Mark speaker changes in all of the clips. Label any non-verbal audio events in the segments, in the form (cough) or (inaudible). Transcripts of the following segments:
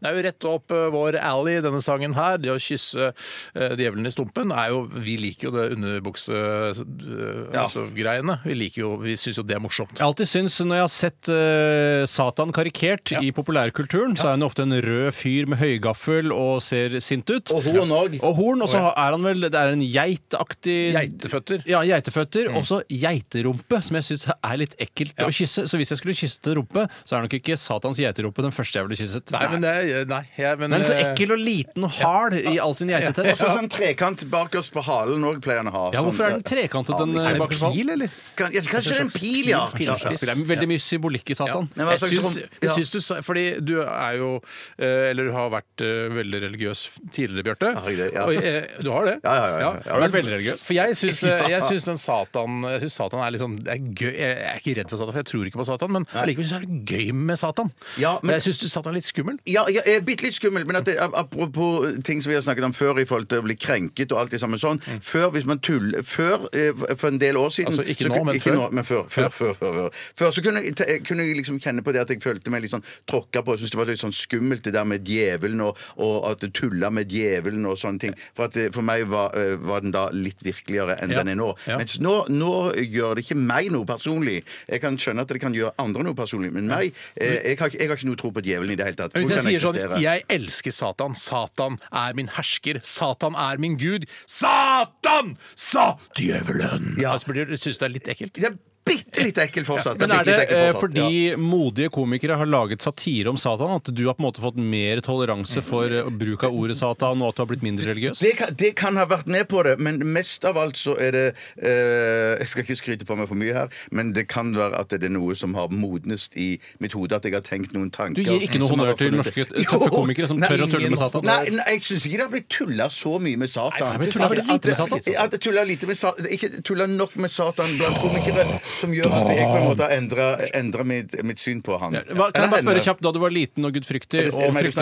Speaker 1: Det er jo rett opp eh, vår alley, denne sangen her. Det å kysse eh, djevelen i stumpen er jo Vi liker jo det underbuksegreiene. Altså, greiene. vi liker jo, vi syns jo det er morsomt.
Speaker 2: Jeg alltid syns, når jeg har sett eh, Satan karikert
Speaker 1: Ja.
Speaker 2: i populærkulturen, så er han ofte en rød fyr med høygaffel og ser sint ut.
Speaker 3: Og horn òg.
Speaker 2: Og horn, og så er han vel Det er en geitaktig
Speaker 1: Geiteføtter.
Speaker 2: Ja, geiteføtter. Og så geiterumpe, som jeg syns er litt ekkelt å kysse. Så hvis jeg skulle kysse en rumpe, så er nok ikke Satans geiterumpe den første jeg ville kysset.
Speaker 1: Nei, men det er- Nei, jeg, men,
Speaker 2: Den er så
Speaker 1: eh,
Speaker 2: ekkel og liten og hard i all sin
Speaker 3: Og
Speaker 2: geitetett.
Speaker 3: så sånn trekant bakerst på halen òg pleier han å ha.
Speaker 2: Ja, hvorfor er den sånn
Speaker 3: Sånn,
Speaker 2: trekantet? Den,
Speaker 3: Er det en
Speaker 2: bakerst?
Speaker 1: Pil, eller?
Speaker 3: kan, ja, kanskje det er en pil, ja.
Speaker 2: Pil, ja. Det er veldig mye symbolikk i Satan.
Speaker 3: Nei, men
Speaker 1: Jeg
Speaker 3: altså,
Speaker 1: syns,
Speaker 3: sånn-
Speaker 1: jeg
Speaker 3: ja.
Speaker 1: syns du sa Fordi du er jo eh, Eller du har vært eh, veldig religiøs tidligere, Bjarte.
Speaker 3: Har jeg det? Ja.
Speaker 1: Og, eh, Du har det?
Speaker 3: Ja, ja, ja, ja.
Speaker 1: Har vært veldig religiøs? For jeg syns, eh, jeg syns den Satan Jeg syns Satan er litt sånn det er gøy. Jeg er ikke redd for Satan, for jeg tror ikke på Satan, men allikevel så er det gøy med Satan.
Speaker 3: Ja, men-
Speaker 1: jeg syns du Satan er litt skummel.
Speaker 3: Ja, jeg er bitte litt skummel, men at det, apropos eh, ting som vi har snakket om før i forhold til å bli krenket og alt det samme sånn. Før, hvis man tuller Før, eh, for en del år siden
Speaker 1: Mm. Altså, ikke
Speaker 3: så
Speaker 1: nå,
Speaker 3: kun-
Speaker 1: men
Speaker 3: ikke
Speaker 1: før.
Speaker 3: Nå, men før, før, før, før, før. Før så kunne jeg, ta- jeg kunne jeg liksom kjenne på det at jeg følte meg litt sånn tråkka på. Jeg syntes det var litt sånn skummelt det der med djevelen og, og at du tulla med djevelen og sånne ting. For, at, eh, for meg var, eh, var den da litt virkeligere enn
Speaker 1: Ja.
Speaker 3: den er nå.
Speaker 1: Ja.
Speaker 3: Mens nå, nå gjør det ikke meg noe personlig. Jeg kan skjønne at det kan gjøre andre noe personlig, men meg eh, jeg, har, ikke- jeg har ikke noe tro på djevelen i det hele tatt.
Speaker 1: Hvis
Speaker 3: Hun
Speaker 1: jeg
Speaker 3: kan
Speaker 1: sier sånn
Speaker 3: eksistere.
Speaker 1: 'Jeg elsker Satan. Satan er min hersker. Satan er min gud. Satan! Sa djevelen!
Speaker 3: Ja.
Speaker 1: Altså, blir du- Syns du det er litt ekkelt?
Speaker 3: Det er bitte litt ekkelt fortsatt.
Speaker 2: Men er
Speaker 3: bitte
Speaker 2: det
Speaker 3: litt ekkelt
Speaker 2: eh,
Speaker 3: fortsatt,
Speaker 2: fordi modige komikere har laget satire om Satan, at du har på en måte fått mer toleranse for eh, bruk av ordet Satan, og at du har blitt mindre religiøs?
Speaker 3: Det kan, det kan ha vært med på det, men mest av alt så er det eh, Jeg skal ikke skryte på meg for mye her, men det kan være at det er noe som har modnest i mitt hode. At jeg har tenkt noen tanker.
Speaker 2: Du gir ikke noe
Speaker 3: som har
Speaker 2: honnør til
Speaker 3: funnet-
Speaker 2: norske tøffe
Speaker 3: Jo!
Speaker 2: komikere som
Speaker 3: Nei,
Speaker 2: tør å tulle
Speaker 3: ingen-
Speaker 2: med Satan.
Speaker 3: Nei, nei jeg syns ikke det har blitt tulla så mye med Satan.
Speaker 2: Nei, for det har blitt tullet lite med Satan.
Speaker 3: At- at- At det tulla lite med Satan. Ikke tulla nok med Satan blant komikere, som gjør at jeg på en måte har endra- endra mitt, mitt syn på han.
Speaker 2: Hva, kan jeg bare
Speaker 3: Eller henne.
Speaker 2: spørre kjapt, Da du var liten og gudfryktig
Speaker 3: Er det- er det
Speaker 2: og
Speaker 3: meg du
Speaker 2: fryktet-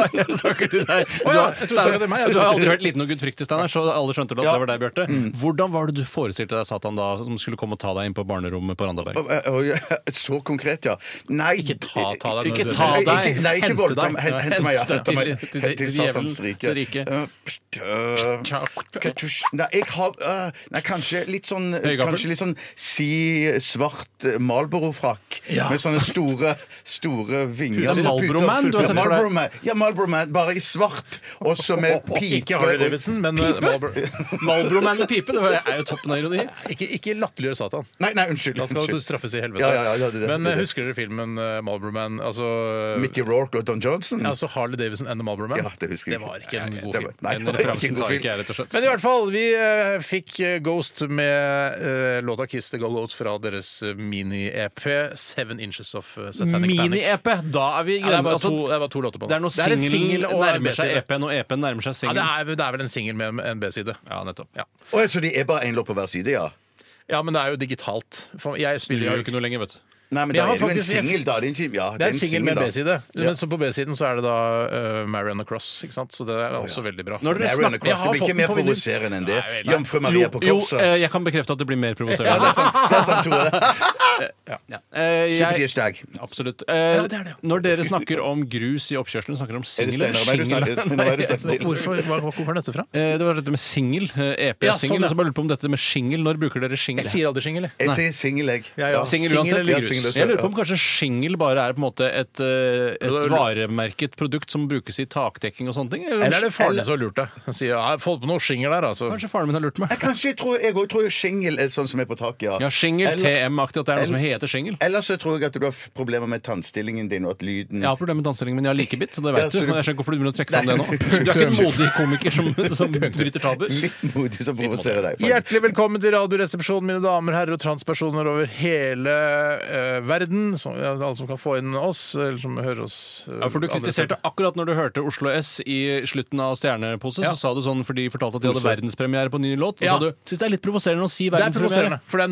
Speaker 2: (laughs)
Speaker 3: snakker til?
Speaker 2: Ja, jeg snakker til deg. Du
Speaker 1: ja,
Speaker 2: har,
Speaker 1: jeg trodde du snakket til meg, jeg
Speaker 2: du har
Speaker 1: trodde-
Speaker 2: aldri vært liten og gudfryktig, Steinar, så alle skjønte at
Speaker 3: Ja.
Speaker 2: det var deg, Bjarte. Hvordan var det du forestilte deg Satan da, som skulle komme og ta deg inn på barnerommet på Randaberg?
Speaker 3: Å, å, ja, Så konkret, ja. Nei
Speaker 1: Ikke ta- ta deg,
Speaker 3: Ikke
Speaker 1: nødvendigvis.
Speaker 3: ta deg. Nei,
Speaker 2: Hente
Speaker 3: Nei, ikke
Speaker 2: deg.
Speaker 3: voldtam. Hent- Hente meg, ja.
Speaker 2: Hente
Speaker 3: Hente
Speaker 2: deg
Speaker 3: meg.
Speaker 2: til-
Speaker 3: Hent til
Speaker 2: til
Speaker 3: Satans
Speaker 2: djevelens
Speaker 3: rike.
Speaker 2: rike.
Speaker 3: Øh, pst, øh, katusj. Nei, jeg har øh, Nei, kanskje litt sånn
Speaker 2: Høygaffel?
Speaker 3: Kanskje litt sånn si svart eh, Marlboro-frakk med sånne store store vinger.
Speaker 2: Det er Marlboro Man du har sett for deg.
Speaker 3: Marlboro Man. Ja, Marlboro Man, bare i svart, og så med pipe.
Speaker 1: Ikke Harley Davidson, men eh, Marlboro.
Speaker 2: Malbroman med pipe, det er jo toppen av ironi.
Speaker 1: Ikke, ikke latterliggjør Satan.
Speaker 3: Nei, nei, unnskyld.
Speaker 1: Da skal du
Speaker 3: unnskyld.
Speaker 1: straffes i helvete.
Speaker 3: Ja, ja, ja, det er det,
Speaker 1: Men
Speaker 3: det er
Speaker 1: eh,
Speaker 3: det.
Speaker 1: husker dere filmen eh, Marlboro Man? Altså,
Speaker 3: Mitty Rourke og Don Johnson?
Speaker 1: altså Harley Davidson and the Marlboro Man?
Speaker 3: Ja, det husker jeg
Speaker 1: var
Speaker 3: ikke.
Speaker 1: ikke en
Speaker 3: Nei,
Speaker 1: god
Speaker 3: det
Speaker 1: film.
Speaker 3: var- nei,
Speaker 2: Den
Speaker 3: det var ikke en
Speaker 2: referansen
Speaker 3: god
Speaker 2: tar
Speaker 3: film.
Speaker 2: ikke jeg, rett og slett.
Speaker 1: Men i hvert fall, vi eh, fikk eh, Ghost med eh, låta 'Kiss the Go-Goat' fra deres eh, mini-EP 'Seven Inches of eh, Satanic Panic'.
Speaker 2: Mini-EP! E Da er vi
Speaker 1: Ja, det, var
Speaker 2: altså,
Speaker 1: to, det var to låter på den.
Speaker 2: det er når
Speaker 1: en
Speaker 2: singelen
Speaker 1: single og en
Speaker 2: nærmer seg
Speaker 1: B-side.
Speaker 2: EP-en, og EP-en nærmer seg
Speaker 1: Ja, det,
Speaker 2: singelen.
Speaker 1: er, det er vel en singel med en B-side.
Speaker 2: Ja, nettopp.
Speaker 1: Ja.
Speaker 3: Å, så de er bare én låt på hver side, ja?
Speaker 1: ja, men det er jo digitalt. For jeg
Speaker 2: Du
Speaker 1: spiller
Speaker 2: gjør
Speaker 1: jo
Speaker 2: jo ikke noe lenger, vet du.
Speaker 3: Nei, men
Speaker 1: Jeg
Speaker 3: da
Speaker 1: har
Speaker 3: er det jo en
Speaker 1: faktisk- jeg-
Speaker 3: singel, da. Det er en, ja,
Speaker 1: Det er en singel med
Speaker 3: da.
Speaker 1: B-side.
Speaker 3: Ja.
Speaker 1: Men så på B-siden så er det da uh, Marion Cross, ikke sant? Så det er også veldig bra.
Speaker 2: Når dere
Speaker 3: Marion
Speaker 1: Jeg
Speaker 2: snakker-
Speaker 3: Cross, det
Speaker 1: har
Speaker 3: blir
Speaker 1: fått
Speaker 3: ikke
Speaker 1: den
Speaker 3: mer
Speaker 1: på vinyl.
Speaker 3: provoserende enn det.
Speaker 1: Nei, vel, nei.
Speaker 3: Jomfru Maria på
Speaker 2: jo,
Speaker 3: korset.
Speaker 2: eh, jeg kan bekrefte at det blir mer provoserende.
Speaker 3: Det er sant, det er sant, Tore.
Speaker 2: Eh, jeg-
Speaker 3: Supertirsdag.
Speaker 2: Absolutt. Eh, Når dere snakker om grus i oppkjørselen, snakker dere om
Speaker 3: Er det
Speaker 2: singel
Speaker 3: Steinar og meg du
Speaker 2: eller
Speaker 3: snakker
Speaker 2: singel?
Speaker 3: Steinar og meg du snakker til?
Speaker 1: Hvorfor, hva, hvorfor er dette fra?
Speaker 2: (laughs) Eh, Det var dette med singel. eh, EP
Speaker 1: Ja,
Speaker 2: og singel.
Speaker 1: sånn, ja.
Speaker 2: Og så bare lurer på om dette med singel. Når bruker dere singel?
Speaker 1: Jeg sier aldri singel, jeg.
Speaker 3: Jeg sier singel, jeg.
Speaker 1: Ja, ja.
Speaker 2: Singel
Speaker 1: Singel
Speaker 2: uansett.
Speaker 1: eller
Speaker 2: Ja,
Speaker 1: grus.
Speaker 2: singel uansett. Jeg lurer på om kanskje singel bare er på en måte et, eh,
Speaker 1: det er-
Speaker 2: et varemerket produkt som brukes i takdekking og sånne ting? Eller,
Speaker 1: Eller er det faren din som har lurt deg? Han sier ja, 'få på noe singel der', altså.
Speaker 2: kanskje faren min har lurt meg?
Speaker 3: Ja, Kanskje jeg tror jeg òg tror jo singel er sånn som er på taket, ja.
Speaker 2: Ja, singel,
Speaker 3: Eller-
Speaker 2: TM-aktig, at det er noe som heter singel.
Speaker 3: Ellers så tror jeg at du har f- problemer med tannstillingen din, og at lyden
Speaker 2: Jeg har problemer med danseringen, men jeg har likebitt. Det
Speaker 3: Ja,
Speaker 2: vet du.
Speaker 3: så du-
Speaker 2: Men jeg skjønner ikke hvorfor du begynner å trekke fram
Speaker 3: Nei,
Speaker 2: det
Speaker 3: men-
Speaker 2: nå. (laughs) Du er ikke en modig komiker som,
Speaker 1: (laughs)
Speaker 2: som bryter tabuer.
Speaker 3: (laughs) Litt modig som provoserer deg. faktisk.
Speaker 1: Hjertelig velkommen til Radioresepsjonen, mine damer, herrer og transpersoner over hele eh, eh, verden, som, ja, alle som kan få inn oss, eller som hører oss eh,
Speaker 2: Ja, for Du
Speaker 1: andre
Speaker 2: kritiserte
Speaker 1: steder.
Speaker 2: akkurat når du hørte Oslo S i slutten av Stjernepose.
Speaker 1: Ja.
Speaker 2: Så sa du sånn, for de fortalte at de hadde
Speaker 3: Pose.
Speaker 2: verdenspremiere på en ny låt. Og
Speaker 1: Ja.
Speaker 2: sa du syns det er litt provoserende å si
Speaker 1: Det er provoserende,
Speaker 2: verdenspremiere.
Speaker 1: for det er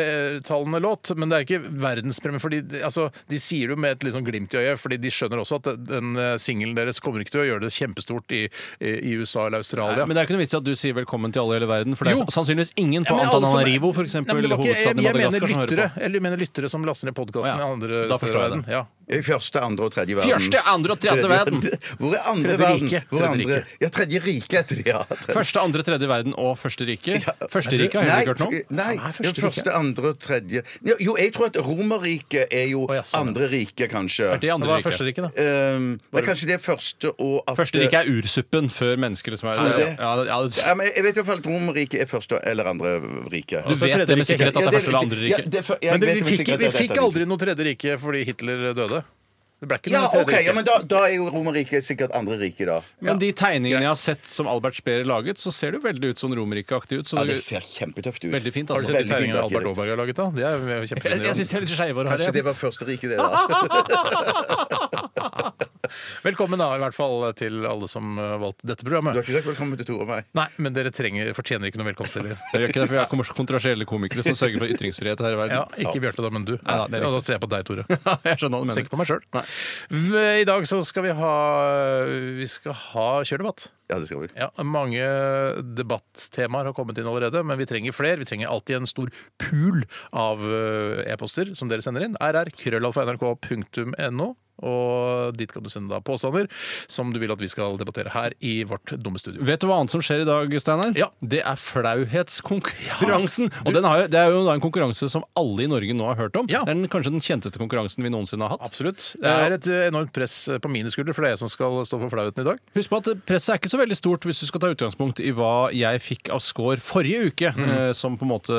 Speaker 1: norsktalende låt, men det er ikke verdenspremiere. Fordi, de- altså, de sier det jo med et litt sånn glimt i øyet, fordi de skjønner også at den eh, singelen deres kommer ikke til å gjøre det kjempestort i, i i USA eller Australia.
Speaker 2: Nei, men det er ikke noe vits i at du sier 'velkommen til alle i hele verden', for det er
Speaker 1: Jo.
Speaker 2: sannsynligvis ingen på
Speaker 1: Ja, men alle som-
Speaker 2: Antananarivo, f.eks.,
Speaker 1: Nei, men det var ikke-
Speaker 2: hovedstaden i
Speaker 1: jeg, jeg
Speaker 2: Madagaskar, som
Speaker 1: mener
Speaker 2: hører på.
Speaker 1: lyttere, eller jeg mener lyttere som laster ned podkasten
Speaker 2: Å ja,
Speaker 1: i andre
Speaker 2: da
Speaker 1: steder i
Speaker 2: forstår jeg
Speaker 1: verden.
Speaker 2: det.
Speaker 1: Ja.
Speaker 3: I første, andre og tredje verden.
Speaker 2: Første, andre og tredje verden.
Speaker 3: Hvor er andre
Speaker 1: Tredje
Speaker 3: verden?
Speaker 1: rike.
Speaker 3: Hvor er
Speaker 1: Tredje
Speaker 3: andre?
Speaker 1: rike.
Speaker 3: Ja, tredje rike heter det, ja. Tredje-
Speaker 2: Første, andre, tredje verden og første rike. Første rike har jeg
Speaker 3: Nei,
Speaker 2: ikke hørt noe om.
Speaker 3: f- Nei,
Speaker 1: Nei, første
Speaker 3: første, første andre og tredje Jo, Jo, jeg tror at Romerriket er jo
Speaker 1: Å, ja, sånn, ja.
Speaker 3: andre rike, kanskje.
Speaker 2: Det er
Speaker 1: Det
Speaker 2: andre
Speaker 1: var
Speaker 2: rike.
Speaker 1: første riket, da.
Speaker 3: Um, det er kanskje det første og at
Speaker 2: Første rike er ursuppen før mennesker liksom er
Speaker 3: Er det?
Speaker 2: ja, ja, det-
Speaker 3: ja, men Jeg vet i hvert fall at Romerriket er første eller andre rike.
Speaker 2: Du
Speaker 1: Altså,
Speaker 2: vet det
Speaker 1: tredje
Speaker 2: med
Speaker 1: rike.
Speaker 2: sikkerhet at det er
Speaker 3: Ja,
Speaker 2: første eller andre
Speaker 3: ja,
Speaker 2: rike.
Speaker 3: det er for- jeg
Speaker 1: Men det,
Speaker 3: vet
Speaker 1: vi
Speaker 3: med
Speaker 1: fikk,
Speaker 3: sikkerhet
Speaker 1: vi
Speaker 3: at det er
Speaker 1: fikk
Speaker 3: tredje rike.
Speaker 1: aldri noe tredje rike fordi Hitler døde. Det ble ikke
Speaker 3: Ja,
Speaker 1: noe tredje
Speaker 3: ok, ja,
Speaker 1: rike.
Speaker 3: men da, da er jo Romerriket sikkert andre rike, da.
Speaker 2: Men de tegningene jeg har sett som Albert Speer laget, så ser det jo veldig ut sånn Romerike-aktig ut. Så
Speaker 3: Ja,
Speaker 2: det,
Speaker 3: det ser kjempetøft ut.
Speaker 2: veldig fint,
Speaker 1: Har du
Speaker 2: altså.
Speaker 1: sett de
Speaker 3: Veldig fint,
Speaker 1: tegningene Albert
Speaker 3: Akil.
Speaker 1: Aaberg har laget, da? De er jo
Speaker 2: Jeg, jeg
Speaker 1: kjempefine.
Speaker 2: syns det er litt skeivere
Speaker 3: Kanskje det
Speaker 2: her.
Speaker 3: var første rike, det,
Speaker 2: (laughs)
Speaker 3: da.
Speaker 1: Velkommen da, i hvert fall til alle som eh, valgte dette
Speaker 3: Du har
Speaker 1: programmet.
Speaker 3: ikke sagt velkommen til Tore og meg.
Speaker 1: Nei, men dere trenger, fortjener ikke noen velkomst
Speaker 2: (laughs)
Speaker 1: heller.
Speaker 2: Jeg gjør ikke det, for jeg er kommers- kontroversielle komikere som sørger for ytringsfrihet her i verden.
Speaker 1: Ja, ikke Bjarte, da, men du.
Speaker 2: Nei, det er
Speaker 1: Ja, da ser jeg på deg,
Speaker 2: (laughs)
Speaker 1: Tore.
Speaker 2: jeg skjønner hva du
Speaker 1: Ser ikke
Speaker 2: mener.
Speaker 1: på meg sjøl. I dag så skal vi ha Vi skal ha kjørdebatt.
Speaker 3: Ja, det skal vi.
Speaker 1: Ja, mange debattemaer har kommet inn allerede, men vi trenger flere. Vi trenger alltid en stor pool av eh, e-poster som dere sender inn. rr.krøllalfa.nrk.no. Og dit kan du sende da påstander som du vil at vi skal debattere her i vårt dumme studio.
Speaker 2: Vet du hva annet som skjer i dag, Steinar?
Speaker 1: Ja.
Speaker 2: Det er flauhetskonkurransen. Og den har jo, det er jo da en konkurranse som alle i Norge nå har hørt om.
Speaker 1: Ja.
Speaker 2: Det er den, kanskje den kjenteste konkurransen vi noensinne har hatt.
Speaker 1: Absolutt. Det er et eh, enormt press på mine skuldre, for det er jeg som skal stå for flauten i dag.
Speaker 2: Husk på at presset er ikke så veldig stort hvis du skal ta utgangspunkt i hva jeg fikk av score forrige uke, eh, som på en måte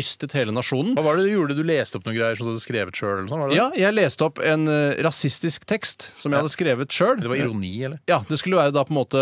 Speaker 2: rystet hele nasjonen.
Speaker 1: Hva var det du gjorde? Du leste opp noen greier som du hadde skrevet sjøl? det?
Speaker 2: Ja, jeg leste opp en eh, rasistisk tekst som jeg hadde skrevet sjøl.
Speaker 1: det var ironi, eller?
Speaker 2: Ja, det skulle være da på en måte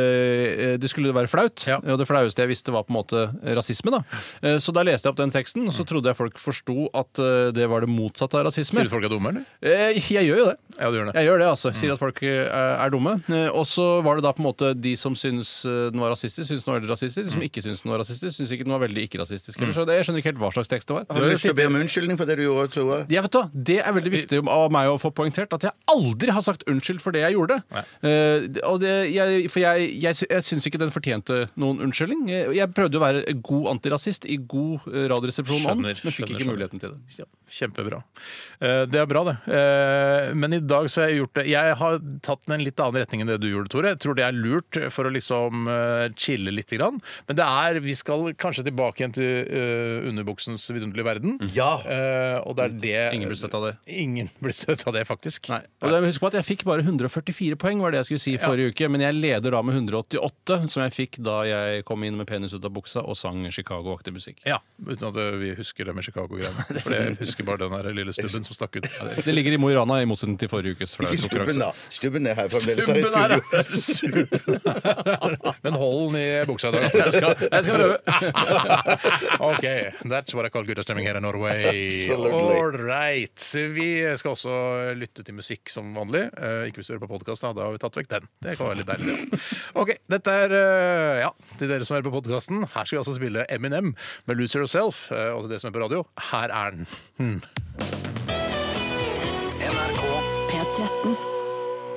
Speaker 2: eh, Det skulle være flaut.
Speaker 1: Ja.
Speaker 2: Og det flaueste jeg visste, var på en måte rasisme, da. Eh, Så da leste jeg opp den teksten, og så trodde jeg folk forsto at eh, det var det motsatte av rasisme.
Speaker 1: Mm. Sier du folk er dumme, eller?
Speaker 2: Eh, Jeg gjør jo det.
Speaker 1: Ja, du gjør det. Mm.
Speaker 2: Jeg gjør det, altså. Sier at folk eh, er dumme. Eh, Og så var det da på en måte de som syns eh, den var rasistisk, syns den var veldig rasistisk. De
Speaker 1: Mm.
Speaker 2: som ikke syns den var rasistisk, syns ikke den var veldig ikke-rasistisk. Eller så det- Jeg skjønner ikke helt hva slags tekst det var.
Speaker 3: Har du lyst til å be om unnskyldning for det du gjorde, Tore?
Speaker 2: Ja, vet du, hva, Det er veldig viktig av meg å få poengtert at jeg aldri har sagt unnskyld for det jeg gjorde. Eh, og det, jeg, for jeg, jeg, sy- jeg syns ikke den fortjente noen unnskyldning. Eh, Jeg prøvde å være god antirasist i god eh, Radioresepsjon-ånd, men
Speaker 1: Skjønner,
Speaker 2: fikk
Speaker 1: skjønner,
Speaker 2: ikke
Speaker 1: skjønner.
Speaker 2: muligheten til det.
Speaker 1: Ja, Kjempebra. Eh, Det er bra, det. Eh, Men i dag så har jeg gjort det Jeg har tatt den en litt annen retning enn det du gjorde, Tore. Jeg tror det er lurt for å liksom eh, chille litt. Grann. Men det er Vi skal kanskje tilbake igjen til eh, underbuksens vidunderlige verden.
Speaker 3: Ja.
Speaker 1: Eh, Og det er det
Speaker 2: Ingen ble støtt av det.
Speaker 1: Ingen ble støtt av det, faktisk.
Speaker 2: Nei. Og det- Husk på at jeg fikk bare 144 poeng, var det jeg skulle si forrige uke. Men jeg leder da med 188, som jeg fikk da jeg kom inn med penis ut av buksa og sang Chicago-aktig musikk.
Speaker 1: Ja, Uten at eh, vi husker det med (laughs) Chicago-greiene. For jeg husker bare den der lille stubben som stakk ut. (laughs)
Speaker 2: Det ligger i Mo i Rana, i motsetning til forrige ukes
Speaker 3: Ikke stubben,
Speaker 2: flauhetskonkurranse.
Speaker 3: da. Stubben er her fremdeles. her i
Speaker 2: Stubben er
Speaker 3: studio.
Speaker 1: (laughs) Men hold den i buksa i dag. altså.
Speaker 2: Jeg skal, jeg skal prøve.
Speaker 1: (laughs) OK. That's what I call good stemning here in Norway.
Speaker 3: Absolutely.
Speaker 1: All right. Vi skal også lytte til musikk som vanlig. Eh, ikke hvis du hører på podkast, da. Da har vi tatt vekk den. Det kan være litt deilig, det. OK. Dette er eh, Ja, til dere som hører på podkasten, her skal vi altså spille Eminem med Lose Yourself. eh, og til dere som er på radio, her er den.
Speaker 4: NRK
Speaker 5: P13.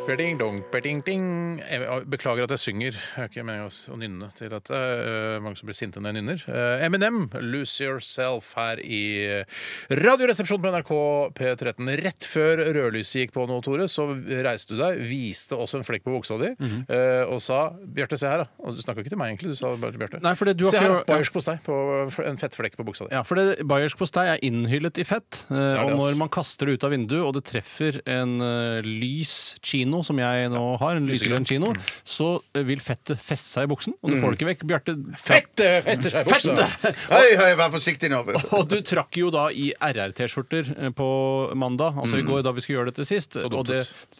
Speaker 1: Beding, dong, beding, ding. Jeg Beklager at jeg synger. Jeg er ikke meningen å nynne til dette. Eh, Mange som blir sinte når jeg nynner. Eh, Eminem, 'Lose Yourself' her i eh, Radioresepsjonen på NRK P13. Rett før rødlyset gikk på nå, Tore, så reiste du deg, viste oss en flekk på buksa di eh, og sa 'Bjarte, se her', da. Og du snakka ikke til meg, egentlig. Du sa bare til Bjarte.
Speaker 2: Nei, fordi du har
Speaker 1: se
Speaker 2: ikke-
Speaker 1: her, bayersk hos deg, på en fettflekk på buksa di.
Speaker 2: Ja, for det, Bayersk postei er innhyllet i fett. eh,
Speaker 1: det,
Speaker 2: og
Speaker 1: ass.
Speaker 2: når man kaster det ut av vinduet, og det treffer en eh, lys kino kino, som jeg nå har, en lysegrønn kino,
Speaker 1: Mm.
Speaker 2: så eh, vil fettet feste seg i buksen. Og du får det ikke vekk. Bjarte
Speaker 1: Fettet fester seg i buksa.
Speaker 2: Fettet!
Speaker 3: Hei, hei, vær forsiktig
Speaker 1: (laughs)
Speaker 3: nå.
Speaker 2: (laughs) Og du trakk jo da i RR-T-skjorter eh, på mandag, altså i går da vi skulle gjøre dette sist.
Speaker 1: Mm. dumt
Speaker 2: og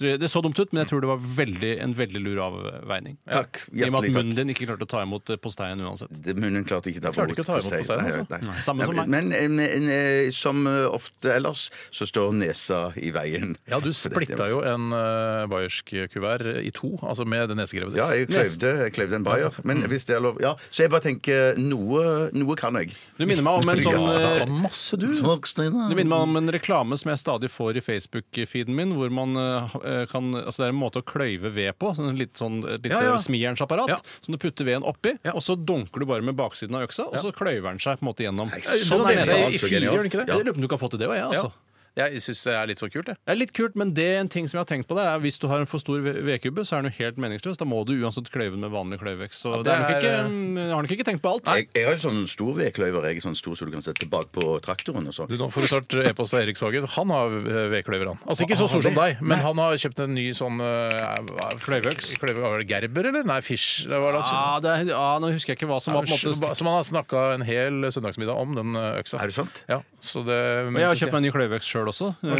Speaker 2: det, det så dumt ut, men jeg tror det var veldig, en veldig lur avveining.
Speaker 3: Takk.
Speaker 2: I og med
Speaker 3: Hjertelig
Speaker 2: at
Speaker 3: takk.
Speaker 2: munnen din ikke klarte å ta imot eh, posteien uansett.
Speaker 3: Det- Munnen klarte ikke, ta
Speaker 1: Klarte ikke å ta imot
Speaker 3: posteien.
Speaker 1: posteien,
Speaker 3: Nei,
Speaker 1: altså.
Speaker 3: nei.
Speaker 2: Nei, samme
Speaker 3: Nei,
Speaker 2: som meg.
Speaker 3: Men en, en, eh, som eh, ofte ellers, så står nesa i veien.
Speaker 1: Ja, du
Speaker 3: For dette,
Speaker 1: splitta
Speaker 3: altså.
Speaker 1: jo en eh, bayersk kuvert i to, altså med det nesegrevet ditt.
Speaker 3: Ja, jeg kløyvde, jeg kløyvde en bayer.
Speaker 1: Mm.
Speaker 3: Men hvis det er lov Ja, så jeg bare tenker Noe, noe kan jeg.
Speaker 2: Du minner meg om en sånn
Speaker 1: Ja,
Speaker 2: eh,
Speaker 1: faen, masse, du!
Speaker 3: Takk, Steinar.
Speaker 2: Det minner meg om en reklame som jeg stadig får i Facebook-feeden min. hvor man eh, kan, altså Det er en måte å kløyve ved på. Sånn, litt sånn, et lite
Speaker 1: Ja, ja.
Speaker 2: smijernsapparat
Speaker 1: Ja.
Speaker 2: som du putter veden oppi.
Speaker 1: Ja.
Speaker 2: Og så dunker du bare med baksiden av øksa, og så kløyver den seg på en måte gjennom.
Speaker 1: Den har
Speaker 2: er
Speaker 1: delt
Speaker 2: nesa.
Speaker 1: seg i fire, gjør den ikke det?
Speaker 2: Jeg lurer på om du kan få til det òg, jeg. altså.
Speaker 1: Ja. Jeg syns det er litt så kult, det.
Speaker 2: Det er litt kult, men det er en ting som jeg har tenkt på det er hvis du har en for stor ve- vedkubbe, så er den jo helt meningsløs. Da må du uansett kløyve den med vanlig kløyvevekst. Så
Speaker 1: det
Speaker 2: det er nok
Speaker 1: er,
Speaker 2: ikke,
Speaker 1: eh,
Speaker 2: mm, jeg har nok ikke tenkt på alt.
Speaker 3: Jeg, jeg har en sånn stor vedkløyver, jeg, sånn stor, så du kan sette bak på traktoren. og sånn.
Speaker 1: Du, nå får du snart eh, e-post av Erik Sagen. Han har eh, vedkløver, han. Altså ikke så stor som deg, men han har kjøpt en ny sånn uh,
Speaker 2: Kløyveøks?
Speaker 1: Var det Gerber, eller? Nei, Fish. Det var da,
Speaker 2: Ja, det er, ja, nå husker jeg ikke hva som var på en måte
Speaker 1: som han har snakka en hel søndagsmiddag om, den eh, øksa.
Speaker 3: Er det sant?
Speaker 1: Ja, så det
Speaker 2: Men jeg har kjøpt meg en ny kløyveøks sjøl også, eh,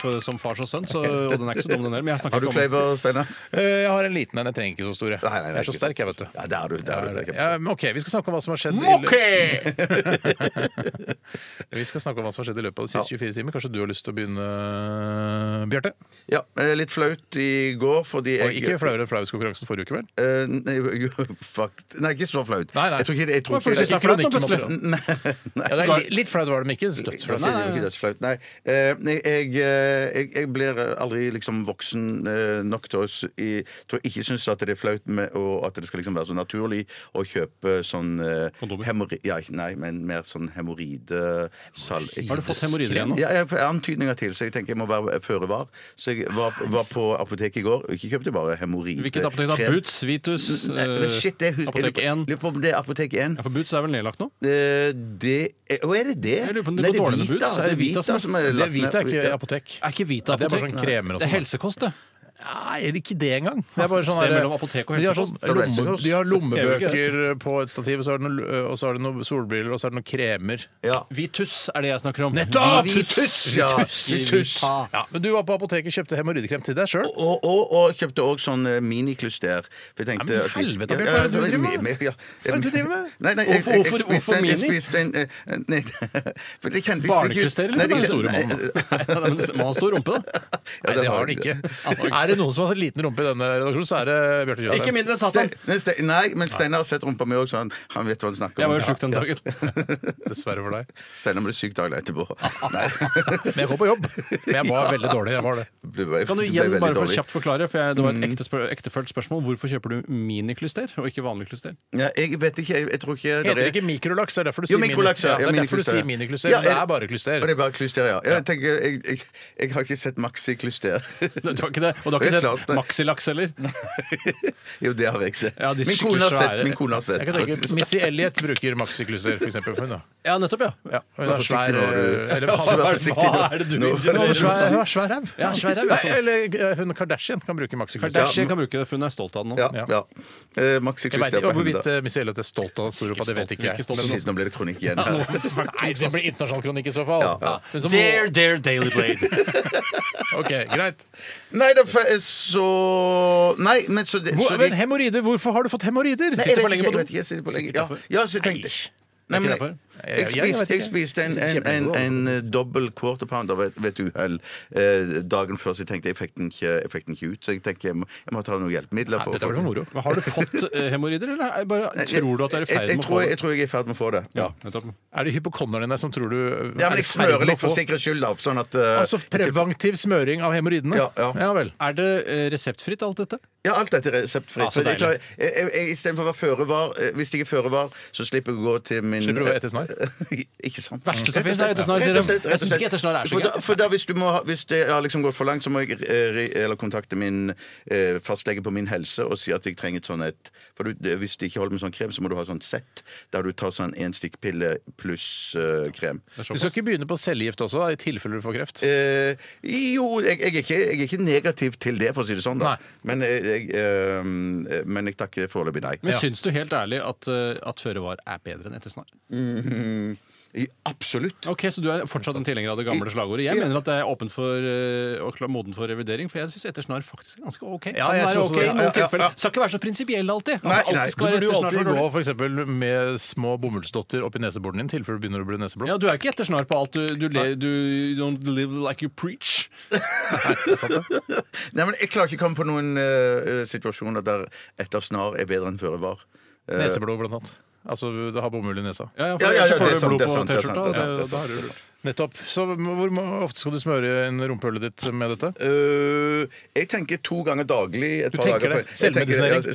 Speaker 2: for, som fars og sønn. Så, og den er ikke så dum, den heller. Men jeg snakker
Speaker 3: Har du
Speaker 2: ikke om-
Speaker 3: kløyver, Steinar?
Speaker 1: Eh, Jeg har en liten en, jeg trenger ikke så stor. Jeg,
Speaker 3: Nei, nei, nei,
Speaker 1: jeg er så
Speaker 3: ikke
Speaker 1: sterk, jeg, vet
Speaker 3: sant.
Speaker 1: du.
Speaker 3: Ja, det er du. Det er du, det kan jeg
Speaker 1: Ja,
Speaker 3: forstå.
Speaker 1: men OK, vi skal snakke om hva som har skjedd i Vi skal snakke om hva som har skjedd i løpet av de siste 24 timer. Kanskje du har lyst til å begynne, Bjarte?
Speaker 3: Ja, eh, litt flaut i går fordi
Speaker 1: Og
Speaker 3: jeg
Speaker 1: ikke flauere flauskonkurransen forrige uke, vel?
Speaker 3: Eh, nei, jo, (laughs) fakt- nei, ikke så flaut.
Speaker 1: Nei, nei.
Speaker 3: Jeg tror ikke jeg tror
Speaker 1: Hvorfor
Speaker 3: ikke-
Speaker 1: synes du det er flaut nå, plutselig?
Speaker 3: Nei, (laughs) nei.
Speaker 1: Ja, det er li- litt flaut var det, men ikke
Speaker 3: Nei,
Speaker 1: dødsflaut.
Speaker 3: nei, nei. Ikke dødsflaut. Nei. Eh, nei, Jeg, eh, jeg, jeg blir aldri liksom voksen eh, nok til å s- i- til å ikke synes at det er flaut med, og at det skal liksom være så naturlig å kjøpe sånn eh,
Speaker 2: Kondomer?
Speaker 3: hemorri- ja, ikke- Nei, men mer sånn hemoroidesal...
Speaker 2: Har du fått hemoroider igjen nå?
Speaker 3: Ja, jeg har antydninger til, så jeg tenker jeg må være føre var. Så jeg var, var på apoteket i går og ikke kjøpte bare hemoroide.
Speaker 2: Hvilket apotek da?
Speaker 3: krem.
Speaker 2: Boots, Vitus, eh,
Speaker 3: Nei, men shit, det er hus-
Speaker 2: Apotek
Speaker 3: jeg lurer på-
Speaker 2: 1?
Speaker 3: Lurer på om det er Apotek 1.
Speaker 2: Ja, for Boots er vel nedlagt nå?
Speaker 3: Eh, Det er, Å, er det det?
Speaker 2: Jeg lurer på om det
Speaker 3: Nei,
Speaker 2: går dårlig med Boots.
Speaker 3: Er det Vita som, er
Speaker 1: Det hvite er ikke apotek.
Speaker 2: Er ikke Vita
Speaker 1: Nei, det er bare
Speaker 2: apotek?
Speaker 1: sånn kremer og
Speaker 2: Det er
Speaker 1: sånn.
Speaker 2: helsekost, det.
Speaker 1: Nei, er det ikke det engang. Det er bare sånn
Speaker 2: Sted
Speaker 1: der-
Speaker 2: mellom apotek og
Speaker 1: Men de har
Speaker 2: helsekost.
Speaker 1: sånn Lomme,
Speaker 3: Helsekost.
Speaker 1: de har
Speaker 2: Jeg
Speaker 1: lommebøker på et stativ, og så er det noe- og så er det noen solbriller, og så er det noen kremer.
Speaker 3: ja.
Speaker 2: Vitus er det jeg snakker om.
Speaker 1: Nettopp!
Speaker 3: Vitus! Ja. Vitus.
Speaker 1: Ja, men du var på apoteket og kjøpte hemoroidekrem til deg sjøl.
Speaker 3: Og, og, og, og kjøpte òg sånn eh, minikluster. For jeg tenkte
Speaker 1: Ja, men
Speaker 3: at jeg-
Speaker 1: helvete, Bjørn,
Speaker 3: Ja,
Speaker 1: hva er det du
Speaker 3: ja,
Speaker 1: driver med?
Speaker 3: jeg- jeg- ja.
Speaker 1: er det du driver med?
Speaker 3: Nei, nei, jeg,
Speaker 2: Hvorfor-
Speaker 3: jeg, jeg,
Speaker 2: hvorfor-
Speaker 3: spiste en, jeg
Speaker 2: hvorfor mini?
Speaker 3: spiste en eh, eh, Nei, (laughs) for det kjentes ikke
Speaker 2: Barnekluster, eller
Speaker 3: Nei, det
Speaker 2: liksom, den store
Speaker 3: kjente-
Speaker 2: mannen?
Speaker 3: nei, (laughs)
Speaker 2: Man har stor rumpe, da.
Speaker 1: Nei, det har den ikke. (laughs)
Speaker 2: (laughs)
Speaker 1: Er det noen som har liten rumpe i denne redaksjonen, så er det Bjarte Tjøstheim.
Speaker 2: Ikke mindre enn
Speaker 3: Ste-
Speaker 2: Satan.
Speaker 3: nei, Ste- Nei, men Steinar har sett rumpa mi òg, så han, han vet hva han snakker om.
Speaker 2: Jeg var jo sjuk den dagen.
Speaker 1: Dessverre for deg.
Speaker 3: Steinar ble syk dagen etterpå. Nei,
Speaker 1: Men jeg går på jobb. Men jeg var veldig dårlig. Jeg var det.
Speaker 3: ble, ble,
Speaker 2: Kan du
Speaker 3: ble
Speaker 2: igjen
Speaker 3: veldig
Speaker 2: bare for
Speaker 3: dårlig. Mm.
Speaker 2: kjapt forklare, for jeg, det var et ekte spør ektefølt spørsmål, hvorfor kjøper du miniklyster og ikke vanlig klyster?
Speaker 3: ja, Jeg vet ikke, jeg, jeg tror ikke
Speaker 1: Heter det ikke mikrolaks? Det er derfor du
Speaker 3: Jo,
Speaker 1: sier
Speaker 3: mikrolaks, ja.
Speaker 1: minikluster. Ja, det
Speaker 3: Ja,
Speaker 1: er derfor du
Speaker 3: minikluster,
Speaker 1: sier minikluster.
Speaker 3: ja. Ja,
Speaker 1: men det
Speaker 3: er-
Speaker 1: er bare
Speaker 3: Og
Speaker 1: kluster.
Speaker 3: det er bare klyster, ja. Jeg, tenker, jeg, jeg, jeg har ikke sett Maxi klyster.
Speaker 2: Du har ikke det, Og du har
Speaker 3: Det er
Speaker 2: ikke
Speaker 3: klart
Speaker 2: sett
Speaker 3: det.
Speaker 2: Maxilaks heller?
Speaker 3: (laughs) jo, det har jeg sett.
Speaker 2: Ja, de
Speaker 3: min kone
Speaker 2: skikkelig
Speaker 3: har sett.
Speaker 2: svære.
Speaker 3: Min kone har sett. Altså,
Speaker 1: Jeg kan tenke at Missy Elliot bruker maxikluster, for eksempel. For hun, da.
Speaker 2: Ja, nettopp, ja.
Speaker 1: Ja, hun har svær
Speaker 3: nå, du.
Speaker 1: eller-
Speaker 3: Altså, vær
Speaker 1: Hun
Speaker 3: forsiktig nå.
Speaker 2: Hva er det du
Speaker 3: Nå-
Speaker 2: insinuerer?
Speaker 1: har svær- hun har svær ræv.
Speaker 2: Ja, svær ræv,
Speaker 1: Nei,
Speaker 2: altså.
Speaker 1: Eller eh, hun Kardashian kan bruke maxikluster.
Speaker 2: Kardashian kan bruke det, for hun er stolt av den nå.
Speaker 3: Ja, ja. Eh, Maxi
Speaker 1: Jeg vet
Speaker 3: klyster
Speaker 1: ikke
Speaker 3: på
Speaker 1: og
Speaker 3: henne,
Speaker 1: Hvorvidt
Speaker 3: da.
Speaker 1: eh, Missy Elliot er stolt av stor rumpa, det vet ikke jeg.
Speaker 3: (laughs)
Speaker 2: Ikke stolt av den,
Speaker 3: Shit,
Speaker 2: altså.
Speaker 3: nå blir det kronikk igjen. her.
Speaker 1: Nei, det blir internasjonal kronikk i så fall.
Speaker 3: Ja, ja.
Speaker 1: Men så må-
Speaker 2: Dare, dare, Daily (laughs) Blade.
Speaker 1: Ok, greit.
Speaker 3: Nei, da, for- eh, så Nei, men så, det,
Speaker 1: Hvor,
Speaker 3: så
Speaker 1: men hemoroider, hvorfor har du fått hemoroider?
Speaker 3: Nei, jeg
Speaker 1: Sitter for
Speaker 3: vet
Speaker 1: lenge
Speaker 3: ikke,
Speaker 1: på do?
Speaker 3: jeg vet ikke, Jeg sitter for lenge. Ja, ja, så jeg tenkte Nei,
Speaker 2: Er ikke
Speaker 3: men jeg,
Speaker 2: derfor?
Speaker 3: jeg,
Speaker 1: Ja, jeg vet
Speaker 3: spiste, jeg
Speaker 1: ikke.
Speaker 3: spiste en, en, en,
Speaker 1: Kjempegod.
Speaker 3: en, eh, dobbel quarter pounder ved ved et uhell eh, dagen før, så jeg tenkte jeg fikk den ikke, jeg fikk den ikke ut. Så jeg tenker jeg må, jeg må ta noen hjelpemidler.
Speaker 1: Dette
Speaker 3: å
Speaker 1: blir for
Speaker 3: få den.
Speaker 1: moro.
Speaker 2: Men har du fått eh, hemoroider, eller er- bare,
Speaker 3: Jeg-
Speaker 2: tror du at du er i
Speaker 3: jeg-
Speaker 2: ferd
Speaker 3: jeg
Speaker 2: med å
Speaker 3: tror-
Speaker 2: få det?
Speaker 3: Jeg tror jeg er i ferd med å få det.
Speaker 2: Ja, nettopp.
Speaker 1: Er det hypokonderne dine som tror du
Speaker 3: Ja,
Speaker 1: er
Speaker 3: men
Speaker 1: i
Speaker 3: jeg
Speaker 1: ferd med
Speaker 3: smører litt
Speaker 1: å
Speaker 3: for
Speaker 1: få-
Speaker 3: sikkerhets skyld, da. Sånn at eh,
Speaker 1: Altså preventiv smøring av hemoroidene?
Speaker 3: Ja, ja.
Speaker 1: vel.
Speaker 2: Er det eh, reseptfritt, alt dette?
Speaker 3: Ja, alt dette er
Speaker 2: Ja,
Speaker 3: reseptfritt.
Speaker 2: Ah, så
Speaker 3: For jeg tar- jeg- jeg- jeg- Istedenfor å være føre var, eh, hvis jeg er føre var, så slipper jeg å gå til min
Speaker 1: Slipper du å gå etter Etesnar.
Speaker 3: (laughs) Ikke sant?
Speaker 2: Verste som
Speaker 3: Rett og
Speaker 2: finnes er
Speaker 3: slett,
Speaker 2: etesnar,
Speaker 3: ja.
Speaker 2: sier de.
Speaker 3: Rett og
Speaker 2: Jeg
Speaker 3: slett, rett og
Speaker 2: synes ikke
Speaker 3: slett.
Speaker 2: etesnar er så
Speaker 3: For
Speaker 2: gøy.
Speaker 3: da- For da, hvis, du må ha, hvis det har liksom gått for langt, så må jeg eh, ri- eller kontakte min eh, fastlege på min helse og si at jeg trenger et sånn et For du, det- hvis det ikke holder med sånn krem, så må du ha sånn sett der du tar sånn en stikkpille pluss eh, krem.
Speaker 1: Du skal ikke begynne på cellegift også, da, i tilfelle du får kreft.
Speaker 3: Eh, jo, jeg, jeg, er ikke, jeg er ikke negativ til det, for å si det sånn. da
Speaker 1: Nei.
Speaker 3: Men jeg, jeg, eh, men jeg takker foreløpig nei.
Speaker 2: Men syns du helt ærlig at, eh, at føre var er bedre enn etesnar?
Speaker 3: I- Absolutt.
Speaker 2: Ok, Så du er fortsatt en tilhenger av det gamle slagordet? Jeg mener at det er åpen for eh, og klar- moden for revidering, for jeg syns etesnar faktisk er ganske ok.
Speaker 1: Ja,
Speaker 2: kan
Speaker 1: jeg
Speaker 2: være
Speaker 1: synes
Speaker 2: ok
Speaker 1: også det.
Speaker 2: i noen
Speaker 1: Ja, ja, ja.
Speaker 2: tilfeller. Skal ikke være så prinsipiell alltid. At
Speaker 3: Nei,
Speaker 2: det alltid
Speaker 3: nei.
Speaker 2: skal
Speaker 1: Du
Speaker 2: være
Speaker 1: burde jo
Speaker 2: etesnar som
Speaker 1: alltid
Speaker 2: er
Speaker 1: gå
Speaker 2: dårlig.
Speaker 1: for eksempel, med små bomullsdotter oppi neseboren din, i tilfelle du begynner å bli neseblå.
Speaker 2: Ja, Du er ikke etesnar på alt. Du, du, le, du you don't live like you preach.
Speaker 3: Nei, men Jeg klarer ikke å komme på noen eh, situasjoner der etter snar er bedre enn føre var. Eh,
Speaker 1: Neseblod, blant annet. Altså, du har bomull i nesa.
Speaker 2: Ja, ja, for
Speaker 3: Ja, ja,
Speaker 2: ellers så
Speaker 3: ja,
Speaker 2: får
Speaker 3: det er
Speaker 2: du
Speaker 3: sant,
Speaker 2: blod
Speaker 3: det er
Speaker 2: på
Speaker 3: sant, det er sant,
Speaker 2: T-skjorta.
Speaker 3: det er
Speaker 2: og
Speaker 3: sant,
Speaker 2: det- da har du-
Speaker 1: Nettopp. Så hvor ofte skal du smøre inn rumpehullet ditt med dette?
Speaker 3: øh, jeg tenker to ganger daglig et par
Speaker 1: tenker
Speaker 3: dager
Speaker 1: det?
Speaker 3: før- jeg tenker-
Speaker 1: Selvmedisinering?
Speaker 3: Ja,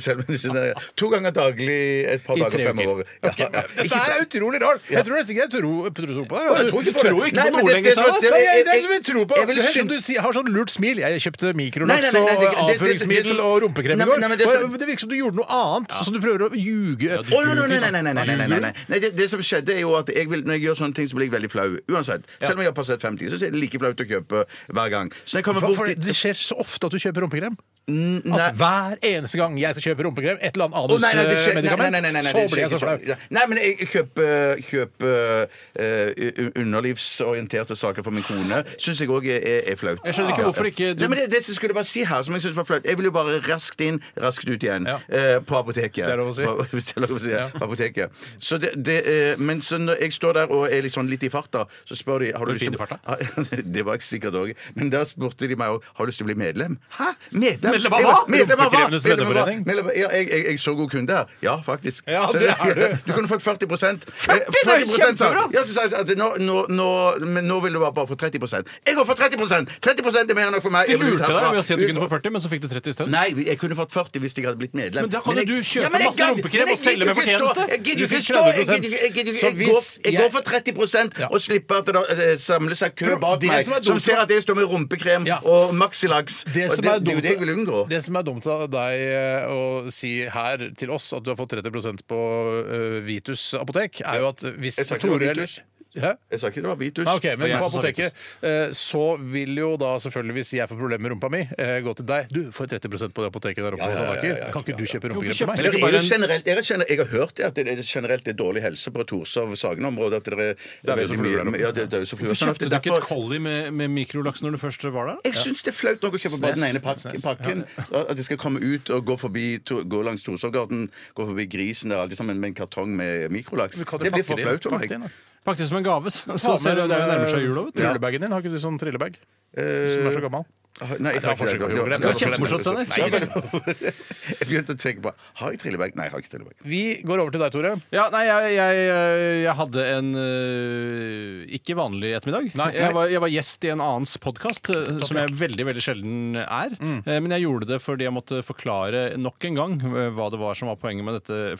Speaker 3: selvmedisinering. To ganger daglig et par
Speaker 1: I
Speaker 3: dager
Speaker 1: tre
Speaker 3: fremover.
Speaker 1: uker.
Speaker 3: Ja,
Speaker 1: Ok.
Speaker 3: ja.
Speaker 1: Dette
Speaker 3: Ikke
Speaker 1: er
Speaker 3: sant?
Speaker 1: utrolig rart! Jeg tror nesten ikke jeg tror, tror på det.
Speaker 3: jeg tror ikke på det.
Speaker 1: tror ikke på
Speaker 3: Nei,
Speaker 1: noe
Speaker 3: men det-
Speaker 1: lenger.
Speaker 3: det er så-
Speaker 1: Tara.
Speaker 3: det-
Speaker 1: Nei, jeg-
Speaker 3: jeg-
Speaker 1: Det er som jeg tror på.
Speaker 3: jeg vil
Speaker 1: Det er som
Speaker 3: skynde-
Speaker 1: du sier, har sånn lurt smil. Jeg kjøpte
Speaker 3: Nei, nei,
Speaker 1: mikrolaks
Speaker 3: nei,
Speaker 1: og
Speaker 3: nei, det- det- det- det-
Speaker 1: avføringsmiddel
Speaker 3: det-
Speaker 1: og rumpekrem i
Speaker 3: Nei, men-
Speaker 1: går.
Speaker 3: nei, men det er så-
Speaker 1: Bare- Det virker som du gjorde noe annet, som du prøver å ljuge.
Speaker 3: Å, nei, nei, nei, nei, nei, nei, nei, nei, nei. nei det, det som skjedde er jo at jeg vil, Når jeg gjør sånne ting, så blir jeg veldig flau. Uansett. Selv om jeg har passert 50, så er det like flaut å kjøpe hver gang. Så når jeg kommer
Speaker 1: For, for
Speaker 3: bort
Speaker 1: det- det
Speaker 3: dit-
Speaker 1: skjer så ofte at du kjøper rumpekrem.
Speaker 3: Nei.
Speaker 1: At hver eneste gang jeg skal kjøpe rumpekrem, et eller annet
Speaker 3: Å, nei, nei, det skjer- nei,
Speaker 1: anusmedikament,
Speaker 3: nei, nei, nei, nei,
Speaker 1: eh, så
Speaker 3: det
Speaker 1: blir jeg så
Speaker 3: skjer ikke
Speaker 1: flau.
Speaker 3: sånn. Ja. Nei, men jeg kjøper, kjøper eh, u- underlivsorienterte saker for min kone. Syns jeg òg er, er flaut.
Speaker 2: Jeg skjønner ikke hvorfor ikke du-
Speaker 3: Nei, men det, det skulle jeg bare si her, som jeg synes var flaut Jeg vil jo bare raskt inn, raskt ut igjen.
Speaker 1: Ja.
Speaker 3: eh, på apoteket.
Speaker 1: det er lov å si.
Speaker 3: På, (laughs) hvis det er lov å si.
Speaker 1: Ja.
Speaker 3: På apoteket. Så det, det, eh, men så når jeg står der og er litt sånn litt i farta, så spør de Har
Speaker 2: du
Speaker 3: du lyst
Speaker 2: fin
Speaker 3: til
Speaker 2: i farta?
Speaker 3: (laughs) Det var jeg sikkert òg. Men da spurte de meg òg Har du lyst til å bli medlem. Hæ? Medlem?
Speaker 1: Medlem av
Speaker 3: Jeg
Speaker 1: hva?
Speaker 3: var- Medlem av hva?
Speaker 1: Rumpekrevenes
Speaker 3: Medlem av hva?
Speaker 1: Venneforening?
Speaker 3: Medlem av- ja, jeg, jeg, jeg er så god kunde her. Ja, faktisk.
Speaker 1: Ja,
Speaker 3: Så-
Speaker 1: det er du.
Speaker 3: (laughs) du kunne fått 40 40
Speaker 1: det er
Speaker 3: sa-
Speaker 1: kjempebra.
Speaker 3: Ja, så sa jeg at nå, nå, nå, men nå vil du bare få 30 Jeg går for 30 30 er mer enn nok for meg.
Speaker 2: De
Speaker 3: Jeg vil ut
Speaker 2: lurte deg
Speaker 3: herfra.
Speaker 2: ved å si at du kunne
Speaker 3: Ut-
Speaker 2: få 40, men så fikk du 30 i stedet.
Speaker 3: Nei, jeg kunne fått 40 hvis jeg hadde blitt medlem.
Speaker 2: Men da kan jo
Speaker 3: jeg-
Speaker 2: du kjøpe
Speaker 3: men jeg
Speaker 2: masse
Speaker 3: gadd-
Speaker 2: rumpekrem
Speaker 3: men jeg
Speaker 2: og selge
Speaker 3: gidder
Speaker 2: med
Speaker 3: ikke stå-
Speaker 2: fortjeneste.
Speaker 3: Jeg gidder
Speaker 1: Du
Speaker 3: jo ikke
Speaker 1: fikk
Speaker 3: stå. Jeg
Speaker 1: 30%.
Speaker 3: gidder ikke- jeg gidder ikke-
Speaker 1: Så
Speaker 3: jeg
Speaker 1: hvis
Speaker 3: går, jeg
Speaker 1: jeg-
Speaker 3: går for 30
Speaker 1: Ja.
Speaker 3: og slipper at det eh, samler seg kø
Speaker 1: For
Speaker 3: bak
Speaker 1: det
Speaker 3: meg
Speaker 1: som er dumt
Speaker 3: som
Speaker 1: for-
Speaker 3: ser at jeg står med rumpekrem
Speaker 1: Ja.
Speaker 3: og Maxilax. Og
Speaker 1: Det
Speaker 3: Det
Speaker 1: som,
Speaker 3: det
Speaker 1: er
Speaker 3: er jo
Speaker 1: dumt,
Speaker 3: det jeg vil unngå.
Speaker 1: det som er dumt av deg eh, å si her til oss at du har fått 30 på eh, Vitus apotek, er jo at hvis
Speaker 3: Jeg sa ikke det var
Speaker 1: Toril-
Speaker 3: Vitus.
Speaker 1: Hæ?
Speaker 3: Jeg sa ikke det var Vitus.
Speaker 1: Ah, ok, men
Speaker 2: jeg
Speaker 1: på
Speaker 2: som sa
Speaker 1: apoteket eh, så vil jo da selvfølgelig, hvis jeg får problemer med rumpa mi, eh, gå til deg. Du får 30 på det apoteket der oppe.
Speaker 3: Ja, ja, ja, ja, ja,
Speaker 1: Sandaker. Kan ikke du kjøpe
Speaker 2: Hvorfor
Speaker 1: rumpekrem
Speaker 2: kjøper
Speaker 1: på
Speaker 3: Men
Speaker 1: meg?
Speaker 2: du
Speaker 3: det er
Speaker 2: bare
Speaker 3: jo
Speaker 2: en-
Speaker 3: generelt, jeg, kjenner, jeg har hørt det at det er generelt det er dårlig helse på Torshov-Sagen-området. At det er,
Speaker 1: jo så
Speaker 3: veldig
Speaker 1: fluer der
Speaker 3: mye ja, det, det er jo så fluer.
Speaker 2: Hvorfor
Speaker 3: Sånn at
Speaker 2: kjøpte
Speaker 3: det
Speaker 2: du ikke et
Speaker 3: derfor-
Speaker 2: kolli med, med mikrolaks når du først var der?
Speaker 3: Jeg syns det er flaut nok å kjøpe bare den ene pak
Speaker 1: Snes.
Speaker 3: pakken. At de skal komme ut og gå, forbi, to, gå langs Torshovgarden, gå forbi Grisen der, alle sammen med en kartong med mikrolaks.
Speaker 1: Men kan du
Speaker 3: Det blir
Speaker 1: pakke
Speaker 3: for
Speaker 1: det inn?
Speaker 3: flaut for
Speaker 1: Pakk
Speaker 3: meg.
Speaker 1: det inn, da.
Speaker 2: Faktisk som en gave. Så
Speaker 1: Ta
Speaker 2: så ser
Speaker 1: med
Speaker 2: du det er jo nærmer
Speaker 3: eh,
Speaker 2: seg jula, vet du.
Speaker 1: Trillebagen din, har ikke du sånn trillebag? Som er så gammel?
Speaker 3: Nei, jeg
Speaker 1: var
Speaker 3: har ikke
Speaker 1: forskjell på
Speaker 3: det. Det var-
Speaker 1: julebrem.
Speaker 3: det var
Speaker 1: Det var
Speaker 2: kjempemorsomt,
Speaker 3: kjempemorsomt.
Speaker 2: Steinar.
Speaker 3: Ja, men- (laughs) Jeg begynte å tenke på Har jeg trillebag? Nei, jeg har ikke trillebag.
Speaker 1: Vi går over til deg, Tore.
Speaker 2: Ja, nei, jeg, jeg, eh, jeg hadde en øh, ikke vanlig ettermiddag. Jeg, var, jeg var gjest i en annens podkast, som jeg veldig veldig sjelden er. Eh, Men jeg gjorde det fordi jeg måtte forklare nok en gang øh, hva det var som var poenget med dette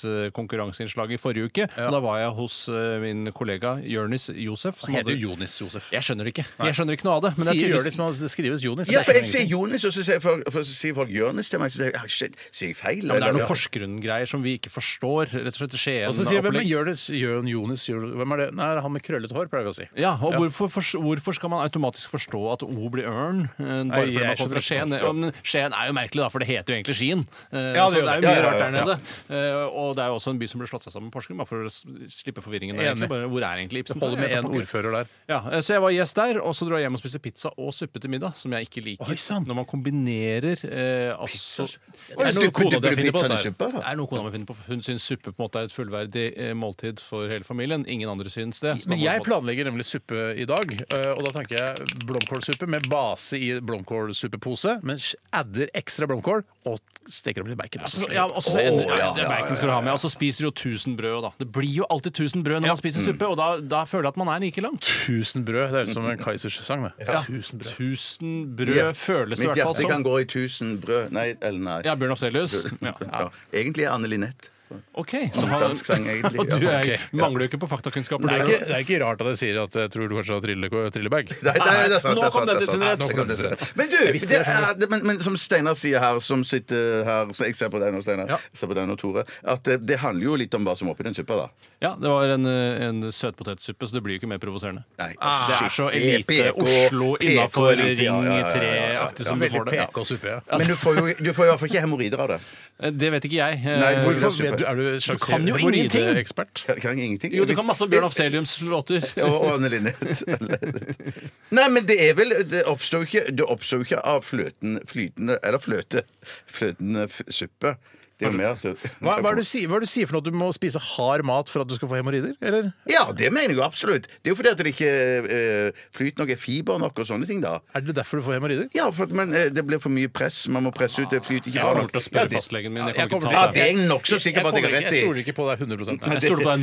Speaker 2: flauhetskonkurranseinnslaget i forrige uke. Og da var jeg hos øh, min kollega Jørnis Josef. Som hadde...
Speaker 1: Jonis Josef.
Speaker 2: Jeg skjønner det ikke. Jeg skjønner ikke noe av det. Men det er
Speaker 1: Sier
Speaker 2: tydeligvis-
Speaker 1: Jonis, men det skrives Jonis.
Speaker 3: Ja, for jeg sier Jonis, og så sier folk, for så sier folk Jonis til meg. Så sier jeg, ah, shit, sier jeg feil?
Speaker 2: Men det er
Speaker 3: eller?
Speaker 2: noen Porsgrunn-greier som vi ikke forstår. Rett og slett Skien.
Speaker 1: Og så sier vi hvem
Speaker 2: opplegg.
Speaker 1: er Jonis, Jørn Jonis, Jørn- hvem er det? Nei, han med krøllete hår, pleier vi å si.
Speaker 2: Ja, og Hvorfor, fors- hvorfor skal man automatisk forstå at O blir ørn? eh,
Speaker 1: Nei,
Speaker 2: Bare fordi
Speaker 1: jeg
Speaker 2: man kommer fra Skien.
Speaker 1: skjønner ikke.
Speaker 2: Ja, men Skien er jo merkelig, da, for det heter jo egentlig Skien. Eh,
Speaker 1: Ja,
Speaker 2: så
Speaker 1: det
Speaker 2: det
Speaker 1: gjør
Speaker 2: er
Speaker 1: det.
Speaker 2: jo
Speaker 1: Ja,
Speaker 2: mye
Speaker 1: ja,
Speaker 2: rart der
Speaker 1: ja,
Speaker 2: nede. Eh, Og det er jo også en by som ble slått seg sammen med Porsgrunn, bare for å s- slippe forvirringen. Der,
Speaker 1: Enig.
Speaker 2: egentlig. bare, hvor er egentlig Ibsen?
Speaker 1: Holder med
Speaker 2: Jeg vet
Speaker 1: én
Speaker 2: ikke.
Speaker 1: ordfører der.
Speaker 2: Ja, eh, Så jeg var gjest der, og så dro jeg hjem og spiste pizza og suppe til middag, som jeg ikke liker.
Speaker 1: Oi, sann.
Speaker 2: når man kombinerer eh, altså, Det
Speaker 3: Oi,
Speaker 2: er noe
Speaker 3: suppe,
Speaker 2: kona
Speaker 3: dypper
Speaker 2: di
Speaker 3: du
Speaker 2: finner på.
Speaker 3: pizzaen i
Speaker 2: at det
Speaker 3: suppe,
Speaker 2: er-
Speaker 3: da?
Speaker 2: Det er noe kona mi finner på. Hun syns suppe på en måte er et fullverdig eh, måltid for hele familien. Ingen andre syns det. så da
Speaker 1: Men
Speaker 2: må
Speaker 1: jeg
Speaker 2: man-
Speaker 1: planlegger nemlig suppe i dag, eh, og da tenker jeg blomkålsuppe med base i blomkålsuppepose, men adder ekstra blomkål og steker opp litt bacon.
Speaker 2: Ja, så- Ja, og så
Speaker 3: Åh,
Speaker 2: ender, ja,
Speaker 3: ja,
Speaker 2: det er
Speaker 3: ja,
Speaker 2: bacon skal du ha med. Og så spiser du jo 1000 brød da. Det blir jo alltid 1000 brød når man spiser
Speaker 3: Mm.
Speaker 2: suppe, og da, da føler jeg at man er like langt.
Speaker 1: Tusen brød. Det høres ut som en Kaizers sang. det.
Speaker 2: Ja.
Speaker 1: Tusen brød.
Speaker 2: 1000 brød
Speaker 3: Ja.
Speaker 2: føles det i
Speaker 3: Mitt
Speaker 2: hvert fall
Speaker 3: hjerte
Speaker 2: som.
Speaker 3: kan gå i tusen brød Nei, eller nei. (laughs)
Speaker 2: Ja, Bjørn Afselius. Ja.
Speaker 3: Ja. Egentlig er Anne Linette.
Speaker 2: OK. Så han,
Speaker 3: Dansk sang,
Speaker 2: (laughs)
Speaker 3: egentlig.
Speaker 2: og du er,
Speaker 3: Ja.
Speaker 1: Ok, ja.
Speaker 2: mangler jo ikke på faktakunnskaper.
Speaker 1: Det er,
Speaker 2: du,
Speaker 1: ikke, det er ikke rart at jeg sier at jeg tror du kanskje har trille, trillebag.
Speaker 3: Nei, nei, det er sant,
Speaker 2: Nå
Speaker 3: det er
Speaker 2: kom den
Speaker 3: sant, det er
Speaker 2: til sin
Speaker 3: sant.
Speaker 2: rett.
Speaker 3: Nå kom den til sin rett. Men
Speaker 1: Jeg
Speaker 3: du,
Speaker 1: visste
Speaker 3: det
Speaker 1: det.
Speaker 3: er, men, men som Steinar sier her, som sitter her Så jeg ser på deg nå, Steinar.
Speaker 1: Ja.
Speaker 3: Jeg ser på deg nå, Tore. At eh, det handler jo litt om hva som er oppi den suppa, da.
Speaker 2: Ja, det var en, eh, en søtpotetsuppe, så det blir jo ikke mer provoserende.
Speaker 3: Nei,
Speaker 2: Det er så
Speaker 3: shit, det er
Speaker 2: elite
Speaker 3: PK,
Speaker 2: Oslo innafor
Speaker 3: PK elite,
Speaker 2: Ring
Speaker 3: ja, ja, ja, ja, ja, ja.
Speaker 2: 3-aktig som du
Speaker 1: Veldig
Speaker 2: får det.
Speaker 1: PK suppe. Ja.
Speaker 3: Men du får jo du får i hvert fall ikke hemoroider av det.
Speaker 2: Eh, Det vet ikke jeg. Eh,
Speaker 3: Nei, for-
Speaker 1: Hvorfor vet du, er du en slags
Speaker 2: Du kan jo ingenting!
Speaker 1: hemoroideekspert?
Speaker 3: Kan, kan jeg ingenting?
Speaker 2: Jo, du kan masse om Bjørn Afseliums låter.
Speaker 3: (laughs) og, og Anne
Speaker 2: (laughs)
Speaker 3: Linnet. Nei, men det er vel Det oppstår jo ikke, det oppstår jo ikke av fløten, flytende Eller fløte. Fløtende f suppe. Det er jo mer at
Speaker 1: Hva, hva, er det du sier, hva er det du sier for noe? Du må spise hard mat for at du skal få hemoroider? Eller?
Speaker 3: Ja, det mener jeg jo absolutt. Det er jo fordi at det ikke eh, flyter noe fiber nok og sånne ting, da.
Speaker 1: Er det derfor du får hemoroider?
Speaker 3: Ja, for at man, eh, det blir for mye press. Man må presse ut. Det flyter ikke
Speaker 2: Jeg
Speaker 3: bra
Speaker 2: kommer
Speaker 3: nok.
Speaker 2: til å
Speaker 3: Ja,
Speaker 2: spørre
Speaker 3: det-
Speaker 2: fastlegen min. Jeg
Speaker 1: Jeg
Speaker 2: kommer
Speaker 1: kommer
Speaker 2: ikke til å
Speaker 3: Ja, det
Speaker 2: ta
Speaker 3: er
Speaker 2: det.
Speaker 3: jeg nokså sikker på at
Speaker 1: kommer
Speaker 3: jeg har
Speaker 1: ikke-
Speaker 3: rett i.
Speaker 1: jeg stoler ikke på deg 100
Speaker 2: Jeg stoler på deg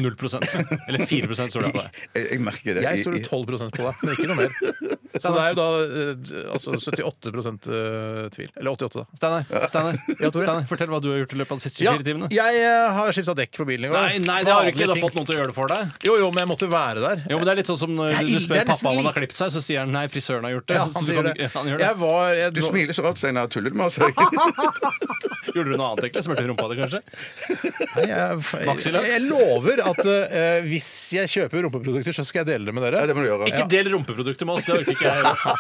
Speaker 2: 0 Eller 4 stoler jeg på deg.
Speaker 3: (laughs) Jeg, jeg merker det.
Speaker 1: Jeg
Speaker 3: I-
Speaker 1: stoler
Speaker 3: i-
Speaker 1: 12 på deg, men ikke
Speaker 3: (laughs)
Speaker 1: noe mer. Så det er jo da eh, altså 78 eh, tvil. Eller 88, da.
Speaker 2: Steinar, Steinar,
Speaker 1: Ja, Tore.
Speaker 2: Steinar, fortell hva du har gjort i løpet av de siste
Speaker 1: Ja,
Speaker 2: 24 timene.
Speaker 1: jeg eh, har skifta dekk på bilen i går.
Speaker 2: Nei, nei, det har du
Speaker 1: Vanlige
Speaker 2: ikke. Du har fått
Speaker 1: ting.
Speaker 2: noen til å gjøre det for deg.
Speaker 1: Jo, jo, men jeg måtte være der.
Speaker 2: Jo, men Det er litt sånn som når
Speaker 1: Det er
Speaker 2: du
Speaker 1: ille,
Speaker 2: spør
Speaker 1: det er
Speaker 2: pappa om
Speaker 1: nesten
Speaker 2: han har
Speaker 1: litt-
Speaker 2: klippet seg, så sier han nei, frisøren har gjort det.
Speaker 1: Ja,
Speaker 2: Så
Speaker 1: han
Speaker 2: du
Speaker 1: sier
Speaker 2: kan
Speaker 1: det.
Speaker 2: ikke- han gjør det.
Speaker 1: Jeg var jeg,
Speaker 3: Du smiler så rart, Steinar. Tuller du med
Speaker 2: (laughs)
Speaker 3: oss? Nei,
Speaker 2: Gjorde du noe annet, egentlig? Smurte i rumpa di, kanskje?
Speaker 1: Nei, jeg, jeg,
Speaker 2: Maxilaks.
Speaker 1: jeg lover at eh, hvis jeg kjøper rumpeprodukter, så skal jeg dele det med dere.
Speaker 3: det må du gjøre.
Speaker 2: Ikke del rumpeprodukter med oss, det orker ikke jeg. gjøre.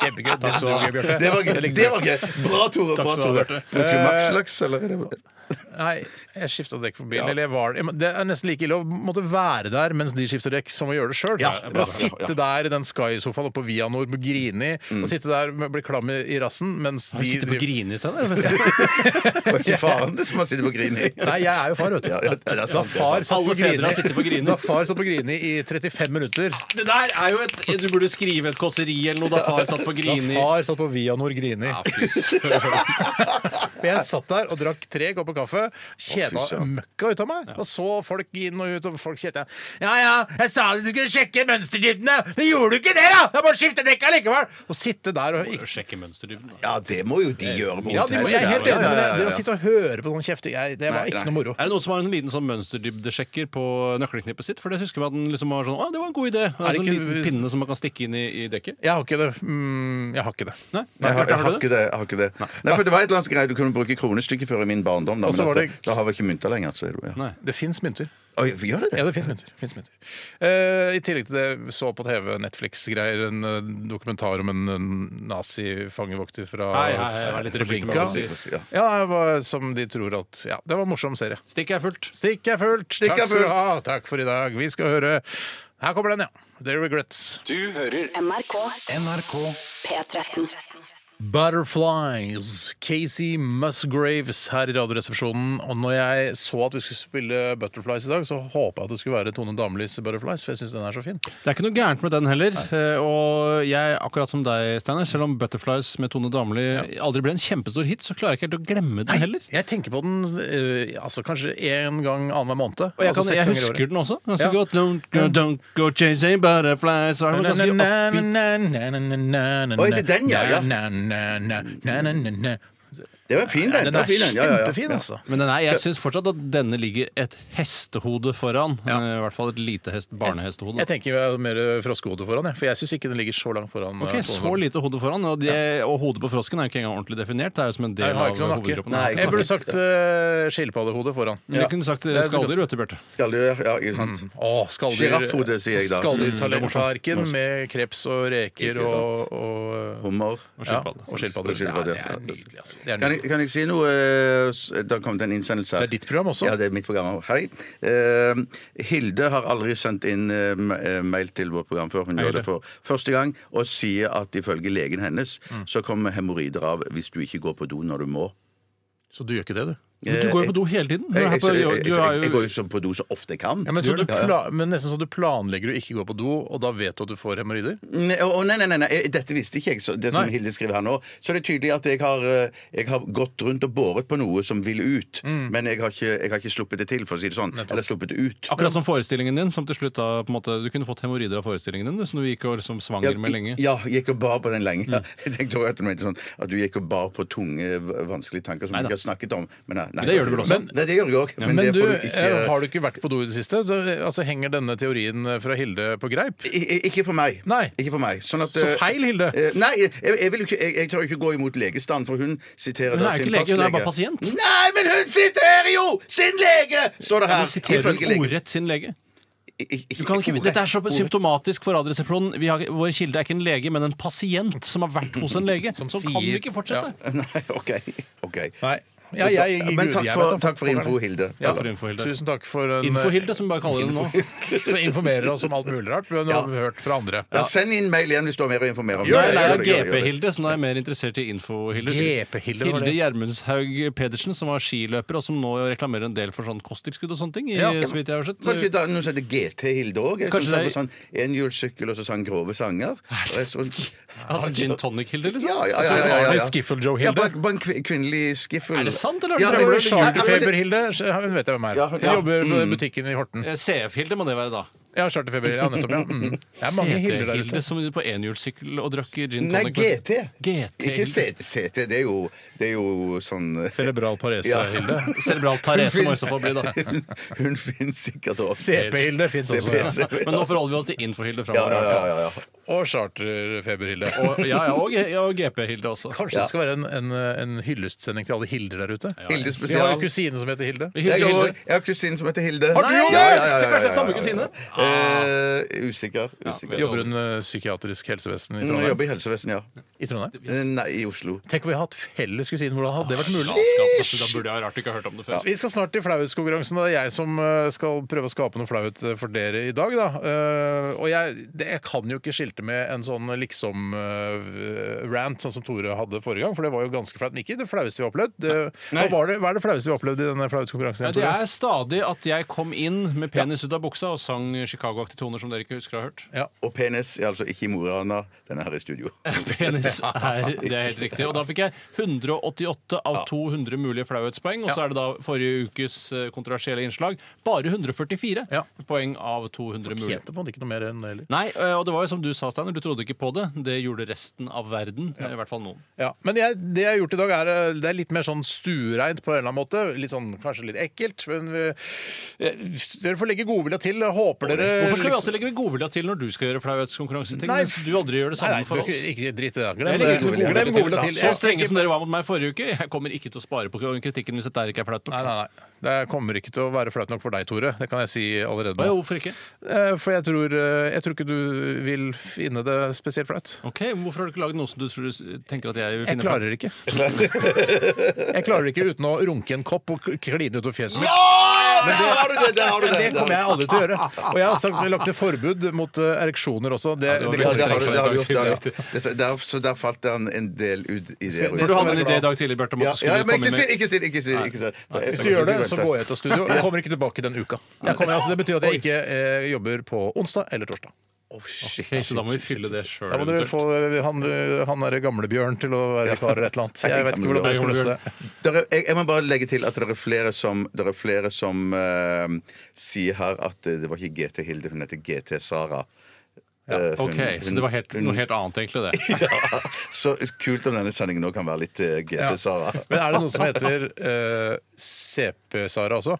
Speaker 1: Kjempegøy. Det så gøy, Bjarte.
Speaker 3: Det var gøy. Det var gøy. Bra, Tore.
Speaker 2: Takk
Speaker 3: Bra,
Speaker 2: skal du ha,
Speaker 3: Tore.
Speaker 2: Bjarte. Eh,
Speaker 3: Bruker du Max-laks, eller? er det-
Speaker 1: Nei, jeg skifta dekk på bilen. Eller jeg var, det er nesten like ille å måtte være der mens de skifter dekk, som å gjøre det sjøl.
Speaker 3: Ja, Mm. bra, bra,
Speaker 1: Bare sitte der i den Sky-sofaen oppe på Vianor med Grini og sitte der med bli klam i i rassen mens
Speaker 2: Han
Speaker 1: de
Speaker 2: sitter på
Speaker 1: driver-
Speaker 2: grine i stedet.
Speaker 3: Det var ikke faren din som har sittet på grinet.
Speaker 1: Nei, jeg er jo far, vet du.
Speaker 3: Ja, ja, det er sant,
Speaker 1: da far
Speaker 3: det er sant.
Speaker 1: satt på
Speaker 2: Alle fedre har sittet på
Speaker 1: Grini
Speaker 2: Grini.
Speaker 1: Da far satt på Grini i 35 minutter
Speaker 2: (laughs) Det der er jo et Du burde skrive et kåseri eller noe da far satt
Speaker 1: Da
Speaker 2: på grine i
Speaker 1: far satt på Vianor Grini.
Speaker 2: Ja, fy søren.
Speaker 1: (laughs) Men jeg satt der og drakk tre kopper kaffe,
Speaker 3: Å,
Speaker 1: kjeda
Speaker 3: fy søren.
Speaker 1: møkka ut av meg. Og så folk inn og ut, og folk kjeda Ja ja, jeg sa du skulle sjekke mønsterdyttene! Men gjorde du ikke det, da?! Da må du skifte dekka likevel! Å sitte der og ikke
Speaker 2: Sjekke mønsterdybden. da.
Speaker 3: Ja, det må jo de gjøre. på
Speaker 1: ja, de, må-
Speaker 3: hotellet,
Speaker 1: jeg er helt
Speaker 3: da.
Speaker 1: enig, men det-
Speaker 3: Ja, ja,
Speaker 1: det å
Speaker 3: ja, ja.
Speaker 1: sitte og høre på sånn kjefting jeg- Det var
Speaker 3: Nei,
Speaker 1: ikke
Speaker 3: nei.
Speaker 1: noe moro.
Speaker 2: (laughs) Er det noen som har en liten sånn mønsterdybdesjekker på nøkkelknippet sitt? For det husker vi at den liksom var sånn Å, det var en god idé. Det
Speaker 1: Er
Speaker 2: er
Speaker 1: det
Speaker 2: sånn
Speaker 1: ikke-
Speaker 2: liten pinne som man kan stikke inn i, i dekket.
Speaker 1: Jeg har ikke det. Mm, jeg har ikke det.
Speaker 2: Nei?
Speaker 3: Jeg har,
Speaker 2: Bjarte,
Speaker 3: jeg
Speaker 2: har du
Speaker 3: har
Speaker 2: det?
Speaker 3: ikke det. Jeg har ikke det. Nei, for det var et eller annet greie du kunne bruke kronestykket før i min barndom. Da,
Speaker 1: Og så
Speaker 3: men
Speaker 1: var
Speaker 3: at
Speaker 1: det-
Speaker 3: det, da har vi ikke mynter lenger. Så, er det jo- ja.
Speaker 2: Nei.
Speaker 1: Det fins mynter.
Speaker 3: Oi, gjør det det?
Speaker 1: Ja, det fins mynter. Finnes mynter. Eh, I tillegg til det så på TV Netflix-greier en eh, dokumentar om en, en nazi-fangevokter fra
Speaker 2: Hei, hei, hei, jeg var litt
Speaker 1: fra
Speaker 2: flink med
Speaker 1: Birka.
Speaker 2: å si.
Speaker 3: Ja.
Speaker 1: Ja, jeg var, som de tror at Ja, det var en morsom serie.
Speaker 2: Stikk er fullt.
Speaker 1: Stikk er fullt!
Speaker 3: Stikk
Speaker 1: Takk
Speaker 3: er
Speaker 1: skal du
Speaker 3: fullt.
Speaker 1: ha! Takk for i dag. Vi skal høre Her kommer den, ja. The Regrets.
Speaker 4: Du hører
Speaker 5: NRK
Speaker 4: NRK
Speaker 5: P13.
Speaker 1: Butterflies. Casey Musgraves her i Radioresepsjonen. Og når jeg så at vi skulle spille Butterflies i dag, så håpa jeg at det skulle være Tone Damlis Butterflies, for jeg syns den er så fin.
Speaker 2: Det er ikke noe gærent med den heller. eh, Og jeg, akkurat som deg, Steinar, selv om 'Butterflies' med Tone Damli aldri ble en kjempestor hit, så klarer jeg ikke helt å glemme den heller.
Speaker 1: Jeg tenker på den eh, altså kanskje én gang annenhver måned.
Speaker 2: Og jeg,
Speaker 1: altså
Speaker 2: kan,
Speaker 1: seks ganger
Speaker 2: jeg
Speaker 1: i
Speaker 2: husker
Speaker 1: året.
Speaker 2: den også Mm. ganske
Speaker 1: Ja.
Speaker 2: godt. Don't go, don't go chasing butterflies er det
Speaker 1: Na, na,
Speaker 2: ganske
Speaker 1: na, na,
Speaker 2: oppbeat.
Speaker 1: na, na, na, na, na,
Speaker 3: Oi, det er den, ja, ja.
Speaker 1: Na, na, na, na, na, na, na.
Speaker 3: Det var fin, den.
Speaker 1: Den er
Speaker 3: Det var fin, den. Ja, ja, ja.
Speaker 1: kjempefin, altså.
Speaker 2: Men den er, jeg syns fortsatt at denne ligger et hestehode foran. eh, I hvert fall et lite hest, barnehestehode.
Speaker 1: Jeg tenker vi har mer froskehode foran, jeg. For jeg syns ikke den ligger så langt foran.
Speaker 2: Ok,
Speaker 1: eh,
Speaker 2: Så
Speaker 1: Tone.
Speaker 2: lite hode foran, og, det, og hodet på frosken er jo ikke engang ordentlig definert. Det er jo som en
Speaker 1: Nei,
Speaker 2: del
Speaker 1: den
Speaker 2: av
Speaker 1: har ikke noen nakke.
Speaker 2: hovedkroppen.
Speaker 3: Nei,
Speaker 1: Jeg burde sagt uh, skilpaddehode foran.
Speaker 2: Men Det kunne du sagt eh,
Speaker 1: Det er-
Speaker 2: skalldyr, vet du, Bjarte.
Speaker 3: Skal du Ja, ikke sant?
Speaker 1: Å, skalldyr-
Speaker 3: Giraffhode, sier jeg da.
Speaker 2: Mm,
Speaker 1: Skalldyr-tallerken med kreps og reker
Speaker 3: Ikke sant.
Speaker 1: og, og eh,
Speaker 3: Hummer.
Speaker 1: ja,
Speaker 2: skilpadde.
Speaker 1: og skilpadder.
Speaker 3: Og
Speaker 1: Ja,
Speaker 3: skilpadde,
Speaker 1: det er
Speaker 3: ja.
Speaker 1: nydelig, altså. Det er,
Speaker 3: Kan jeg,
Speaker 1: nydelig.
Speaker 3: kan jeg si noe? eh, s- Det har kommet en innsendelse her.
Speaker 1: Det er ditt program også.
Speaker 3: Ja, det er mitt program også. Hei. Eh, Hilde har aldri sendt inn eh, ma- eh, mail til vårt program før. Hun gjør det for første gang og sier at ifølge legen hennes
Speaker 1: Mm.
Speaker 3: så kommer hemoroider av hvis du ikke går på do når du må.
Speaker 1: Så du gjør ikke det, du?
Speaker 2: Men du går jo på do hele tiden. Du
Speaker 3: Eh,
Speaker 2: er
Speaker 3: Jeg,
Speaker 2: her
Speaker 3: jeg,
Speaker 2: på,
Speaker 3: jeg,
Speaker 2: du
Speaker 3: jeg,
Speaker 2: er
Speaker 3: jeg går
Speaker 2: jo
Speaker 3: jo så på do så ofte jeg kan.
Speaker 1: Ja, men, så du
Speaker 2: Gjør det.
Speaker 1: pla men nesten så du planlegger å ikke gå på do, og da vet du at du får hemoroider?
Speaker 3: Nei, å, nei, nei, nei, nei, dette visste ikke jeg, så det som
Speaker 1: Nei.
Speaker 3: Hilde skriver her nå. Så det er tydelig at jeg har, eh, jeg har gått rundt og båret på noe som ville ut,
Speaker 1: Mm.
Speaker 3: men jeg har, ikke, jeg har ikke sluppet det til, for å si det sånn. Eller sluppet det ut.
Speaker 2: Akkurat som forestillingen din, som til slutt da på en måte, Du kunne fått hemoroider av forestillingen din, du, som du gikk og liksom svanger med lenge. Mm.
Speaker 3: Ja, gikk og bar på den (laughs) lenge. Jeg tenkte også at du mente sånn at du gikk og bar på tunge, v- vanskelige tanker som
Speaker 2: Neida.
Speaker 3: du ikke har snakket om, men har nei.
Speaker 2: Det gjør du vel også?
Speaker 3: Men, nei, det gjør jeg òg. Men,
Speaker 1: Men
Speaker 3: det
Speaker 1: du,
Speaker 3: får du ikke
Speaker 1: eh, har du ikke vært på do i det siste? Så, eh, altså, Henger denne teorien eh, fra Hilde på greip?
Speaker 3: I- i- Ikke for meg.
Speaker 1: Nei.
Speaker 3: Ikke for meg. Sånn at,
Speaker 1: Så
Speaker 3: eh,
Speaker 1: feil, Hilde.
Speaker 3: eh, Nei, jeg, jeg, vil jo ikke, jeg, jeg tør jo ikke gå imot legestanden, for hun siterer
Speaker 2: Hun
Speaker 3: da
Speaker 2: er jo ikke
Speaker 3: sin
Speaker 2: lege, hun er
Speaker 3: fastlege.
Speaker 2: bare pasient.
Speaker 3: Nei, men hun siterer jo sin lege! Står det her.
Speaker 2: Du siterer
Speaker 3: Ifølge lege-
Speaker 2: ordrett sin lege.
Speaker 3: I- i- i-
Speaker 2: Du kan ikke,
Speaker 3: ordrett,
Speaker 2: dette er så
Speaker 3: ordrett.
Speaker 2: symptomatisk for Radioresepsjonen. Vi har, vår kilde er ikke en lege, men en pasient som har vært hos en lege. Som så kan
Speaker 1: sier-
Speaker 2: vi ikke fortsette.
Speaker 3: (laughs) Nei, OK. ok.
Speaker 1: Nei. Ja, jeg, jeg,
Speaker 3: men takk
Speaker 1: jeg
Speaker 3: for,
Speaker 1: vet da
Speaker 3: takk
Speaker 1: hva
Speaker 3: for
Speaker 1: det er.
Speaker 3: info, Hilde.
Speaker 2: Ja, for info, Hilde.
Speaker 1: Tusen takk for en, eh,
Speaker 2: Infohilde, som vi bare kaller det nå.
Speaker 1: (laughs) som informerer oss om alt mulig rart. Men har vi hørt fra andre.
Speaker 3: Ja, send inn mail igjen hvis du har mer å informere om.
Speaker 2: Nei,
Speaker 3: Gjør det,
Speaker 2: nei,
Speaker 3: gjør det, gjør det, gjør det.
Speaker 2: GP-Hilde, så nå er jeg mer interessert i info-Hilde.
Speaker 1: GP-Hilde, var
Speaker 2: Hilde
Speaker 1: det?
Speaker 2: Gjermundshaug Pedersen, som var skiløper, og som nå reklamerer en del for sånn kosttilskudd og sånne ting. I,
Speaker 1: Ja.
Speaker 2: så vidt jeg har sett.
Speaker 3: Var det ikke da noe som heter GT Hilde òg?
Speaker 2: Kanskje
Speaker 3: Som sa
Speaker 2: det
Speaker 3: på
Speaker 2: er-
Speaker 3: sånn enhjulssykkel og så sang grove sanger. Og jeg så-
Speaker 2: Altså, gin tonic-Hilde, liksom?
Speaker 3: Ja, ja, ja, ja, ja, ja.
Speaker 1: Litt Skiffle-Joe,
Speaker 3: Ja,
Speaker 1: Hilde.
Speaker 3: bare, bare en kvin- kvinnelig skiffel.
Speaker 2: Er det sant, eller
Speaker 3: Ja,
Speaker 1: Trøbler
Speaker 2: drømmer
Speaker 3: det- det- nei, men
Speaker 1: Charterfeber,
Speaker 3: det-
Speaker 1: Hilde. Hun vet jeg hvem er.
Speaker 3: Ja,
Speaker 1: Hun
Speaker 3: ja. Mm.
Speaker 1: jobber på butikken i Horten.
Speaker 2: Eh, CF-Hilde må det være, da.
Speaker 1: Ja, Charterfeber. Ja, nettopp. Ja. Mm. Det er mange Hilder der
Speaker 2: CT-Hilde
Speaker 1: ute.
Speaker 2: som på enhjulssykkel og drakk gin
Speaker 3: Nei,
Speaker 2: tonic.
Speaker 3: GT. Ikke
Speaker 2: GT.
Speaker 3: CT. CT, det er jo, det er jo sånn
Speaker 1: Cerebral
Speaker 3: Ja.
Speaker 1: parese-Hilde.
Speaker 2: Cerebral Therese må i så fall
Speaker 3: (laughs)
Speaker 2: bli, da.
Speaker 3: Hun, hun finnes sikkert også.
Speaker 1: CP-Hilde fins også.
Speaker 3: CP,
Speaker 1: Ja.
Speaker 3: CP.
Speaker 2: Men nå forholder vi oss til info-Hilde
Speaker 3: Ja,
Speaker 2: framover.
Speaker 3: ja, ja, ja, ja.
Speaker 1: Og
Speaker 3: (laughs)
Speaker 1: Charterfeber-Hilde.
Speaker 2: Og, ja, ja, og, ja, og GP-Hilde også.
Speaker 1: Kanskje det skal være en, en, en hyllestsending til alle Hilder der ute?
Speaker 3: Hilde
Speaker 1: Vi har en
Speaker 3: spesial.
Speaker 1: kusine som heter Hilde.
Speaker 3: Jeg har,
Speaker 2: Hilde.
Speaker 3: jeg har kusinen som heter Hilde.
Speaker 1: Har du
Speaker 3: Nei,
Speaker 1: òg?
Speaker 3: ja, ja, ja,
Speaker 2: Så kanskje det er samme
Speaker 3: ja, ja,
Speaker 2: kusine?
Speaker 3: ja. Eh, usikker. usikker.
Speaker 2: Ja,
Speaker 1: Jobber hun eh, psykiatrisk helsevesen i
Speaker 3: Hun
Speaker 1: Trondheim?
Speaker 3: jobber i helsevesenet, ja.
Speaker 1: I Trondheim?
Speaker 3: Eh, Nei, i Oslo.
Speaker 1: Tenk om vi hadde hatt felles kusine. Hvordan hadde det vært mulig?
Speaker 2: Galskap, da burde jeg ha rart ikke ha hørt om det før.
Speaker 1: Vi skal snart til flauhetskonkurransen. og Det er jeg som eh, skal prøve å skape noe flaut eh, for dere i dag. Da. Eh, Og jeg, det, jeg kan jo ikke skilte med en sånn liksom-rant, sånn som Tore hadde forrige gang, for det var jo ganske flaut. Men ikke det flaueste vi har opplevd. Det, hva, var det, hva er det flaueste vi har opplevd i denne flauhetskonkurransen?
Speaker 2: Nei, Det er stadig at jeg kom inn med penis ut av buksa og sang Chicago-aktige toner som dere ikke husker å ha hørt.
Speaker 1: (laughs)
Speaker 3: Og penis er altså ikke i Mo i Rana. Den er her i studio.
Speaker 2: (laughs) Penis er Det er helt riktig. Og da fikk jeg 188 av 200 mulige flauhetspoeng. Og så er det da forrige ukes eh, kontroversielle innslag. Bare 144
Speaker 1: Ja.
Speaker 2: poeng av 200 mulige.
Speaker 1: Tjente på det ikke noe mer enn det heller.
Speaker 2: Nei, eh, og det var jo som du sa, Steiner, du trodde ikke på det. Det gjorde resten av verden. eh, I hvert fall noen.
Speaker 1: Ja, men jeg, det jeg har gjort i dag, er, eh, det er litt mer sånn stuereint på en eller annen måte. Litt sånn, kanskje litt ekkelt, men vi, eh, dere får legge godvilja til. Håper dere
Speaker 2: Hvorfor skal vi
Speaker 1: liksom-
Speaker 2: alltid legge godvilja til når du skal gjøre flauhetskonkurranseting?
Speaker 1: Nei,
Speaker 2: Mens du aldri gjør
Speaker 1: Nei,
Speaker 2: det samme
Speaker 1: nei,
Speaker 2: for
Speaker 1: du kan
Speaker 2: oss.
Speaker 1: Ikke, ikke dritt i det.
Speaker 2: Jeg
Speaker 1: Glem
Speaker 2: legger
Speaker 1: det.
Speaker 2: godvilja til.
Speaker 1: Glem godvilja til.
Speaker 2: Så strenge som dere var mot meg forrige uke, jeg kommer ikke til å spare på kritikken hvis dette er ikke er flaut
Speaker 1: Nei,
Speaker 2: nok.
Speaker 1: nei, nei. Det kommer ikke til å være flaut nok for deg, Tore. Det kan jeg si allerede
Speaker 2: Å ja,
Speaker 1: nå.
Speaker 2: hvorfor ikke?
Speaker 1: Eh, For jeg tror, eh, jeg tror ikke du vil finne det spesielt flaut.
Speaker 2: Ok, men Hvorfor har du ikke laget noe som du tror du s- tenker at jeg vil
Speaker 1: Jeg
Speaker 2: finne flaut?
Speaker 1: klarer det ikke. Jeg klarer det ikke uten å runke en kopp og k- kline utover fjeset mitt.
Speaker 3: Der har du det! Der har du
Speaker 1: Det
Speaker 3: det!
Speaker 1: kommer jeg aldri til å gjøre. Og jeg har sagt, lagt et forbud mot eh, ereksjoner også. Det,
Speaker 2: det var
Speaker 1: det kommer
Speaker 3: Ja, det
Speaker 1: jeg
Speaker 3: har
Speaker 1: til
Speaker 3: du,
Speaker 1: å
Speaker 3: det har
Speaker 1: gjøre.
Speaker 3: du gjort. det har du gjort. Det er- Der, så der falt det en- en del ut i det.
Speaker 2: For du hadde en idé i dag tidlig, Bjarte, om
Speaker 3: Ja,
Speaker 2: at du
Speaker 3: ja,
Speaker 2: skulle
Speaker 3: men
Speaker 2: komme
Speaker 3: ikke si
Speaker 2: med
Speaker 3: det! Ikke si det! ikke si det, ikke si det.
Speaker 1: Hvis du gjør det, så går jeg ut av studio. Jeg kommer ikke tilbake den uka. Jeg kommer, altså, det betyr at jeg ikke eh, jobber på onsdag eller torsdag.
Speaker 3: Å, shit.
Speaker 2: Ok, Så da må vi fylle det sjøl.
Speaker 1: Da må dere få eh, han, eh, han derre gamlebjørn til å være vikar eller et eller annet. Jeg vet ikke hvordan dere skal løse det.
Speaker 3: Der er, jeg, jeg må bare legge til at det er flere som, det er flere som eh, sier her at eh, det var ikke GT Hilde, hun heter GT Sara. Eh, hun-
Speaker 2: Ok, Så
Speaker 3: hun-
Speaker 2: det var helt, noe helt annet, egentlig,
Speaker 3: (laughs)
Speaker 2: det.
Speaker 3: ja. Så kult om denne sendingen nå kan være litt eh, GT Sara.
Speaker 1: Men er det noe som heter eh, CP-Sara også?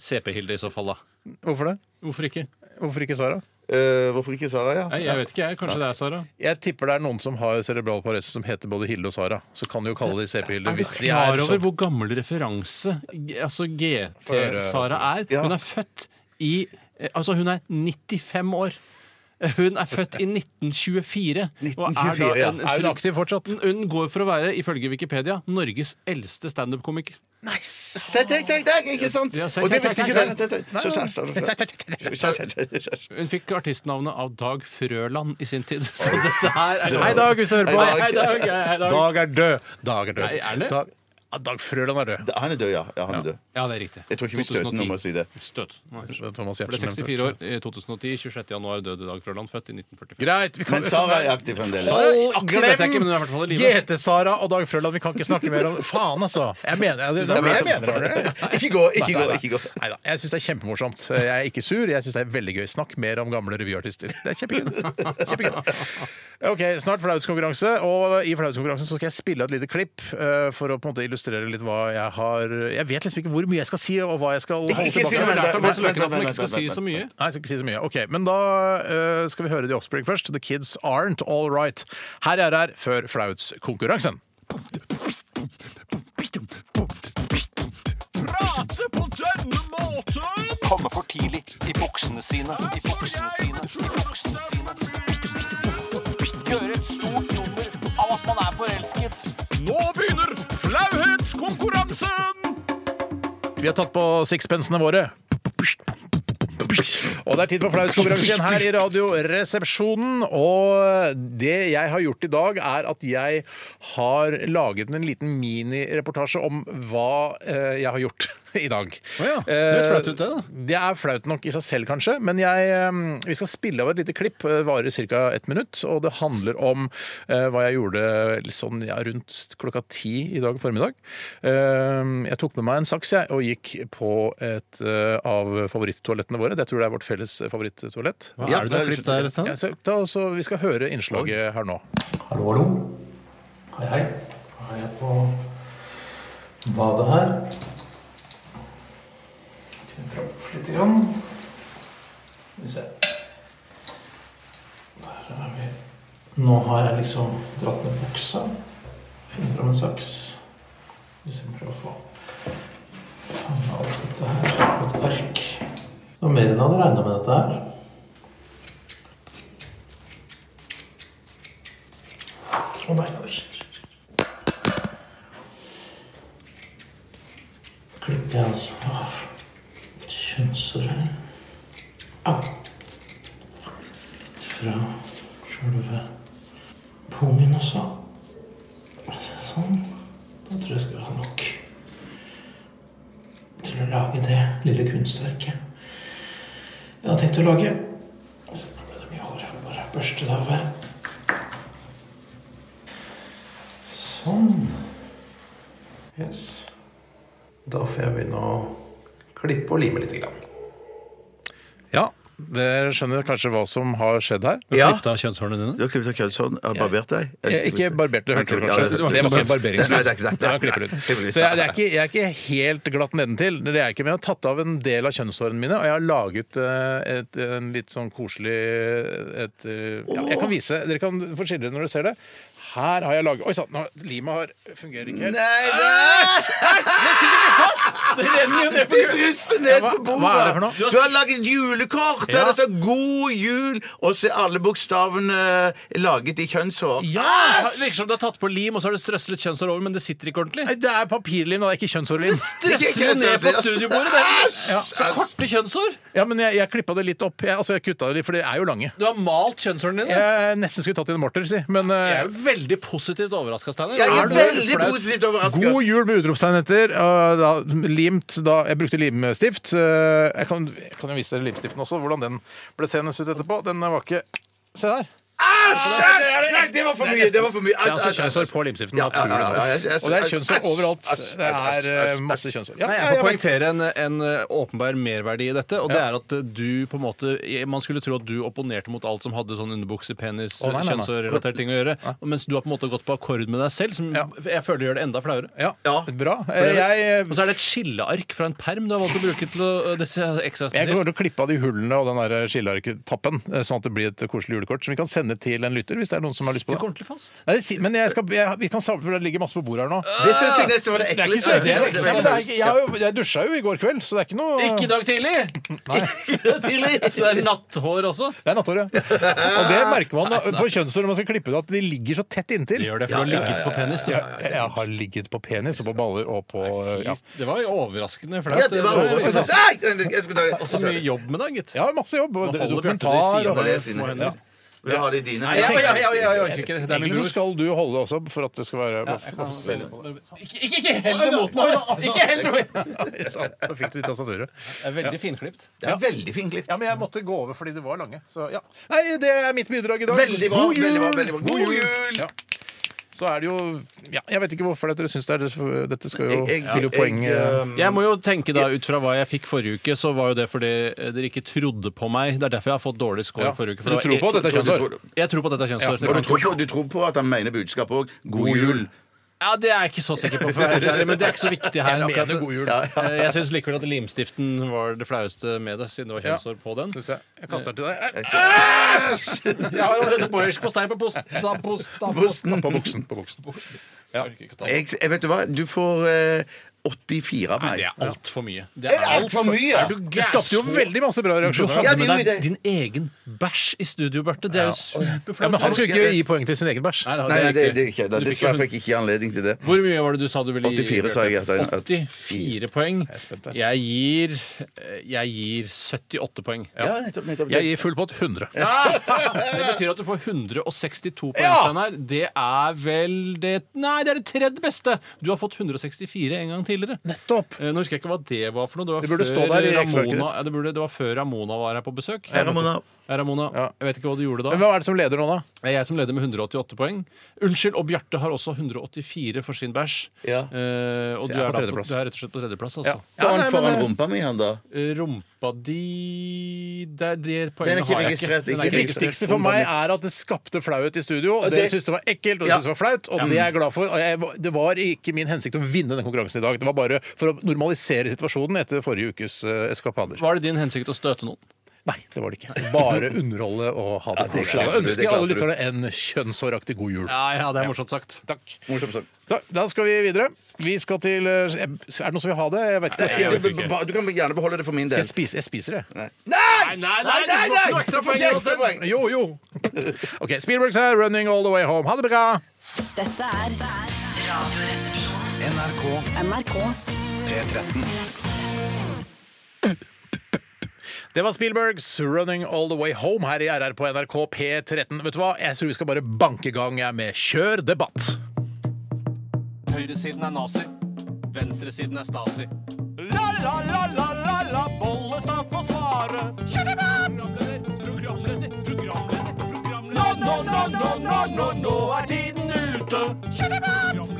Speaker 2: CP-Hilde i så fall, da.
Speaker 1: Hvorfor det?
Speaker 2: Hvorfor ikke?
Speaker 1: Hvorfor ikke Sara?
Speaker 3: Eh, hvorfor ikke Sara, ja?
Speaker 2: Nei, jeg vet ikke, jeg. Kanskje det er Sara?
Speaker 1: Jeg tipper det er noen som har cerebral parese som heter både Hilde og Sara. Så kan de jo kalle de CP-Hilde
Speaker 2: Er du
Speaker 1: hvis de
Speaker 2: klar
Speaker 1: er
Speaker 3: liksom-
Speaker 2: over
Speaker 1: sånn.
Speaker 2: hvor gammel referanse G- altså GT-Sara er?
Speaker 3: eh, Ja.
Speaker 2: Hun er født i eh, Altså, hun er 95 år. Hun er født i 1924. og er
Speaker 3: 1924, ja.
Speaker 2: en-
Speaker 1: Er hun aktiv fortsatt?
Speaker 2: Hun går for å være, ifølge Wikipedia, Norges eldste standup-komiker.
Speaker 3: Se, tenk, tenk, tenk! Ikke sant?
Speaker 2: Ja, se,
Speaker 3: Og det
Speaker 2: tenk,
Speaker 3: visste
Speaker 2: tenk,
Speaker 3: ikke
Speaker 2: tenk,
Speaker 3: den. Så Sara, Sara.
Speaker 2: Hun fikk artistnavnet av Dag Frøland i sin tid. (laughs) Så dette her er
Speaker 1: Hei, Dag, hvis du hører på.
Speaker 2: Hei, Hei, Dag. Hei, Hei, Dag.
Speaker 1: Dag er død. Dag er død.
Speaker 2: Nei, er det?
Speaker 1: Dag, ja, Dag Frøland er død.
Speaker 3: Han er død, ja. ja han er død.
Speaker 2: Ja, det er riktig.
Speaker 3: Jeg tror ikke vi støter noe med å si det.
Speaker 2: Støt. Nei.
Speaker 1: Thomas
Speaker 2: Ble
Speaker 1: Giertsen
Speaker 2: 64 år i 2010. 26. januar døde Dag Frøland, født i 1945.
Speaker 1: Greit. Vi
Speaker 3: Men Sara er aktiv fremdeles.
Speaker 1: Hold,
Speaker 2: Aktiv vet jeg ikke, men hun er i hvert fall i
Speaker 1: glem
Speaker 2: live.
Speaker 1: GT-Sara og Dag Frøland. Vi kan ikke snakke mer om Faen, altså. Jeg mener jeg, jeg, jeg, jeg, mener det.
Speaker 3: (laughs) Ikke gå, ikke
Speaker 1: Nei,
Speaker 3: gå.
Speaker 1: nei,
Speaker 3: ikke gå
Speaker 1: Nei da. Jeg syns det er kjempemorsomt. Jeg er ikke sur. Jeg syns det er veldig gøy. Snakk mer om gamle revyartister. Det er kjempegøy. kjempegøy. OK, snart flauhetskonkurranse. Og i flauhetskonkurransen så skal jeg spille et lite klipp eh, for å på en måte illustrere litt hva jeg har Jeg vet liksom ikke hvor mye jeg skal si, og hva jeg skal holde
Speaker 3: ikke si
Speaker 1: tilbake. med.
Speaker 3: noe, men-
Speaker 2: Altså, Lært av Mads Løken at man
Speaker 3: vent,
Speaker 2: ikke skal
Speaker 3: vent,
Speaker 2: si
Speaker 3: vent,
Speaker 2: så mye.
Speaker 1: Nei, jeg skal ikke si så mye. Ok, Men da eh, skal vi høre The Offspring først. The Kids Aren't All Right. Her er her før flautskonkurransen.
Speaker 4: Komme for tidlig i buksene sine. I buksene sine. I buksene sine. Gjøre et stort nummer av at man er forelsket.
Speaker 2: Nå begynner flauhetskonkurransen!
Speaker 1: Vi har tatt på sixpensene våre. Og det er tid for flauskonkurranse igjen her i Radioresepsjonen. Og det jeg har gjort i dag, er at jeg har laget en liten minireportasje om hva eh, jeg har gjort (laughs) i dag.
Speaker 2: Å ja, det
Speaker 1: Eh,
Speaker 2: høres flaut ut det, da.
Speaker 1: Det er flaut nok i seg selv, kanskje, men jeg, eh, vi skal spille av et lite klipp. Det varer ca. ett minutt, og det handler om eh, hva jeg gjorde sånn ja, rundt klokka ti i dag formiddag. Eh, Jeg tok med meg en saks jeg, og gikk på et eh, av favorittoalettene våre. Det tror jeg er vårt felles favorittoalett.
Speaker 2: Hva
Speaker 3: Ja,
Speaker 2: er det du har klippet der? Sånn?
Speaker 1: Ja, så da, så vi skal høre innslaget her nå.
Speaker 5: Hallo, hallo. Hei, hei. Da er jeg på badet her. Kjenner opp litt grann. Skal vi se. Der er vi. Nå har jeg liksom dratt ned buksa. Finner fram en saks. Hvis jeg prøver å få fanga opp dette her på et ark. Det var mer enn jeg hadde regna med dette her. Å nei, nå skjer Klikker jeg altså av kjønnsorgan Au! Fra sjølve pungen også. Se sånn. Da tror jeg skal ha nok til å lage det lille kunstverket jeg har tenkt å lage. Så nå ble det mye hår. Jeg får bare børste det av her. Sånn. Yes. Da får jeg begynne å klippe og lime litt. Grann.
Speaker 1: Ja, dere skjønner kanskje hva som har skjedd her?
Speaker 2: Du har klippet av kjønnshårene dine?
Speaker 3: Du har klippet av kjønnshånden, har barbert deg?
Speaker 1: Jeg, Eh, ikke barbert det, hørte du
Speaker 3: Nei,
Speaker 1: kanskje.
Speaker 3: det-
Speaker 1: Det var ikke en
Speaker 3: Nei,
Speaker 1: barberingslut.
Speaker 3: det er ikke det.
Speaker 1: Det var klipperut.
Speaker 3: Klipperut.
Speaker 1: Så jeg, det er ikke, jeg er ikke helt glatt nedentil. Det er jeg ikke, men jeg har tatt av en del av kjønnshårene mine, og jeg har laget eh, et, en litt sånn koselig et, eh, ja, Jeg kan vise Dere kan få skildre når dere ser det. Her har jeg laget Oi sann, nå- limet har- fungerer ikke helt.
Speaker 3: Nei, nei!
Speaker 1: Det renner jo ned på
Speaker 3: De drysser ned
Speaker 1: hva-
Speaker 3: på bordet!
Speaker 1: hva er det for noe?
Speaker 3: Du har, du har laget julekort der
Speaker 1: Ja.
Speaker 3: det står 'God jul', og så er alle bokstavene eh, laget i kjønnshår.
Speaker 1: Ja!
Speaker 2: Det virker som du har tatt på lim, og så har du strøslet kjønnshår over, men det sitter ikke ordentlig.
Speaker 1: Nei, Det er papirlim, det er ikke kjønnshårlim.
Speaker 2: Strøsler ned på studiobordet! Det er
Speaker 1: Ja.
Speaker 2: så korte kjønnshår!
Speaker 1: Ja, men jeg, jeg klippa det litt opp. Jeg, altså, jeg kutta det litt, for det er jo lange.
Speaker 2: Du har malt kjønnshårene dine.
Speaker 1: Jeg nesten skulle tatt inn morter, si, men eh,
Speaker 2: Jeg er jo veldig positivt overraska, Steinar.
Speaker 3: Jeg
Speaker 2: Er
Speaker 3: er
Speaker 2: du
Speaker 3: veldig
Speaker 2: flau?
Speaker 3: positivt overraska.
Speaker 1: God jul med utropstegn etter. og da, limt da Jeg brukte limstift. Eh, Jeg kan, jeg kan jo vise dere limstiften også, hvordan den ble seende ut etterpå. Den var ikke Se der.
Speaker 3: Nei, det var for mye! Det var for mye.
Speaker 1: Det er altså kjønnshår på limstiften.
Speaker 3: Ja, ja, ja, ja, ja,
Speaker 1: naturlig
Speaker 3: jeg-
Speaker 1: nok.
Speaker 3: jeg-
Speaker 1: Og det er
Speaker 3: jeg-
Speaker 1: kjønnshår overalt.
Speaker 3: Æsj, æsj,
Speaker 1: Det er
Speaker 3: æsj,
Speaker 1: eh, masse kjønnshår. Ja,
Speaker 2: Nei,
Speaker 1: ja,
Speaker 2: jeg
Speaker 1: ja,
Speaker 2: får
Speaker 1: men-
Speaker 2: poengtere en, en eh, åpenbar merverdi i dette. Og det er at eh, du på en måte Man skulle tro at du opponerte mot alt som hadde sånn underbukse, penis,
Speaker 1: Å, nei, nei, nei.
Speaker 2: kjønnshårrelatert ting å gjøre. Mens du har på en måte gått på akkord med deg selv, som
Speaker 1: Ja.
Speaker 2: jeg føler gjør det enda flauere.
Speaker 1: ja,
Speaker 3: Ja.
Speaker 1: bra. Eh, Jeg,
Speaker 2: Og så er det et skilleark fra en perm du har valgt å bruke til å eh, disse ekstra
Speaker 1: jeg
Speaker 2: spesielt.
Speaker 1: kommer til å klippe av de hullene og den der skillearketappen, eh, sånn at det blir et koselig julekort som vi kan sende til en lytter hvis det er noen som har lyst på
Speaker 2: Sitter
Speaker 1: det.
Speaker 2: ordentlig fast.
Speaker 1: Nei, det si- men jeg skal, jeg, vi kan samle, for det ligger masse på bordet her nå.
Speaker 3: Det syns jeg nesten var Ah. det
Speaker 1: Det er ikke
Speaker 3: ekleste.
Speaker 1: så
Speaker 2: det er
Speaker 1: ekkelt.
Speaker 2: ekkelt.
Speaker 1: Ja, men det er ikke- Jeg, har jo- jeg dusja jo i går kveld, så det er ikke noe
Speaker 2: Ikke i dag
Speaker 1: (laughs)
Speaker 2: tidlig! tidlig. Så det er natthår også.
Speaker 1: Det er natthår, ja. Og det merker man da, på kjønnshår når man skal klippe det, at de ligger så tett inntil.
Speaker 2: Det gjør det, for du har ligget på penis. Du.
Speaker 1: Jeg, jeg har ligget på penis og på baller og på ja.
Speaker 2: Det var jo overraskende flaut.
Speaker 3: Ja, det var overraskende. Nei, jeg skal ta
Speaker 2: Og så mye jobb med deg, gitt.
Speaker 1: Jeg har masse jobb. og
Speaker 2: Man holder
Speaker 1: Dokumentar
Speaker 2: Bjarte
Speaker 1: og
Speaker 2: til siden av
Speaker 3: det sine
Speaker 2: små hender.
Speaker 3: hender. Vil du ha det i dine?
Speaker 2: Nei, jeg, jeg, jeg, jeg orker ikke. Det er min
Speaker 1: Egentlig så
Speaker 2: bror.
Speaker 1: skal du holde det også, for at det skal være (laughs) Hvorfor ser du på det?
Speaker 2: Ikke, ikke, ikke hell det mot meg!
Speaker 1: altså.
Speaker 2: Ikke hell det mot meg!
Speaker 1: Nei, sant. Da fikk du litt tastaturet.
Speaker 2: Det er veldig finklipt.
Speaker 3: Det er veldig fint klipp.
Speaker 1: Ja, men jeg måtte gå over fordi det var lange. Så ja. Nei, det er mitt bidrag i dag.
Speaker 3: Veldig bra,
Speaker 1: God jul!
Speaker 3: veldig bra, veldig bra. God jul!
Speaker 1: Ja. Så er det jo ja, Jeg vet ikke hvorfor dere syns det er Dette skal jo
Speaker 3: Jeg- jeg-
Speaker 1: blir jo poeng
Speaker 3: jeg,
Speaker 1: eh,
Speaker 3: um,
Speaker 2: Jeg må jo tenke da Ut fra hva jeg fikk forrige uke, så var jo det fordi eh, dere ikke trodde på meg. Det er derfor jeg har fått dårlig score
Speaker 1: ja.
Speaker 2: forrige uke.
Speaker 1: Du tror på at dette er
Speaker 2: kjønnshår?
Speaker 1: kjønnshår?
Speaker 2: Jeg tror på at dette er
Speaker 1: Ja,
Speaker 2: kjønnshår.
Speaker 3: Og du
Speaker 2: det kan-
Speaker 3: tror, på, du tror på at han mener budskapet òg. God jul.
Speaker 2: Ja, Det er jeg ikke så sikker på, for å være helt ærlig, men det er ikke så viktig her.
Speaker 1: Jeg mener
Speaker 2: akkurat.
Speaker 1: god jul.
Speaker 2: Eh, Jeg syns likevel at limstiften var det flaueste med det, siden det var kjønnsår på den.
Speaker 1: Syns jeg. Jeg kaster den til deg.
Speaker 2: Jeg har allerede borers på stein på posten. Da, post, da, post.
Speaker 1: På buksen. På buksen. Ja. Nei,
Speaker 3: Jeg, jeg vet du hva, du får eh, 84 av meg.
Speaker 2: Det er altfor mye.
Speaker 3: Er det alt for mye?
Speaker 2: Er du
Speaker 1: Det skapte jo veldig masse bra reaksjoner.
Speaker 3: Ja,
Speaker 2: hadde
Speaker 3: det
Speaker 2: med
Speaker 3: gjorde
Speaker 2: deg din egen bæsj i studio, Bjarte. Det er jo
Speaker 1: Ja, men
Speaker 2: superflaut.
Speaker 1: han skulle ikke gi poeng til sin egen bæsj.
Speaker 2: Nei,
Speaker 3: Nei, nei, det, det er
Speaker 2: riktig.
Speaker 3: ikke da.
Speaker 2: Du fikk
Speaker 3: Dessverre
Speaker 2: jo-
Speaker 3: fikk jeg ikke anledning til det.
Speaker 2: Hvor mye var det du sa du ville gi?
Speaker 3: 84 sa jeg at det er-
Speaker 2: Bjarte? 84 poeng.
Speaker 1: er spent, jeg.
Speaker 2: Jeg gir eh, Jeg gir 78 poeng.
Speaker 3: Ja, nettopp, nettopp.
Speaker 1: Jeg gir full pott 100.
Speaker 2: (laughs) Det betyr at du får 162 poeng. Steinar. Det er vel det Nei, det er det tredje beste! Du har fått 164 en gang tidligere.
Speaker 1: Nettopp.
Speaker 2: Eh, Nå husker jeg ikke hva det var for noe. Det, var
Speaker 1: Det burde
Speaker 2: før
Speaker 1: stå der i ekstraarket
Speaker 2: Ramona,
Speaker 1: ditt.
Speaker 2: ja, det, burde, det var før Ramona var her på besøk.
Speaker 3: Hei, Ramona.
Speaker 2: Hei, Ramona.
Speaker 1: Ja.
Speaker 2: Jeg vet ikke hva du gjorde
Speaker 1: Men
Speaker 2: da.
Speaker 1: hvem er det som leder nå, da?
Speaker 2: Det er jeg som leder med 188 poeng. Unnskyld, og Bjarte har også 184 for sin bæsj.
Speaker 3: Ja.
Speaker 2: Eh, og
Speaker 1: Så
Speaker 2: du
Speaker 1: jeg er på
Speaker 2: er, da på,
Speaker 1: tredjeplass.
Speaker 2: du er rett og slett på tredjeplass, altså.
Speaker 3: Står han
Speaker 1: nei, men-
Speaker 3: foran rumpa mi, han da?
Speaker 2: Eh, Rumpa di Det er det
Speaker 3: Den er
Speaker 2: poenget har jeg
Speaker 3: ikke
Speaker 2: ikke.
Speaker 3: registrert,
Speaker 2: Den er
Speaker 3: ikke
Speaker 1: Det
Speaker 2: registrert.
Speaker 1: viktigste for meg er at det skapte flauhet i studio. Og
Speaker 3: det-
Speaker 1: Dere syntes det var ekkelt, og dere
Speaker 3: Ja.
Speaker 1: syntes det var flaut. Og det er jeg glad for. Og jeg, det var ikke min hensikt å vinne den konkurransen i dag. Det var bare for å normalisere situasjonen etter forrige ukes eh, eskapader.
Speaker 2: Var det din hensikt å støte noen?
Speaker 1: Nei, det var det ikke. Bare underholde og ha det
Speaker 3: det
Speaker 1: koselig.
Speaker 3: klarte
Speaker 1: Jeg
Speaker 3: du, det
Speaker 1: ønsker alle
Speaker 3: klarte du.
Speaker 1: lytterne en kjønnshåraktig god jul.
Speaker 2: Ja, ja, det er morsomt sagt.
Speaker 1: Takk.
Speaker 3: Morsomt sagt.
Speaker 1: Da, da skal vi videre. Vi skal til eh, Er det noen som vil ha det? Jeg vet ikke.
Speaker 3: Nei,
Speaker 1: Skal
Speaker 3: du, b- b- du kan gjerne beholde det for min del.
Speaker 1: jeg, spise, jeg spiser det.
Speaker 3: Nei.
Speaker 2: Nei, nei, nei!
Speaker 1: nei, nei!
Speaker 3: Ikke ekstra poeng.
Speaker 1: Jo, (laughs) jo. OK. Spielbergs her, 'Running All The Way Home'. Ha det bra!
Speaker 6: Dette er Radioresepsjonen.
Speaker 4: NRK
Speaker 6: NRK
Speaker 4: P13.
Speaker 1: Det var Spielbergs 'Running All The Way Home' her i RR på NRK P13. Vet du hva? Jeg tror vi skal bare banke i gang jeg, med Kjør debatt.
Speaker 4: Høyresiden er nazi. Venstresiden er stasi. La, la, la, la, la, la, Bollestad får svare. Kjør debatt! Programleder, programleder, programleder. Nå, nå, nå, nå, nå, nå, nå er tiden ute. Kjør debatt!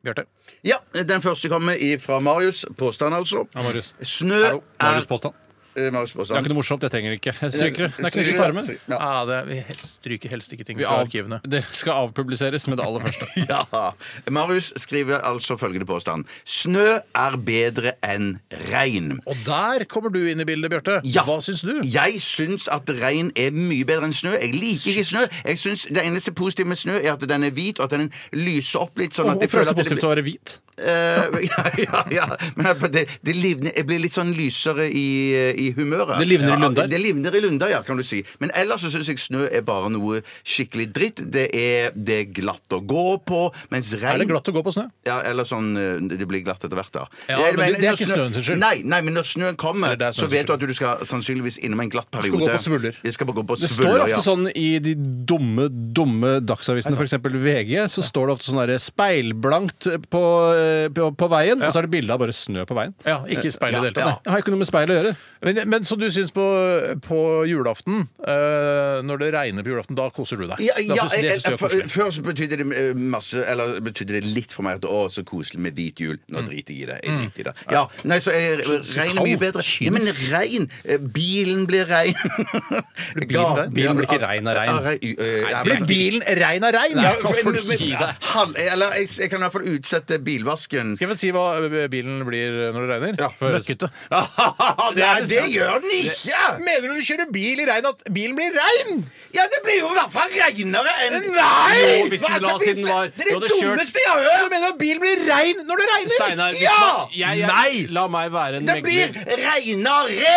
Speaker 1: Bjarte.
Speaker 3: Ja, Den første kommer fra Marius. Påstand, altså.
Speaker 2: Ja, Marius.
Speaker 3: Snø
Speaker 2: Hallo,
Speaker 3: er
Speaker 2: Marius påstand.
Speaker 3: Eh, Marius
Speaker 2: Det er
Speaker 3: Påstand.
Speaker 2: ikke noe morsomt. Jeg trenger det ikke. Jeg stryker det. Det er knips i tarmen.
Speaker 3: Ja.
Speaker 1: Ah, det, vi stryker helst ikke ting
Speaker 2: Vi
Speaker 1: fra
Speaker 2: av-
Speaker 1: arkivene.
Speaker 2: Det skal avpubliseres med det aller
Speaker 1: (laughs)
Speaker 2: første.
Speaker 3: (laughs) Ja. Marius skriver altså følgende påstand. Snø er bedre enn regn.
Speaker 1: Og der kommer du inn i bildet, Bjarte.
Speaker 3: Ja.
Speaker 1: Hva syns du?
Speaker 3: Jeg syns at regn er mye bedre enn snø. Jeg liker ikke snø. Jeg synes Det eneste positive med snø er at den er hvit, og at den lyser opp litt. Sånn at jeg
Speaker 2: Hvorfor er det så
Speaker 3: føler at det
Speaker 2: positivt å være hvit?
Speaker 3: Eh, (laughs) ja, ja, ja. Men jeg- det, det livner, jeg blir litt sånn lysere i, eh, i humøret.
Speaker 2: Det livner i lunder.
Speaker 3: Ja, det livner i lunder, ja, kan du si. Men ellers så syns jeg snø er bare noe skikkelig dritt. Det er, det er glatt å gå på, mens regn
Speaker 1: Er det glatt å gå på snø?
Speaker 3: Ja, eller sånn eh, Det blir glatt etter hvert, da.
Speaker 1: Ja,
Speaker 3: Jeg
Speaker 1: men det- det er
Speaker 3: når
Speaker 1: ikke
Speaker 3: snø-
Speaker 1: snøen sin skyld.
Speaker 3: Nei, nei, men når snøen kommer,
Speaker 1: Eller det er
Speaker 3: så
Speaker 1: snøen sin
Speaker 3: vet du at du skal sannsynligvis innom en glatt
Speaker 1: skal gå
Speaker 3: periode.
Speaker 1: på svuller.
Speaker 3: Jeg skal bare gå på
Speaker 2: Det står
Speaker 3: svuller,
Speaker 2: ofte
Speaker 3: ja.
Speaker 2: sånn i de dumme dumme dagsavisene, f.eks. VG, så står det ofte sånn der speilblankt på, eh, på, på veien, og så er det bilde av bare snø på veien.
Speaker 1: Ja, ikke speil i det hele
Speaker 2: Nei,
Speaker 1: tatt.
Speaker 2: det har ikke noe med speil å gjøre.
Speaker 1: Men, men så du syns på, på julaften, eh, når det regner på julaften, da koser du deg?
Speaker 3: Ja,
Speaker 1: da
Speaker 3: ja,
Speaker 1: syns- det
Speaker 3: jeg,
Speaker 1: syns du
Speaker 3: jeg,
Speaker 1: er
Speaker 3: for,
Speaker 1: koselig.
Speaker 3: før så betydde det eh, masse Eller betydde det litt for meg at å, så koselig med hvit jul.
Speaker 1: Mm.
Speaker 3: Nå driter jeg i det. Jeg driter i det. Ja, nei, så er regn er mye
Speaker 1: kald.
Speaker 3: bedre. Ja, men regn! eh, Bilen blir rein. (laughs)
Speaker 1: bilen der?
Speaker 2: Bilen blir ikke rein av regn.
Speaker 3: eh,
Speaker 1: Blir bilen rein av (laughs) regn? Ja, for-
Speaker 2: men- men- gi deg.
Speaker 3: Eller jeg, jeg kan i hvert fall utsette bilvasken.
Speaker 1: Skal jeg få si hva eh, bilen blir når det regner?
Speaker 3: Ja, for-
Speaker 1: Møkkete.
Speaker 3: det, det gjør den ikke!
Speaker 1: Mener du du kjører bil i regn at bilen blir rein?
Speaker 3: Ja, det blir jo i hvert fall reinere enn
Speaker 1: Nei!
Speaker 2: Jo, hvis den la siden var-
Speaker 1: det er
Speaker 2: du
Speaker 1: det
Speaker 2: hadde kjørt-
Speaker 1: dummeste jeg har hørt! Du mener at bilen blir rein når det regner?
Speaker 2: Steinar, hvis
Speaker 1: ja!
Speaker 2: man- jeg, jeg,
Speaker 1: Nei!
Speaker 2: la meg være en
Speaker 3: Det blir
Speaker 2: megler.
Speaker 3: reinere!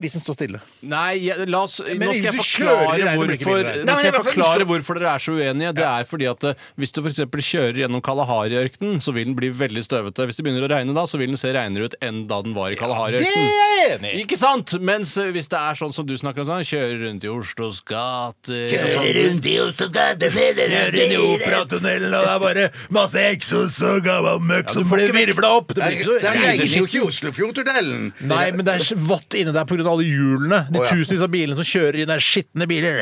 Speaker 1: Hvis den står stille.
Speaker 2: Nei, jeg, la oss,
Speaker 1: Men
Speaker 2: nå skal jeg
Speaker 1: hvis du
Speaker 2: forklare
Speaker 1: kjører i regn, det blir ikke
Speaker 2: hvorfor,
Speaker 1: billigere.
Speaker 2: nå
Speaker 1: Nei,
Speaker 2: skal
Speaker 1: men
Speaker 2: jeg
Speaker 1: i hvert fall
Speaker 2: forklare
Speaker 1: hvis
Speaker 2: hvorfor dere er så uenige. Det er fordi at eh, Hvis du f.eks. kjører gjennom Kalahari-ørkenen, så vil den bli veldig støvete. Hvis det begynner å regne da, så vil den se reinere ut enn da den var i Kalahari-ørkenen.
Speaker 1: jeg enig
Speaker 2: Ikke sant? Mens eh, hvis det er sånn som du snakker om, sånn, kjører rundt i Oslos gater og sånn.
Speaker 3: rundt i Oslos gater, se det
Speaker 1: Kjører inn i operatunnelen, og det er bare masse eksos og gammel møkk som blir virvla opp. Det blir ikke
Speaker 3: Det
Speaker 1: noe
Speaker 3: regner jo ikke i Oslofjordtunnelen.
Speaker 1: Nei, men det er så vått inni der pga. alle hjulene. De
Speaker 3: Å, ja.
Speaker 1: tusenvis av bilene som kjører i der skitne biler.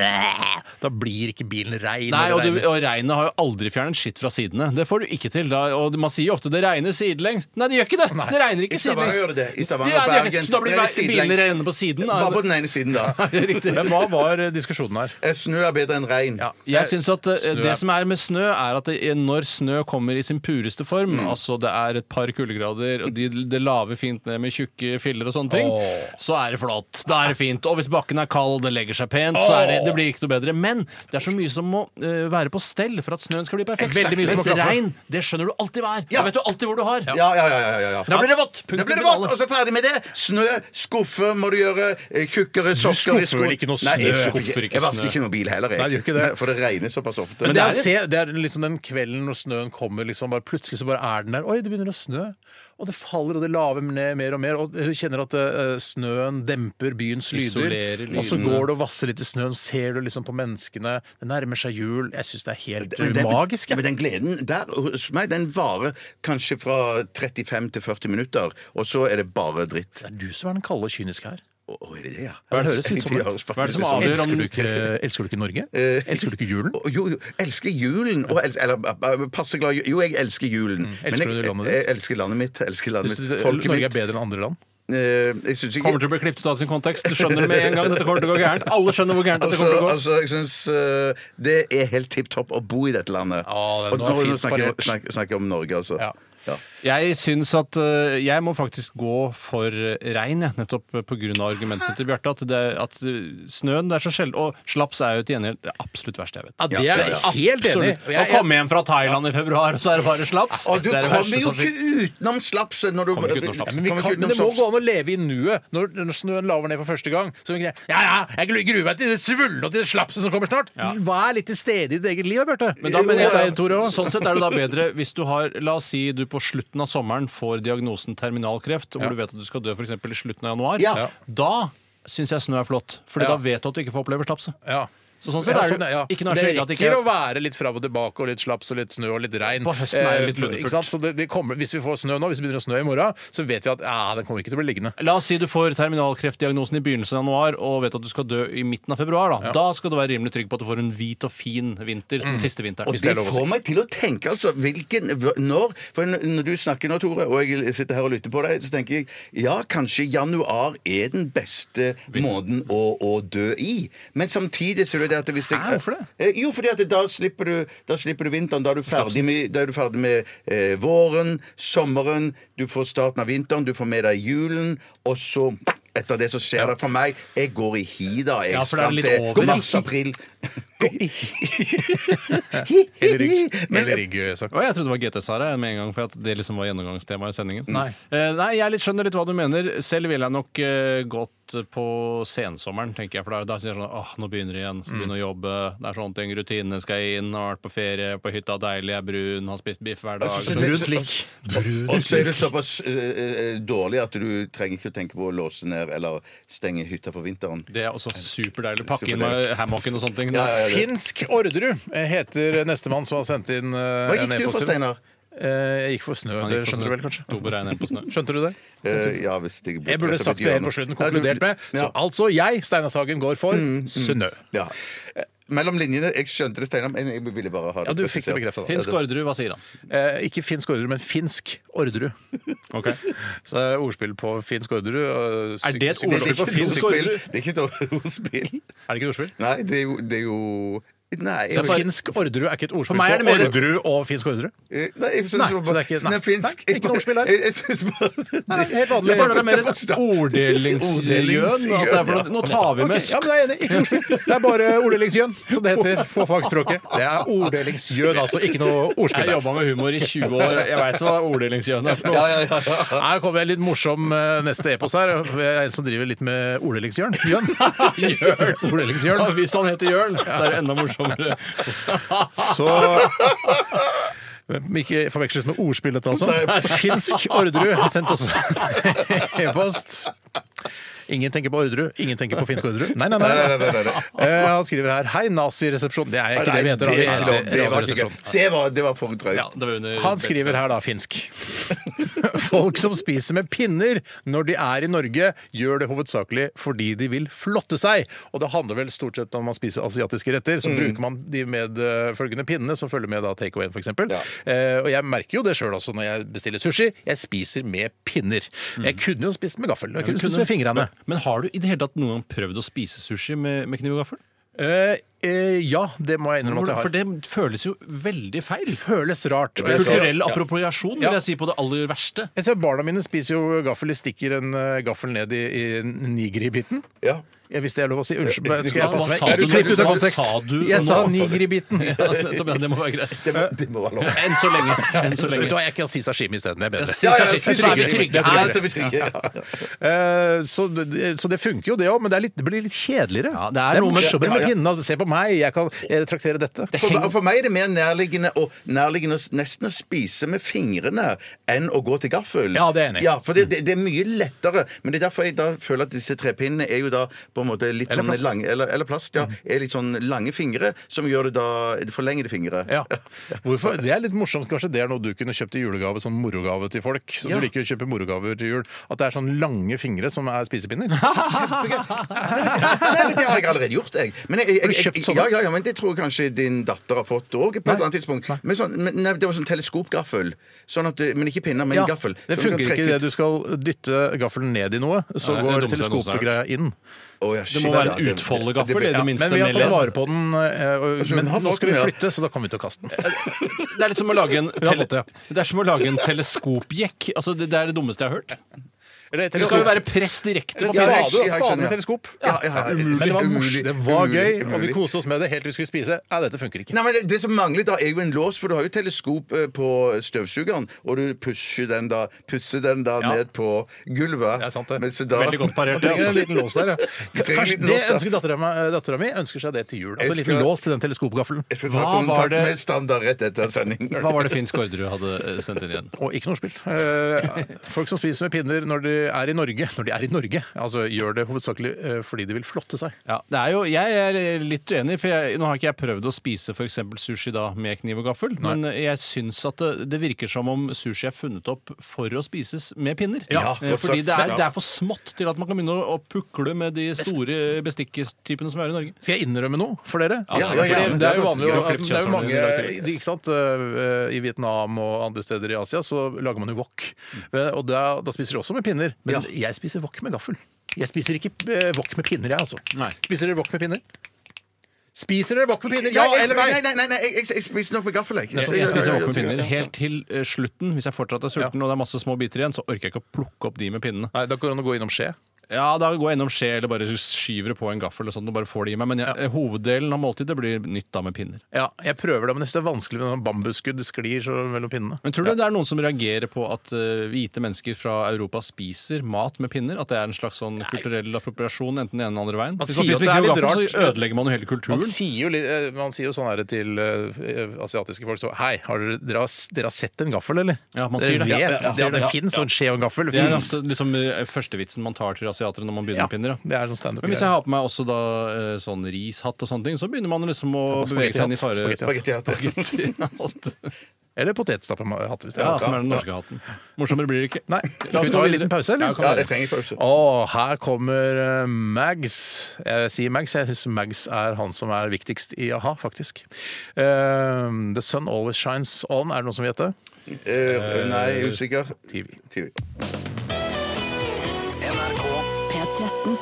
Speaker 1: Da blir ikke bilen rein.
Speaker 2: Nei, og,
Speaker 1: eller
Speaker 2: du, (laughs)
Speaker 1: regner.
Speaker 2: og regnet har jo aldri fjernet skitt fra sidene. Det får du ikke til. Da, og man sier jo ofte 'det regner sidelengs'. Nei, det gjør ikke det! Det regner
Speaker 3: I
Speaker 2: ikke
Speaker 3: Stavanger
Speaker 2: sidelengs.
Speaker 3: gjør det det. I Stavanger
Speaker 2: Ja,
Speaker 3: og
Speaker 2: det gjør det.
Speaker 3: Bergen.
Speaker 2: Så da blir
Speaker 3: det er
Speaker 2: vei-
Speaker 3: sidelengs.
Speaker 2: bilene rene på siden, da.
Speaker 3: Bare på den ene
Speaker 1: (laughs)
Speaker 3: siden, da.
Speaker 2: Riktig.
Speaker 1: Men hva var eh, diskusjonen her?
Speaker 3: Eh, Snø er bedre enn regn.
Speaker 1: Ja,
Speaker 2: Jeg
Speaker 1: det-
Speaker 2: synes at eh,
Speaker 1: snø
Speaker 2: Det
Speaker 1: er-
Speaker 2: som er med snø, er at det, når snø kommer i sin pureste form,
Speaker 3: Mm.
Speaker 2: altså det er et par kuldegrader, og de, det laver fint ned med tjukke filler og sånne ting,
Speaker 1: Åh.
Speaker 2: så er det flatt. Da er det fint. Og hvis bakken er kald, det legger seg pent, så er det, det blir ikke noe bedre. Men det er så mye som må eh, være på stell for at snøen skal bli perfekt.
Speaker 1: Exakt.
Speaker 2: Veldig mye som må
Speaker 1: Mens
Speaker 2: klaffe. regn, det skjønner du alltid hva er.
Speaker 3: Ja.
Speaker 2: Da vet du alltid hvor du har.
Speaker 3: Ja, ja, ja. ja, ja, ja.
Speaker 2: Da blir det vått!
Speaker 3: Da
Speaker 2: Punktum
Speaker 3: blir det
Speaker 2: for
Speaker 3: vått,
Speaker 2: alle.
Speaker 3: og så ferdig med det. Snø, skuffe må du gjøre, eh, tjukkere sokker
Speaker 1: skuffer vel ikke noe
Speaker 3: Nei, jeg,
Speaker 1: snø?
Speaker 3: skuffer
Speaker 2: Skuffer ikke
Speaker 3: ikke. jeg vasker
Speaker 2: snø.
Speaker 3: ikke noen bil heller, jeg.
Speaker 1: Nei, du gjør ikke det.
Speaker 3: Nei, For det regner såpass ofte.
Speaker 1: Men det, er, å
Speaker 2: det
Speaker 1: se, det er liksom den kvelden når snøen kommer, liksom bare plutselig så bare er den der. Oi, det begynner å snø. Og det faller, og det laver ned mer og mer. Og du kjenner at eh, snøen demper byens lyder.
Speaker 2: Isolerer lydene.
Speaker 1: Og så går du og vasser litt i snøen, ser du liksom på menneskene. Det nærmer seg jul. Jeg syns det er helt
Speaker 3: Men den-
Speaker 1: magisk.
Speaker 3: Ja,
Speaker 1: jeg.
Speaker 3: men den gleden der hos meg, den varer kanskje fra 35 til 40 minutter, og så er det bare dritt.
Speaker 1: Det er du som er den kalde og kyniske her.
Speaker 3: Å, å, er det det, ja?
Speaker 1: Hva er det høres litt sånn ut?
Speaker 3: høres faktisk
Speaker 2: Hva er det som
Speaker 3: sånn ut.
Speaker 2: avgjør om-
Speaker 1: Elsker du ikke, elsker du ikke Norge?
Speaker 3: Eh,
Speaker 1: Elsker du ikke julen?
Speaker 3: (laughs) Å, Jo, jo, elsker julen og els- Eller eh, passe glad Jo, jeg elsker julen.
Speaker 1: Mm. elsker
Speaker 3: men jeg,
Speaker 1: du landet ditt?
Speaker 3: jeg, jeg elsker landet mitt. Elsker landet
Speaker 1: Syns du
Speaker 3: mitt.
Speaker 1: det-
Speaker 3: Folket
Speaker 1: Norge er
Speaker 3: mitt.
Speaker 1: bedre enn andre land?
Speaker 3: Eh, Jeg syns ikke
Speaker 2: Kommer til å bli klippet ut av sin kontekst. Du skjønner det med en gang. Dette kommer til å gå gærent. Alle skjønner hvor gærent dette
Speaker 3: Altså,
Speaker 2: kommer til å gå.
Speaker 3: altså, jeg synes, eh, Det er helt tipp topp å bo i dette landet.
Speaker 1: Ja, det er-
Speaker 3: og
Speaker 1: nå er
Speaker 3: nå,
Speaker 1: fint
Speaker 3: nå snakker jeg
Speaker 1: sparert.
Speaker 3: snakker, snakker jeg om Norge, altså.
Speaker 1: Ja.
Speaker 3: Ja.
Speaker 2: Jeg syns at eh, jeg må faktisk gå for regn, jeg. Nettopp pga. argumentene til Bjarte. At, det, at eh, snøen det er så sjelden Og slaps er jo til gjengjeld det absolutt verste jeg vet.
Speaker 1: det
Speaker 3: ja,
Speaker 1: er
Speaker 3: ja.
Speaker 1: jeg helt enig i. Og
Speaker 2: Å
Speaker 1: jeg- jeg-
Speaker 2: komme hjem fra Thailand i februar, og så er det bare slaps!
Speaker 3: Og du
Speaker 2: det er det
Speaker 3: kommer
Speaker 2: verste
Speaker 3: jo
Speaker 2: som finnes.
Speaker 3: ikke utenom slapset når du
Speaker 2: Kommer ikke utenom slapset.
Speaker 1: Ja, men, vi
Speaker 3: Kommer
Speaker 1: kan,
Speaker 3: ikke
Speaker 1: men det må
Speaker 3: utenom slapset.
Speaker 1: gå an å leve i nuet når, når snøen laver ned for første gang. Så vi kan, ja, ja, jeg gru- gruer meg til det svulne og til det slapset som kommer snart. Vær litt til stede i ditt eget liv, Bjarte.
Speaker 2: Men da mener jeg
Speaker 1: Ja, ja.
Speaker 2: deg, Tore, også. Sånn sett er det da bedre hvis du har La oss si du på slutten av sommeren får diagnosen terminalkreft, hvor du vet at du skal dø for eksempel i slutten av januar.
Speaker 3: Ja.
Speaker 2: Da syns jeg snø er flott, for
Speaker 1: Ja.
Speaker 2: da vet du at du ikke får oppleve slapset.
Speaker 1: Ja.
Speaker 2: Så sånn sett
Speaker 1: Ja,
Speaker 2: er
Speaker 1: sånn
Speaker 2: det
Speaker 1: er- ja.
Speaker 2: ikke noe
Speaker 1: det
Speaker 2: skjedd at det
Speaker 1: rekker å
Speaker 2: ikke
Speaker 1: være litt fram og tilbake og litt slaps og litt snø og litt regn.
Speaker 2: På høsten er det
Speaker 1: Eh,
Speaker 2: litt lundefullt.
Speaker 1: ikke sant? Så det, det kommer, hvis vi får snø nå, hvis det begynner å snø i morgen, så vet vi at ja, den kommer ikke til å bli liggende.
Speaker 2: La oss si du får terminalkreftdiagnosen i begynnelsen av januar og vet at du skal dø i midten av februar. Da, da skal du være rimelig trygg på at du får en hvit og fin vinter den siste vinteren.
Speaker 3: Og
Speaker 2: Hvis
Speaker 3: det
Speaker 2: Mm. det er lov å si.
Speaker 3: får meg til å tenke, altså hvilken, hv- Når for n- Når du snakker nå, Tore, og jeg sitter her og lytter på deg, så tenker jeg ja, kanskje januar er den beste måneden å, å dø i. Men samtidig så er det det at hvis jeg
Speaker 2: Hæ, hvorfor det?
Speaker 3: Eh, Jo, fordi at da slipper du, da slipper du vinteren. Da er du ferdig med, da er du ferdig med eh, våren, sommeren, du får starten av vinteren, du får med deg julen, og så etter det så skjer det for meg Jeg går i hi, da. Jeg
Speaker 2: Ja, for det er
Speaker 3: fram
Speaker 2: litt
Speaker 3: til
Speaker 2: over.
Speaker 3: mars-april. (laughs) Men
Speaker 1: Eller ikke sagt.
Speaker 2: Å, jeg trodde det var GT, Sara, med en gang, for at det liksom var gjennomgangstemaet i sendingen.
Speaker 1: Nei.
Speaker 2: Eh, nei, jeg litt skjønner litt hva du mener. Selv ville jeg nok eh, gått på sensommeren, tenker jeg. For da, da synes jeg sånn åh, nå begynner det igjen. Skal begynne å jobbe. Det er sånne ting. Rutinene skal inn. Har vært på ferie, på hytta, deilig, er brun, har spist biff hver dag.
Speaker 3: Altså,
Speaker 2: Sånn,
Speaker 3: det-
Speaker 2: Brunt lik.
Speaker 3: Og så er det såpass eh, eh, dårlig at du trenger ikke å tenke på å låse ned eller stenge hytta for vinteren.
Speaker 2: Det er også superdeilig. Pakke inn med hammocken og sånne ting.
Speaker 1: Finsk Orderud eh, heter nestemann som har sendt inn eh,
Speaker 3: Hva
Speaker 1: en
Speaker 3: gikk du
Speaker 1: e-post
Speaker 3: for,
Speaker 1: til-
Speaker 3: Steinar?
Speaker 1: Eh, Jeg gikk for snø.
Speaker 2: Han
Speaker 1: Det
Speaker 2: gikk for
Speaker 1: skjønner
Speaker 2: snø.
Speaker 1: du vel kanskje?
Speaker 2: Sto på regn
Speaker 1: (laughs)
Speaker 2: hjemme på snø.
Speaker 1: Skjønte du det?
Speaker 3: Eh, ja, hvis jeg,
Speaker 1: Jeg burde sagt det helt på slutten, konkludert med. Så altså jeg, Steinar Sagen, går for snø.
Speaker 3: Ja. Eh, Mellom linjene. Jeg skjønte det, Steinar, men jeg ville bare ha det
Speaker 1: Ja, du fikk det
Speaker 3: presisert.
Speaker 1: bekreftet da.
Speaker 2: Finsk Orderud, hva sier han?
Speaker 1: Eh, ikke finsk Orderud, men finsk Orderud. Så det er ordspill på finsk Orderud. og syk-
Speaker 2: Er det et
Speaker 1: syk-
Speaker 2: ordspill
Speaker 3: Det er ikke
Speaker 2: på
Speaker 3: et
Speaker 2: finsk
Speaker 3: ordspill.
Speaker 2: Orderud?
Speaker 3: Det er ikke et ordspill.
Speaker 1: Er det ikke et ordspill?
Speaker 3: Nei, det er jo, det er jo Nei, jeg,
Speaker 1: Så finsk Orderud er ikke et ordspill
Speaker 2: meg er det
Speaker 1: på
Speaker 2: mer et-
Speaker 1: Orderud og finsk Orderud?
Speaker 3: eh, nei, jeg synes
Speaker 1: Nei,
Speaker 3: bare-
Speaker 1: så det er ikke- nei.
Speaker 3: Nei, finsk.
Speaker 1: Nei, ikke noe ordspill der.
Speaker 3: Jeg, jeg synes bare
Speaker 1: Nei, helt vanlig.
Speaker 2: Jeg føler det er mer
Speaker 1: (laughs)
Speaker 3: et
Speaker 2: en orddelingsjøn.
Speaker 3: Orddelingsjøn,
Speaker 2: at det er for noe- Nå tar vi med
Speaker 1: Ok, ja, men jeg er enig. Ikke ordspill. Det er bare orddelingsjøn, som det heter på fagspråket. Det er orddelingsjøn, altså. Ikke noe ordspill.
Speaker 2: Jeg
Speaker 1: der.
Speaker 2: jobba med humor i 20 år. Jeg veit hva orddelingsjøen er. for noe.
Speaker 1: Her kommer en litt morsom eh, neste epos her. Jeg er en som driver litt med orddelingsjørn. (laughs) Jørn. Orddelingsjørn.
Speaker 2: Ja, Hvis han heter Jørn, det er det enda morsommere.
Speaker 1: Så Men Ikke forveksles med ordspill, dette altså. Finsk Orderud har sendt oss e-post. Ingen tenker på Orderud, ingen tenker på finsk Orderud. Nei, nei, nei.
Speaker 3: Nei, nei, nei, nei, nei.
Speaker 1: Eh, han skriver her 'Hei, naziresepsjon'. Det er ikke det vi heter. da. Vi
Speaker 3: Nei, det-
Speaker 1: heter
Speaker 3: det var ikke-
Speaker 1: Radioresepsjon.
Speaker 3: det var- det var for drøyt.
Speaker 2: Ja, det var under
Speaker 1: Han skriver her da, finsk. (laughs) Folk som spiser med pinner når de er i Norge, gjør det hovedsakelig fordi de vil flotte seg. Og det handler vel stort sett om man spiser asiatiske retter,
Speaker 2: Mm.
Speaker 1: så bruker man de medfølgende pinnene som følger med da takeawayen f.eks.
Speaker 3: Ja.
Speaker 1: Eh, og jeg merker jo det sjøl også når jeg bestiller sushi. Jeg spiser med pinner.
Speaker 2: Mm.
Speaker 1: Jeg kunne jo spist med gaffel. Jeg kunne spist med fingrene.
Speaker 2: Men har du i det hele tatt noen gang prøvd å spise sushi med, med kniv og gaffel?
Speaker 1: Eh, eh, ja, det må jeg innrømme at jeg har.
Speaker 2: For det føles jo veldig feil.
Speaker 1: Føles rart. Og jeg ser-
Speaker 2: Kulturell appropriasjon
Speaker 1: Ja.
Speaker 2: vil jeg si på det aller verste. (laughs)
Speaker 1: Jeg ser Barna mine spiser jo gaffel. De stikker en eh, gaffel ned i, i nigribiten.
Speaker 3: Ja.
Speaker 1: Ja, hvis det er lov å si. Unnskyld. men Skal jeg
Speaker 2: Eh, Hva
Speaker 1: passe meg?
Speaker 2: sa du
Speaker 1: Klipp ut av
Speaker 2: nå?
Speaker 1: kontekst.
Speaker 2: Hva sa du
Speaker 1: Jeg
Speaker 2: nå?
Speaker 1: sa nigribiten.
Speaker 2: Ja, nettopp, ja, det må være greit.
Speaker 3: Det, må- det må være lov.
Speaker 2: Enn så lenge. Enn
Speaker 1: Vet
Speaker 2: så
Speaker 1: du
Speaker 2: lenge.
Speaker 1: hva, jeg kan si sashimi isteden. Det er bedre.
Speaker 2: Ja, ja,
Speaker 1: Så
Speaker 2: ja,
Speaker 1: er vi
Speaker 2: sashimi.
Speaker 1: trygge.
Speaker 2: Det er
Speaker 3: Ja,
Speaker 1: Ja,
Speaker 3: så vi trykker, ja.
Speaker 1: Eh, Så, det- så det funker jo, det òg, men det, er litt, det blir litt kjedeligere.
Speaker 2: Ja, det er noe med-
Speaker 1: morsommere med
Speaker 3: Ja, ja.
Speaker 1: pinna. Se på meg, jeg kan eh, traktere dette.
Speaker 3: For, for meg er det mer nærliggende, å- nærliggende å s- nesten å spise med fingrene enn å gå til gaffel.
Speaker 1: Ja, det er jeg enig i.
Speaker 3: Ja, for det, det, det er mye lettere. Men det er derfor jeg da føler at disse trepinnene er jo da på en måte litt
Speaker 1: Eller
Speaker 3: sånn
Speaker 1: plast. Mm.
Speaker 3: lange eller, eller plast, ja. Er litt sånn lange fingre, som gjør det da forlengede fingre.
Speaker 1: Ja. Hvorfor? Det er litt morsomt. Kanskje det er noe du kunne kjøpt i julegave, sånn morogave til folk. Så
Speaker 3: Ja.
Speaker 1: du liker å kjøpe morogaver til jul. At det er sånn lange fingre som er
Speaker 2: (laughs)
Speaker 1: spisepinner.
Speaker 3: (laughs) Nei, men Det har jeg allerede gjort, jeg. Men jeg, jeg,
Speaker 1: Har du
Speaker 3: jeg,
Speaker 1: kjøpt sånne?
Speaker 3: ja, ja, ja, men det tror jeg kanskje din datter har fått òg. På
Speaker 1: Nei.
Speaker 3: et annet tidspunkt. Men sånn, men, nei, det var sånn teleskopgaffel. Sånn at, du- men ikke pinner, men
Speaker 1: Ja,
Speaker 3: gaffel.
Speaker 1: Det
Speaker 3: Så du kan
Speaker 1: funker ikke
Speaker 3: trekke
Speaker 1: det. Du skal dytte gaffelen ned i noe, så
Speaker 2: Nei, det
Speaker 1: går
Speaker 2: dummer seg noe
Speaker 1: teleskopgreia inn.
Speaker 3: ut- Å, ja, shit,
Speaker 2: Det må være
Speaker 3: ja,
Speaker 2: en utfoldegaffel, i
Speaker 3: det-
Speaker 2: det
Speaker 3: ja.
Speaker 2: minste.
Speaker 1: Men vi har
Speaker 2: med
Speaker 1: tatt
Speaker 2: ledd.
Speaker 1: vare på den. eh, og-
Speaker 3: Altså,
Speaker 1: Men
Speaker 3: hun har
Speaker 1: nå skal vi
Speaker 3: fått mye,
Speaker 1: flytte, så da kommer vi til å kaste den.
Speaker 2: Det er litt som å lage en,
Speaker 1: har
Speaker 2: tele
Speaker 1: fått det,
Speaker 2: det er som å lage en teleskopjekk. Altså, det, det er det dummeste jeg har hørt.
Speaker 1: Eller
Speaker 2: Det skal jo være press direkte.
Speaker 1: Eller
Speaker 2: på
Speaker 3: Ja,
Speaker 1: spade, da.
Speaker 3: jeg skjønner, jeg
Speaker 1: spade
Speaker 3: skjønner,
Speaker 1: med
Speaker 3: ja.
Speaker 1: teleskop.
Speaker 3: Ja, ja, ja.
Speaker 1: Men det var,
Speaker 3: Umulig,
Speaker 1: mors, det var
Speaker 3: umulig,
Speaker 1: gøy, og vi
Speaker 3: umulig.
Speaker 1: koste oss med det helt til vi skulle spise. Nei, dette funker ikke.
Speaker 3: Nei, men det, det som mangler da, er jo en lås, for du har jo teleskop eh, på støvsugeren, og du pusher den da, pusser den da
Speaker 1: Ja.
Speaker 3: ned på gulvet.
Speaker 1: Det er sant, det.
Speaker 3: Mens da-
Speaker 1: Veldig godt parert. Det, altså. en liten lås der, ja.
Speaker 3: trenger en
Speaker 1: Kanskje
Speaker 3: liten
Speaker 1: det
Speaker 3: lås, da.
Speaker 1: ønsker dattera mi- dattera mi ønsker seg det til jul. Altså en
Speaker 3: Jeg
Speaker 1: liten
Speaker 3: skal-
Speaker 1: lås til den teleskopgaffelen.
Speaker 3: (laughs) Jeg skal ta
Speaker 2: Hva var
Speaker 3: kontakt
Speaker 2: det-
Speaker 3: med standard rett etter sending.
Speaker 2: Hva var det Finn Skårderud hadde eh, sendt inn igjen?
Speaker 1: Og ikke nachspiel. Eh, folk som spiser med pinner når de er i Norge, når de er i Norge, altså gjør det hovedsakelig eh, fordi de vil flotte seg.
Speaker 2: Ja, det er jo, jeg er litt uenig, for jeg, nå har ikke jeg prøvd å spise for eksempel sushi da med kniv og gaffel, men jeg syns at det, det virker som om sushi er funnet opp for å spises med pinner.
Speaker 3: Ja,
Speaker 2: Eh,
Speaker 3: godt
Speaker 2: Fordi
Speaker 3: sagt.
Speaker 2: det er,
Speaker 3: Ja.
Speaker 2: det er for smått til at man kan begynne å, å pukle med de store bestikketypene som er i Norge.
Speaker 1: Skal jeg innrømme noe for dere?
Speaker 2: Ja,
Speaker 3: ja, ja.
Speaker 1: Fordi det er jo vanlig å-
Speaker 2: Gøy å klippe
Speaker 1: det er jo mange
Speaker 2: kjønnshårene i dag tidlig.
Speaker 1: de- ikke sant? eh, I Vietnam og andre steder i Asia så lager man jo wok. Eh, Og da, da spiser de også med pinner. Men jeg spiser wok med gaffel. Jeg spiser ikke eh, wok med pinner, jeg, altså.
Speaker 2: Nei.
Speaker 1: Spiser dere wok med pinner? Spiser dere wok med pinner?
Speaker 3: Nei,
Speaker 1: Ja
Speaker 3: jeg-
Speaker 1: eller
Speaker 3: Nei,
Speaker 1: nei?
Speaker 3: nei, nei, nei jeg, jeg spiser nok med gaffel, jeg.
Speaker 2: Jeg, jeg spiser våpen med pinner helt til eh, slutten. Hvis jeg fortsatt er sulten og det er masse små biter igjen, så orker jeg ikke å plukke opp de med pinnene.
Speaker 1: Nei, da går det an å gå innom skje.
Speaker 2: Ja, da går jeg innom skje eller bare skyver det på en gaffel og, sånn, og bare får det i meg. Men jeg, hoveddelen av måltidet blir nytt da med pinner.
Speaker 1: Ja, jeg prøver det, men jeg synes det er vanskelig når bambusskudd sklir så mellom pinnene.
Speaker 2: Men tror du det er noen som reagerer på at eh, hvite mennesker fra Europa spiser mat med pinner? At det er en slags sånn kulturell appropriasjon enten den ene eller andre veien? Hvis man
Speaker 1: sier at
Speaker 2: spiser
Speaker 1: det er
Speaker 2: med
Speaker 1: litt
Speaker 2: gaffel,
Speaker 1: rart.
Speaker 2: så ødelegger man jo hele
Speaker 1: Man
Speaker 2: kulturen.
Speaker 1: sier jo, litt- eh, man sier jo sånn her til eh, asiatiske folk så, Hei, har dere, dere, har, s- dere har sett en gaffel, eller?
Speaker 2: Ja, man sier det.
Speaker 1: Dere Vet,
Speaker 2: Ja, ja, ja,
Speaker 1: det,
Speaker 2: sier det, ja.
Speaker 1: finnes, og en skje og en gaffel
Speaker 2: Det er
Speaker 1: finnes.
Speaker 2: altså liksom eh, førstevitsen man tar til asiatere når man
Speaker 1: Ja,
Speaker 2: begynner med pinner. Ja.
Speaker 1: det er sånn standup.
Speaker 2: Men hvis jeg har på meg også da eh, sånn rishatt og sånne ting, så begynner man liksom å bevege seg inn i fare.
Speaker 1: spagettihatt.
Speaker 3: (laughs)
Speaker 2: Spagettihatt.
Speaker 1: Eller potetstapphatt, hvis det
Speaker 2: Ja,
Speaker 1: er
Speaker 2: som er den norske hatten. Morsommere blir det ikke.
Speaker 1: Nei,
Speaker 2: Skal vi ta en liten
Speaker 1: pause, eller?
Speaker 3: Ja, jeg trenger pause.
Speaker 1: Å, her kommer eh, Mags. Jeg sier Mags, jeg syns Mags er han som er viktigst i a-ha, faktisk. Eh, The Sun Always Shines On, er det noen som vet det?
Speaker 3: Eh, Nei, usikker.
Speaker 1: TV.
Speaker 3: TV.
Speaker 6: P13.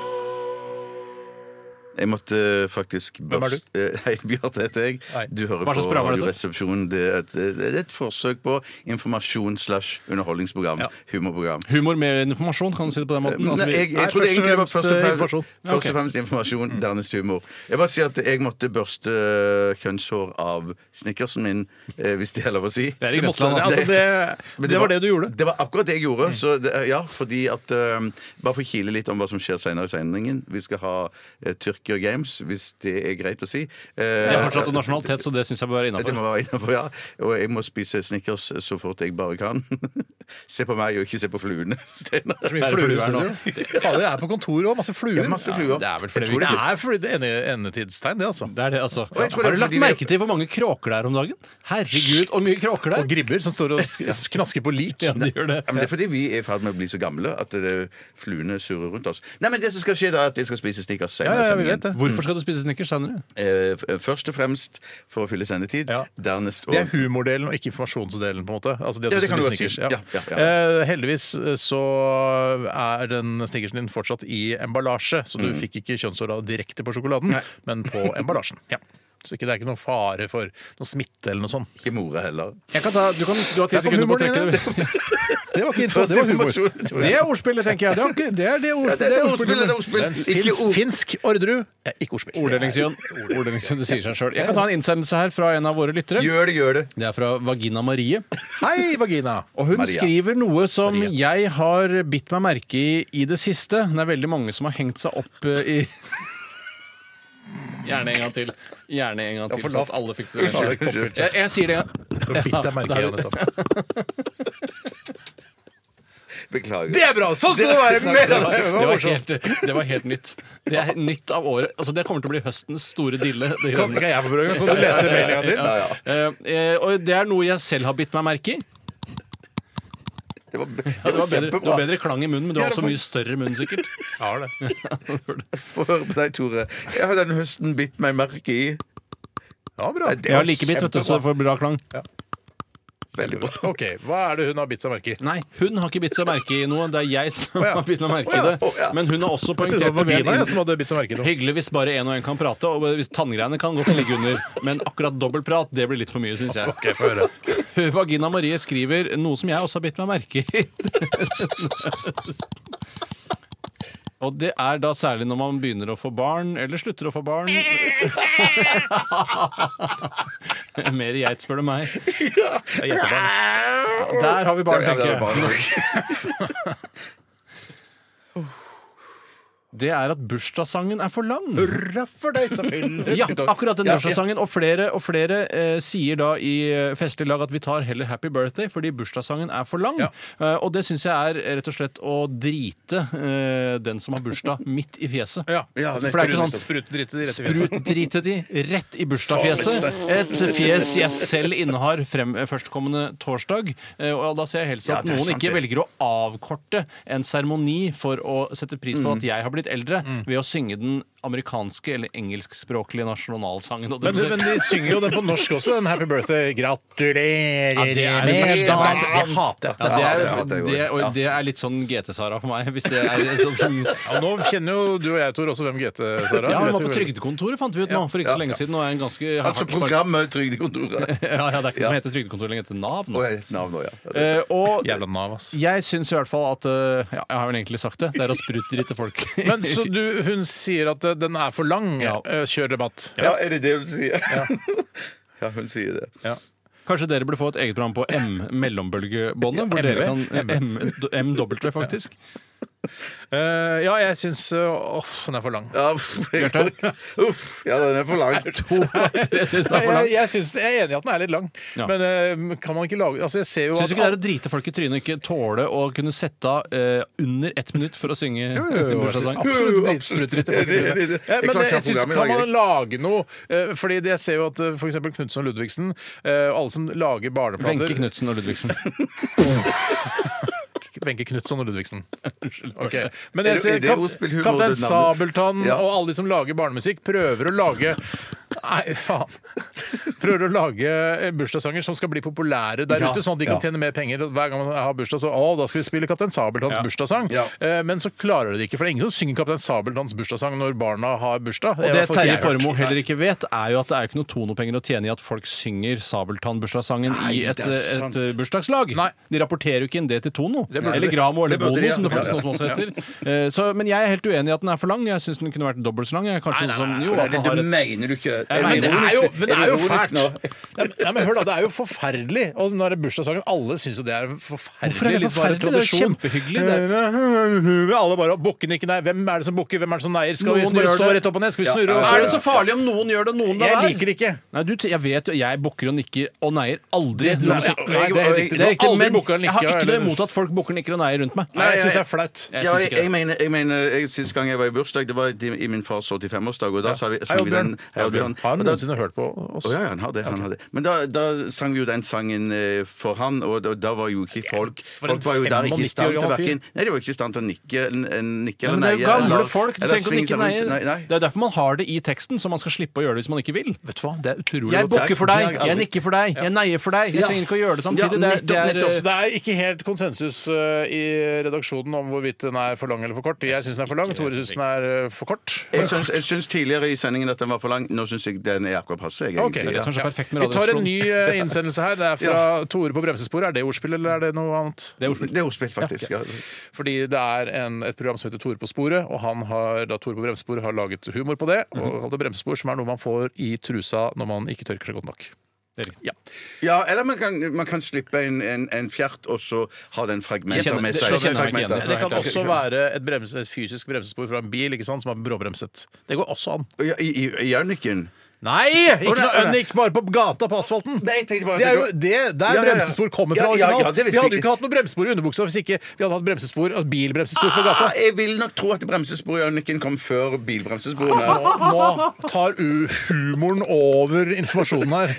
Speaker 3: Jeg måtte faktisk
Speaker 1: Hvem er du?
Speaker 3: børst- Eh, Hei, Bjarte heter jeg.
Speaker 1: Hei.
Speaker 3: Du hører
Speaker 2: Hva slags
Speaker 3: på
Speaker 2: program er dette?
Speaker 3: Radioresepsjonen. Det er et, eh, det er et forsøk på informasjon slash underholdningsprogram. Humorprogram.
Speaker 2: Humor med informasjon, kan du si det på den måten? Altså,
Speaker 3: Eh, Nei, jeg,
Speaker 2: vi,
Speaker 3: jeg trodde egentlig det var først og
Speaker 1: fremst, eh,
Speaker 3: fremst
Speaker 1: informasjon.
Speaker 3: informasjon. Først og fremst informasjon, dernest humor. Jeg bare sier at jeg måtte børste eh, kjønnshår av snickersen min, eh, hvis det er lov å si.
Speaker 2: Det er i
Speaker 1: Det, måtte,
Speaker 2: Grønland,
Speaker 1: altså,
Speaker 2: altså.
Speaker 1: det,
Speaker 3: Men
Speaker 1: det var det du gjorde. Mm.
Speaker 3: Det var akkurat det jeg gjorde. Så det, ja, fordi at eh, Bare for å kile litt om hva som skjer senere i sendingen. Vi skal ha eh, tyrk Insecure Games, hvis det er greit å si. Eh,
Speaker 2: Jeg har fortsatt en nasjonalitet, så det syns jeg bør være
Speaker 3: Det må
Speaker 2: innafor.
Speaker 3: være innenfor, ja. Og jeg må spise Snickers så fort jeg bare kan. (laughs) se på meg og ikke se på fluene, (laughs) Steinar.
Speaker 1: Det er
Speaker 2: fluer
Speaker 1: fluer
Speaker 2: her nå.
Speaker 1: i studio. Fader, jeg er på kontoret òg. Masse fluer.
Speaker 3: Ja, masse fluer.
Speaker 1: det er vel
Speaker 3: Jeg
Speaker 1: fordi
Speaker 3: tror
Speaker 1: vi
Speaker 3: det
Speaker 1: Det
Speaker 3: er
Speaker 1: er fordi det er ende- endetidstegn, det, altså.
Speaker 2: Det er det, altså.
Speaker 3: jeg tror det er
Speaker 2: Har du lagt
Speaker 3: fordi vi-
Speaker 2: merke til hvor mange kråker det er om dagen? Herregud, hvor mye kråker det
Speaker 1: Og
Speaker 2: er!
Speaker 1: gribber som står og sk- knasker på lik.
Speaker 2: Ja, de gjør det.
Speaker 3: Ja, men det er fordi vi er i ferd med å bli så gamle at eh, fluene surrer rundt oss. Nei, men det som skal skje da, er at jeg skal spise Snickers senere.
Speaker 1: Ja, ja, vi
Speaker 3: senere.
Speaker 1: vet det.
Speaker 2: Hvorfor skal du spise Snickers senere?
Speaker 3: Eh, f- eh, først og fremst for å fylle sendetid.
Speaker 1: Ja.
Speaker 3: Dernest
Speaker 1: Det er humordelen og ikke informasjonsdelen, på en måte. Altså det at
Speaker 3: Ja, det
Speaker 1: du spiser
Speaker 3: kan du godt si.
Speaker 1: Snickers,
Speaker 3: Ja, ja,
Speaker 1: Eh, heldigvis så er den snickersen din fortsatt i emballasje, så
Speaker 3: Mm.
Speaker 1: du fikk ikke kjønnshåra direkte på sjokoladen, men på
Speaker 3: (laughs)
Speaker 1: emballasjen. Ja. Så ikke, det er ikke noe fare for noe smitte eller noe sånt.
Speaker 3: ikke more heller.
Speaker 2: Jeg kan ta, du, kan, du har ti
Speaker 1: Der kom
Speaker 2: sekunder på å
Speaker 1: humoren
Speaker 2: trekke
Speaker 1: inn,
Speaker 2: det.
Speaker 1: Det var ikke info, det var humor.
Speaker 3: informasjon, tror jeg.
Speaker 2: Det er ordspillet, tenker jeg. Det er, ikke, det, er det
Speaker 3: Ja,
Speaker 2: ordspillet.
Speaker 3: det, det er ordspill, det
Speaker 2: ordspillet.
Speaker 3: er ordspill.
Speaker 1: Mens
Speaker 3: Ikke
Speaker 1: fins,
Speaker 3: ord.
Speaker 1: finsk Orderud er ikke ordspill.
Speaker 2: Orddelingsjøen. Orddelingsjøen, det sier seg sjøl. Jeg kan ta en innsendelse her fra en av våre lyttere.
Speaker 3: Gjør det, gjør det.
Speaker 2: Det er fra Vagina Marie.
Speaker 1: Hei, vagina!
Speaker 2: Og hun
Speaker 3: Maria.
Speaker 2: skriver noe som jeg har bitt meg merke i i det siste. Det er veldig mange som har hengt seg opp eh, i Gjerne en gang til. Gjerne en gang til,
Speaker 1: for
Speaker 2: så at
Speaker 1: lavt.
Speaker 2: alle fikk det.
Speaker 3: Unnskyld, unnskyld.
Speaker 2: Jeg, jeg sier det en gang.
Speaker 1: Bitt deg merke i det nettopp.
Speaker 3: Beklager.
Speaker 1: Det er bra! Sånn skal det være! Mer av det! Det
Speaker 2: Det
Speaker 1: var
Speaker 2: var,
Speaker 1: morsomt.
Speaker 2: helt, det var helt nytt. Det er nytt av året. Altså, det kommer til å bli høstens store dille. Det
Speaker 1: Kan,
Speaker 2: greiene.
Speaker 1: kan jeg få prøve? Kan du lese meldinga til?
Speaker 2: Ja. Eh, og det er noe jeg selv har bitt meg merke i.
Speaker 3: Det var,
Speaker 2: Ja, det, var bedre, det
Speaker 3: kjempebra.
Speaker 2: var bedre klang i munnen, men du
Speaker 3: Ja,
Speaker 2: har
Speaker 3: det
Speaker 2: også
Speaker 3: var-
Speaker 2: mye større munn, sikkert.
Speaker 1: Har det.
Speaker 3: Få høre på deg, Tore. Jeg har denne høsten bitt meg merke i.
Speaker 1: Ja, bra.
Speaker 3: Det
Speaker 2: Jeg
Speaker 3: var
Speaker 2: har like bitt, vet du, så du får bra klang.
Speaker 3: Veldig bra.
Speaker 1: OK, hva er det hun har bitt seg merke i?
Speaker 2: Nei, hun har ikke bitt seg merke i noe. Det er jeg som
Speaker 1: ja.
Speaker 2: har bitt meg merke i
Speaker 1: Å ja,
Speaker 2: det.
Speaker 3: å ja.
Speaker 2: Men hun har
Speaker 1: Jeg
Speaker 2: også
Speaker 1: trodde
Speaker 2: poengtert
Speaker 1: det var
Speaker 2: det.
Speaker 1: vagina jeg,
Speaker 2: ved
Speaker 1: som
Speaker 2: at-
Speaker 1: hadde bitt seg merke i noe.
Speaker 2: Hyggelig hvis bare én og én kan prate. Og hvis tanngreiene kan godt ligge under. Men akkurat dobbeltprat, det blir litt for mye, syns jeg.
Speaker 1: Ok, få høre.
Speaker 2: Vagina Marie skriver noe som jeg også har bitt meg merke i. Og det er da særlig når man begynner å få barn, eller slutter å få barn. Mer geit, spør du meg. Jeg gjetter barn. Der har vi barn,
Speaker 3: Ja, det
Speaker 2: tenker
Speaker 3: var
Speaker 2: jeg.
Speaker 3: bra.
Speaker 2: Det er at bursdagssangen er for lang.
Speaker 1: Hurra for deg, som finner
Speaker 2: (laughs) Ja, akkurat den bursdagssangen. Og flere og flere eh, sier da i eh, festlig lag at vi tar heller 'Happy Birthday' fordi bursdagssangen er for lang.
Speaker 1: Ja.
Speaker 2: Eh, og det syns jeg er rett og slett å drite eh, den som har bursdag, (laughs) midt i fjeset.
Speaker 1: Ja.
Speaker 3: Ja, nei,
Speaker 2: For det er ikke sånn
Speaker 1: Sprut drite de rett i fjeset.
Speaker 2: Sprut drite de rett i bursdagsfjeset. Et fjes jeg selv innehar frem eh, førstkommende torsdag. Eh, Og da ser jeg helst
Speaker 3: Ja,
Speaker 2: at
Speaker 3: det er
Speaker 2: noen
Speaker 3: sant,
Speaker 2: ikke
Speaker 3: det.
Speaker 2: velger å avkorte en seremoni for å sette pris på at jeg har blitt eldre, ved å synge den amerikanske eller engelskspråklige nasjonalsangen. Og det
Speaker 1: Men,
Speaker 2: vil si-
Speaker 1: men de synger jo den på norsk også, den Happy Birthday. Gratulerer
Speaker 2: Ja, det er det
Speaker 1: med
Speaker 2: verste jeg
Speaker 1: dagen!
Speaker 2: vet.
Speaker 1: Det hater jeg.
Speaker 2: ja, det,
Speaker 3: Ja,
Speaker 2: er,
Speaker 3: det
Speaker 2: det,
Speaker 3: er jo-
Speaker 2: og det er litt sånn GT-Sara for meg. Hvis det er sånn som
Speaker 1: Ja, nå kjenner jo du og jeg, Tor, også hvem GT Sara
Speaker 2: Ja, hun var
Speaker 1: Vet
Speaker 2: på
Speaker 1: du vel?
Speaker 2: Trygdekontoret, fant vi ut nå, for ikke så lenge siden. Og er en ganske
Speaker 3: Altså
Speaker 2: hardt spark-
Speaker 3: programmet Trygdekontoret.
Speaker 2: Ja, ja, det er ikke
Speaker 3: Ja.
Speaker 2: som heter Trygdekontoret lenger, det heter Nav nå.
Speaker 3: Og et navn òg, ja.
Speaker 2: Eh, og
Speaker 1: Jævla Nav, ass.
Speaker 2: Jeg syns i hvert fall at eh, ja, Jeg har vel egentlig sagt det. Det er å sprutdrite (laughs) folk.
Speaker 1: Men så du, hun sier at eh, den er for lang.
Speaker 2: Ja.
Speaker 1: Eh, Kjør debatt.
Speaker 3: Ja, er det det hun sier? (laughs) Ja, hun sier det.
Speaker 2: Kanskje dere burde få et eget program på M-mellombølgebåndet? Hvor
Speaker 1: Ja,
Speaker 2: dere
Speaker 1: MW.
Speaker 2: kan MW, (laughs) faktisk.
Speaker 1: Eh, ja, jeg syns eh, Åh, den er for lang.
Speaker 3: Ja, uff, jeg- uff, ja, den er for lang.
Speaker 2: Jeg syns det er for
Speaker 1: Jeg,
Speaker 2: langt.
Speaker 1: jeg, synes, jeg er enig i at den er litt lang,
Speaker 2: Ja.
Speaker 1: men eh, kan man ikke lage Altså, jeg ser jo
Speaker 2: Syns
Speaker 1: at
Speaker 2: du ikke det er å drite folk i trynet og ikke tåle å kunne sette av eh, under ett minutt for å synge bursdagssang?
Speaker 1: Absolutt
Speaker 3: Jo, jo,
Speaker 1: absolutt.
Speaker 3: absolutt. Jeg er enig i det.
Speaker 1: Ja,
Speaker 3: Jeg
Speaker 1: men jeg
Speaker 3: klarer ikke å ha
Speaker 1: synes,
Speaker 3: programmet i
Speaker 1: kan
Speaker 3: dag,
Speaker 1: man lage noe eh, Fordi det- jeg ser jo at eh, for eksempel Knudsen og Ludvigsen, eh, alle som lager barneplater
Speaker 2: Wenche Knutsen og Ludvigsen.
Speaker 1: Benke Knutson og Ludvigsen. Ok. Men jeg
Speaker 3: Er det-
Speaker 1: ser
Speaker 3: er det
Speaker 1: Kap
Speaker 3: ordspill, humor,
Speaker 1: Kaptein
Speaker 3: det navnet?
Speaker 1: Sabeltann
Speaker 3: Ja.
Speaker 1: og alle de som lager barnemusikk, prøver å lage Nei, faen. Prøver å lage eh, bursdagssanger som skal bli populære der
Speaker 3: Ja,
Speaker 1: ute, sånn at de kan
Speaker 3: ja.
Speaker 1: tjene mer penger. Og Hver gang man har bursdag, så Å, da skal vi spille Kaptein Sabeltanns
Speaker 2: Ja.
Speaker 1: bursdagssang.
Speaker 3: Ja.
Speaker 1: Eh, Men så klarer de det ikke, for det er ingen som synger Kaptein Sabeltanns bursdagssang når barna har bursdag.
Speaker 2: Og
Speaker 1: Det er i
Speaker 2: det
Speaker 1: hvert fall ikke
Speaker 2: Terje
Speaker 1: jeg hørt.
Speaker 2: Formoe heller ikke vet, er jo at det er jo ikke noe tonopenger å tjene i at folk synger Sabeltann-bursdagssangen i
Speaker 3: Nei,
Speaker 2: et, eh,
Speaker 3: det er sant.
Speaker 2: et bursdagslag.
Speaker 1: Nei.
Speaker 2: De rapporterer jo ikke inn det til Tono.
Speaker 1: burde
Speaker 2: Eller
Speaker 1: de.
Speaker 2: Gramo eller
Speaker 3: Det
Speaker 2: Bono,
Speaker 3: burde de, ja.
Speaker 2: som det faktisk noen som også heter. Eh, Så, men jeg er helt uenig i at den er for lang. Jeg syns den kunne vært dobbelt så lang. Jeg er Kanskje sånn som jo,
Speaker 3: Nei,
Speaker 2: at
Speaker 3: det,
Speaker 2: man har
Speaker 3: det
Speaker 2: et
Speaker 3: mener du ikke.
Speaker 2: Jeg
Speaker 1: men det er jo,
Speaker 3: ironisk-
Speaker 1: men det er jo
Speaker 3: ironisk
Speaker 1: fælt!
Speaker 3: nå?
Speaker 1: Nei, men- nei, men hør da, Det er jo forferdelig. Og nå er det bursdagssangen. Alle syns jo det er en
Speaker 2: Hvorfor er
Speaker 1: forferdelig.
Speaker 2: det
Speaker 1: litt sånn
Speaker 2: forferdelig? Det er jo
Speaker 1: tradisjon.
Speaker 2: kjempehyggelig, det.
Speaker 1: Eh, (laughs) Alle bare Bukken ikke, nei. Hvem er det som bukker? Hvem er det som neier? Skal vi
Speaker 2: Noen
Speaker 1: bare
Speaker 2: gjør
Speaker 1: stå
Speaker 2: det.
Speaker 1: rett opp og ned? Skal vi snurre
Speaker 2: Men
Speaker 1: oss?
Speaker 2: Er det så farlig om noen gjør det, og noen
Speaker 1: Jeg liker det ikke.
Speaker 2: Nei, du, jeg vet jo, jeg bukker og nikker og neier aldri.
Speaker 1: Det- nei,
Speaker 2: Nei, det er riktig. Det er riktig
Speaker 1: Aldri
Speaker 2: men
Speaker 1: bukker og
Speaker 2: jeg har
Speaker 1: nikker,
Speaker 2: ikke noe
Speaker 1: eller-
Speaker 2: imot at folk bukker, nikker og neier rundt meg.
Speaker 1: Nei, jeg syns det
Speaker 3: jeg-
Speaker 1: er flaut.
Speaker 2: Jeg
Speaker 3: Ja,
Speaker 2: syns
Speaker 3: jeg,
Speaker 2: ikke det.
Speaker 3: jeg mener, jeg mener jeg, Sist gang jeg var i bursdag, det var i- i min fars 85-årsdag, og da sa vi,
Speaker 1: Hei,
Speaker 3: sang vi
Speaker 1: Oddbjørn.
Speaker 3: den Hei, Oddbjørn.
Speaker 1: Har han
Speaker 3: Og da-
Speaker 1: noensinne hørt på oss?
Speaker 3: Å ja, ja, han har det. Han har det. Men da, da sang vi jo den sangen eh, for han, og da, da var jo ikke folk
Speaker 1: for en
Speaker 3: Folk var jo der ikke i
Speaker 1: 95
Speaker 3: stand
Speaker 1: år
Speaker 3: til
Speaker 1: gammel fyr.
Speaker 3: hverken- Nei, de var ikke i stand til å nikke, n- n- nikke
Speaker 2: Ja,
Speaker 3: eller
Speaker 2: men det er jo
Speaker 3: neie.
Speaker 2: gamle
Speaker 3: eller-
Speaker 2: folk. Du
Speaker 3: eller
Speaker 2: trenger å
Speaker 3: svinge
Speaker 2: nikke
Speaker 3: seg
Speaker 2: nei.
Speaker 3: rundt. Nei, nei.
Speaker 2: Det er derfor man har det i teksten, så man skal slippe å gjøre det hvis man ikke vil.
Speaker 1: Vet du hva, det er utrolig
Speaker 2: Jeg
Speaker 1: godt sagt.
Speaker 2: bukker for
Speaker 3: det har
Speaker 2: deg,
Speaker 3: jeg aldri-
Speaker 2: jeg nikker for deg, jeg neier for deg. Jeg
Speaker 3: Ja.
Speaker 2: trenger ikke å gjøre det
Speaker 3: Ja,
Speaker 2: samtidig. Det er, det
Speaker 3: nettopp,
Speaker 2: er,
Speaker 1: Så det er ikke helt konsensus eh, i redaksjonen om hvorvidt den er for lang eller for kort. Jeg syns den er for lang, Tore syns den er eh, for kort.
Speaker 3: Jeg syns, jeg syns tidligere i sendingen at den var for lang. Nå syns jeg den er akkurat passe. Jeg,
Speaker 1: Ok,
Speaker 2: det
Speaker 3: egentlig.
Speaker 2: er det som er så
Speaker 1: ja.
Speaker 2: perfekt med
Speaker 1: Vi tar en
Speaker 2: radioresepsjon.
Speaker 1: ny eh, innsendelse her. Det er fra
Speaker 2: (laughs)
Speaker 1: Tore på bremsesporet. Er det ordspill, eller er det noe annet?
Speaker 2: det er ordspill.
Speaker 3: Det er ordspill, faktisk. Ja.
Speaker 1: Fordi det er en, et program som heter Tore på sporet, og han har, da Tore på bremsesporet har laget humor på det,
Speaker 2: Mhm.
Speaker 1: og kalt det bremsespor, som er noe man får i trusa når man ikke tørker seg godt nok.
Speaker 2: Det er riktig.
Speaker 1: Ja.
Speaker 3: ja, eller man kan, man kan slippe en, en, en fjert, og så ha den
Speaker 2: Jeg
Speaker 3: fragmenter
Speaker 2: kjenner-
Speaker 3: med
Speaker 2: det-
Speaker 3: seg.
Speaker 2: så kjenner jeg meg ikke igjen i
Speaker 3: Fragmenter.
Speaker 2: det.
Speaker 1: Det kan også være et, brems, et fysisk bremsespor fra en bil ikke sant, som er bråbremset. Det går også an.
Speaker 3: Ja, I, i, i Jørniken?
Speaker 1: Nei! Ikke
Speaker 3: Å, nei,
Speaker 1: noe
Speaker 3: nei.
Speaker 1: Unnik bare på gata på asfalten.
Speaker 3: Nei, jeg tenkte bare at
Speaker 1: det er jo
Speaker 3: det-
Speaker 1: det, der
Speaker 3: Ja, ja, ja.
Speaker 1: bremsespor kommer fra
Speaker 3: Ja, ja, ja,
Speaker 1: originalt.
Speaker 3: det visste
Speaker 1: vi hadde
Speaker 3: jeg
Speaker 1: jo ikke hatt noe bremsespor i underbuksa hvis ikke vi hadde hatt bremsespor, altså bilbremsespor på gata.
Speaker 3: Ah, jeg vil nok tro at bremsespor i Jørniken kom før bilbremsesporene.
Speaker 1: Nå, nå tar u- humoren over informasjonen her.